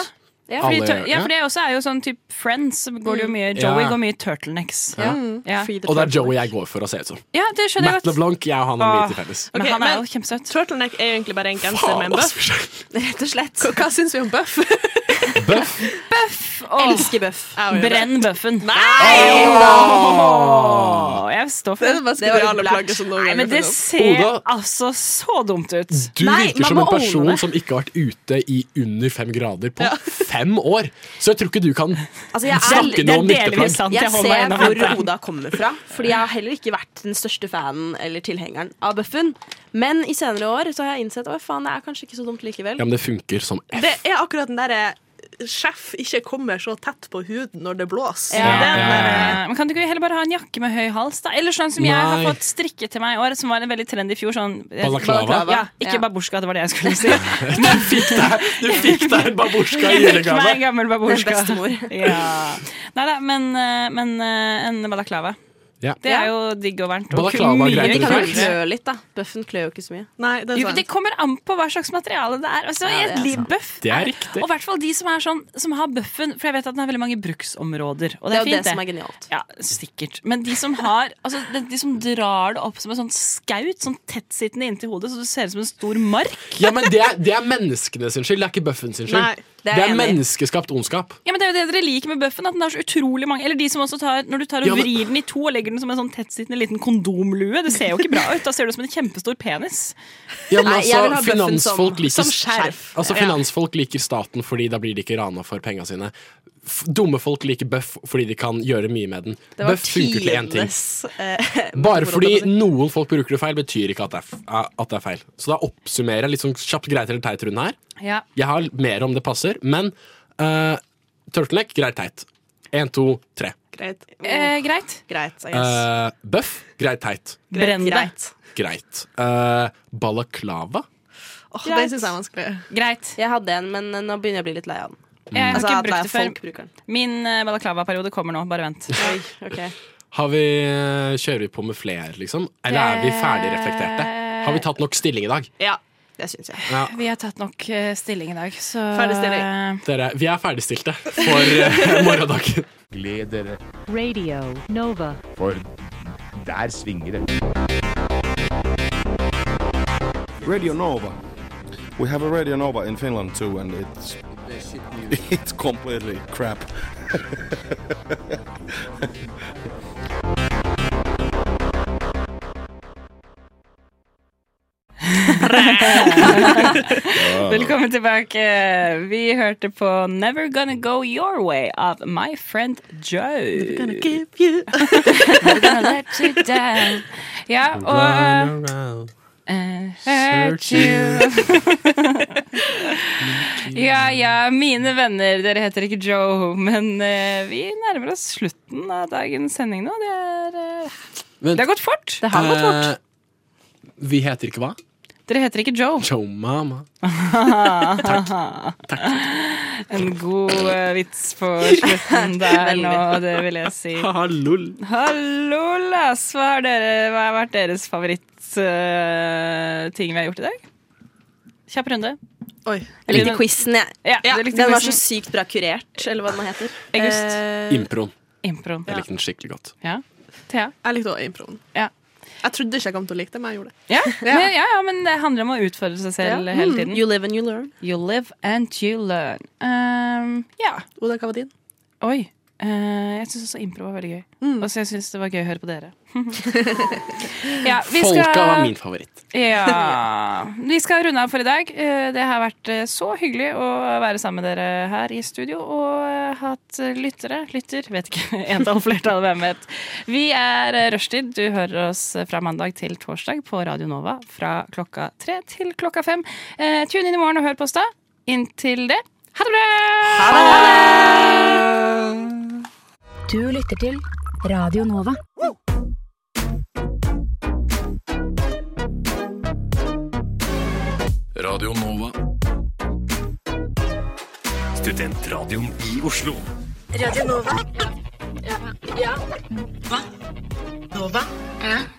Speaker 1: Ja.
Speaker 6: Fordi,
Speaker 1: Alle-
Speaker 6: tur- ja,
Speaker 1: ja.
Speaker 6: for det også er jo sånn type Friends, så går det jo mye
Speaker 1: Mm.
Speaker 6: Joey
Speaker 1: Ja.
Speaker 6: går mye turtlenecks.
Speaker 1: Ja.
Speaker 6: Ja.
Speaker 1: Og det er Joey jeg går for å se ut som.
Speaker 6: Ja, det Ah, skjønner jeg
Speaker 1: Matt
Speaker 6: godt.
Speaker 1: LeBlanc, jeg Ah. og han har mye til felles.
Speaker 6: Men han er jo kjempesøt.
Speaker 2: Turtleneck er jo egentlig bare en genser
Speaker 1: Faen,
Speaker 2: med en
Speaker 1: ass,
Speaker 2: buff.
Speaker 6: altså.
Speaker 2: Rett og slett. Hva, hva syns vi om buff?
Speaker 7: Elsker buff.
Speaker 6: Brenn bøffen.
Speaker 1: Åh!
Speaker 6: Jeg står for
Speaker 2: Det er det mest
Speaker 6: var
Speaker 2: geniale
Speaker 6: populært.
Speaker 2: plagget som noen
Speaker 6: Nei,
Speaker 2: gang
Speaker 6: men
Speaker 2: er
Speaker 6: det
Speaker 2: funnet opp.
Speaker 6: ser
Speaker 1: Oda.
Speaker 6: altså så dumt ut.
Speaker 1: Du
Speaker 6: Nei,
Speaker 1: virker
Speaker 6: man
Speaker 1: som en
Speaker 6: må owne
Speaker 1: person
Speaker 6: det.
Speaker 1: som ikke har vært ute i under fem grader på fem år. Så jeg tror ikke du kan
Speaker 7: Altså, jeg er,
Speaker 1: snakke noe om nytteplagg.
Speaker 7: Jeg,
Speaker 6: holder meg
Speaker 7: ser
Speaker 6: unna
Speaker 7: hvor
Speaker 6: vinteren.
Speaker 7: Roda kommer fra. Fordi jeg har heller ikke vært den største fanen eller tilhengeren av Buffen. Men i senere år så har jeg innsett at faen, det er kanskje ikke så dumt likevel.
Speaker 1: Ja, men det funker som F.
Speaker 2: Det er akkurat den derre eh, Sjef ikke kommer så tett på huden når det blåser.
Speaker 1: Ja,
Speaker 2: Det er den
Speaker 1: ja,
Speaker 2: derre-
Speaker 6: Eh, Men kan du ikke heller bare ha en jakke med høy hals? da? Eller sånn som jeg har
Speaker 1: Nei.
Speaker 6: fått strikke til meg i år, som var en veldig trendy i fjor. Sånn, eh,
Speaker 1: Balaklava?
Speaker 6: Ja, ikke
Speaker 1: Ja.
Speaker 6: babusjka, det var det jeg skulle si.
Speaker 1: Du fikk deg en babusjka
Speaker 6: Jeg fikk meg
Speaker 1: i
Speaker 6: en
Speaker 1: julegave!
Speaker 6: gammel babusjka.
Speaker 7: Den bestemor.
Speaker 6: ja. Nei da, men, eh, men eh, en balaklava.
Speaker 1: Ja.
Speaker 6: Det er jo digg og varmt. Og
Speaker 1: Balaklava er
Speaker 6: mye
Speaker 1: greit,
Speaker 7: Den
Speaker 1: eller
Speaker 6: kulere.
Speaker 7: kan jo klø litt, da. Buffen klør jo ikke så mye.
Speaker 2: Nei, det er
Speaker 6: Jo,
Speaker 2: sant.
Speaker 6: det kommer an på hva slags materiale det er. Altså,
Speaker 7: Ja, det er
Speaker 6: et livbøff
Speaker 1: Det er riktig.
Speaker 6: Og i hvert fall de som, er sånn, som har bøffen, for jeg vet at den har veldig mange bruksområder. Og det
Speaker 7: Det er
Speaker 6: er
Speaker 7: jo det
Speaker 6: fint,
Speaker 7: som er
Speaker 6: det.
Speaker 7: genialt.
Speaker 6: Ja, sikkert. Men de som, har, altså, de, de som drar det opp som en sånn skaut, sånn tettsittende inntil hodet, så du ser ut som en stor mark.
Speaker 1: Ja, men det er, det er menneskene sin skyld, det er ikke bøffen sin skyld.
Speaker 6: Nei, det er
Speaker 1: det
Speaker 6: jeg
Speaker 1: er
Speaker 6: enig i.
Speaker 1: menneskeskapt ondskap.
Speaker 6: Ja, men Det er jo det dere liker med bøffen. At den har så utrolig mange Eller de som også tar Når du tar og
Speaker 1: Ja, men-
Speaker 6: vrir den i to og legger den som en sånn tettsittende liten kondomlue. Det ser jo ikke bra ut. Da ser du ut som en kjempestor penis.
Speaker 1: Ja, men
Speaker 6: Nei, jeg vil ha
Speaker 1: altså,
Speaker 6: bøffen
Speaker 1: finansfolk
Speaker 6: som-
Speaker 1: liker,
Speaker 6: som skjerf.
Speaker 1: Altså,
Speaker 6: Ja.
Speaker 1: finansfolk liker staten fordi da blir de ikke rana for penga sine. F dumme folk liker bøff fordi de kan gjøre mye med den.
Speaker 7: Det var
Speaker 1: Bøff funker til én ting.
Speaker 7: tidenes, eh,
Speaker 1: Bare
Speaker 7: moro,
Speaker 1: fordi
Speaker 7: holdt jeg på å si.
Speaker 1: noen folk bruker det feil, betyr ikke at det er, f- at det er feil. Så da oppsummerer jeg litt sånn kjapt greit eller teit rundt her.
Speaker 6: Ja.
Speaker 1: Jeg har mer om det passer, men uh, turtleneck, greit teit. Én, to, tre.
Speaker 2: Greit.
Speaker 6: Eh, greit.
Speaker 2: Greit,
Speaker 1: Uh, Bøff, greit teit.
Speaker 6: Brenn det.
Speaker 2: Greit.
Speaker 1: Greit. Eh, balaklava?
Speaker 2: Åh, den syns jeg er vanskelig.
Speaker 6: Greit.
Speaker 7: Jeg hadde en, men eh, nå begynner jeg å bli litt lei av den.
Speaker 6: Jeg har
Speaker 7: Altså,
Speaker 6: ikke
Speaker 7: at
Speaker 6: brukt
Speaker 7: er
Speaker 6: det før.
Speaker 7: folk bruker den.
Speaker 6: Min eh, balaklava-periode kommer nå. Bare vent.
Speaker 7: Ok.
Speaker 1: Har vi, eh, kjører vi på med flere, liksom? Eller er vi ferdig reflekterte? Har vi tatt nok stilling i dag?
Speaker 2: Ja.
Speaker 7: Det syns jeg.
Speaker 1: Ja.
Speaker 6: Vi har tatt nok eh, stilling i dag, så eh,
Speaker 2: Ferdig stilling.
Speaker 1: Dere, vi er ferdigstilte for eh, morgendagen.
Speaker 16: Gled dere,
Speaker 18: Radio Nova.
Speaker 16: for der svinger det.
Speaker 4: Radio Nova. We have a Radio Nova in Finland too, and it's it's completely crap.
Speaker 6: Velkommen tilbake. Vi hørte på Never Gonna Go Your Way av My Friend Joe.
Speaker 2: Gonna give you
Speaker 6: Never gonna let you down. Ja, og eh, Hurt you. ja, ja, mine venner. Dere heter ikke Joe, men eh, vi nærmer oss slutten av dagens sending nå. Det, er, eh, det har gått fort. Det har gått fort.
Speaker 1: Eh, vi heter ikke hva?
Speaker 6: Dere heter ikke Joe.
Speaker 1: Joe Mama.
Speaker 6: Takk. En god eh, vits på slutten der nå, det vil jeg si.
Speaker 1: Haha, lol.
Speaker 6: Hallo, Lass. Hva, har dere, hva har vært deres favorittting vi har gjort i dag? Kjapp runde.
Speaker 7: Oi. Jeg likte quizen, jeg.
Speaker 6: Ja, du likte
Speaker 7: den var så
Speaker 6: quizen.
Speaker 7: sykt bra kurert, eller hva den heter.
Speaker 6: August.
Speaker 7: Eh,
Speaker 1: Improen.
Speaker 6: Improen.
Speaker 1: Jeg likte den skikkelig godt.
Speaker 6: Ja. Thea?
Speaker 2: Jeg likte også improen. Jeg trodde ikke jeg kom til å like det, men jeg gjorde det.
Speaker 6: Ja, men, ja, ja, men det handler om å utfordre seg selv
Speaker 2: Ja.
Speaker 6: hele
Speaker 2: Mm.
Speaker 6: tiden.
Speaker 2: You
Speaker 7: live and you learn.
Speaker 6: You live and you learn. Um, ja.
Speaker 2: Oda, hva var din?
Speaker 6: Oi. eh, jeg syns også impro var veldig gøy. Og så jeg syns det var gøy å høre på dere. ja, vi skal-
Speaker 1: Folka var min favoritt.
Speaker 6: Ja. Vi skal runde av for i dag. Eh, Det har vært eh, så hyggelig å være sammen med dere her i studio og eh, hatt eh, lyttere Lytter, vet ikke. Entall, flertall, hvem vet. Vi er eh, Rushtid. Du hører oss fra mandag til torsdag på Radio Nova fra klokka tre til klokka fem. Eh, Tune inn i morgen og hør på oss da. Inntil det, ha det bra!
Speaker 8: Du lytter til Radio Nova.
Speaker 19: Radio Nova. Studentradioen i Oslo.
Speaker 20: Radio Nova. Ja. Hva? Nova? Ja.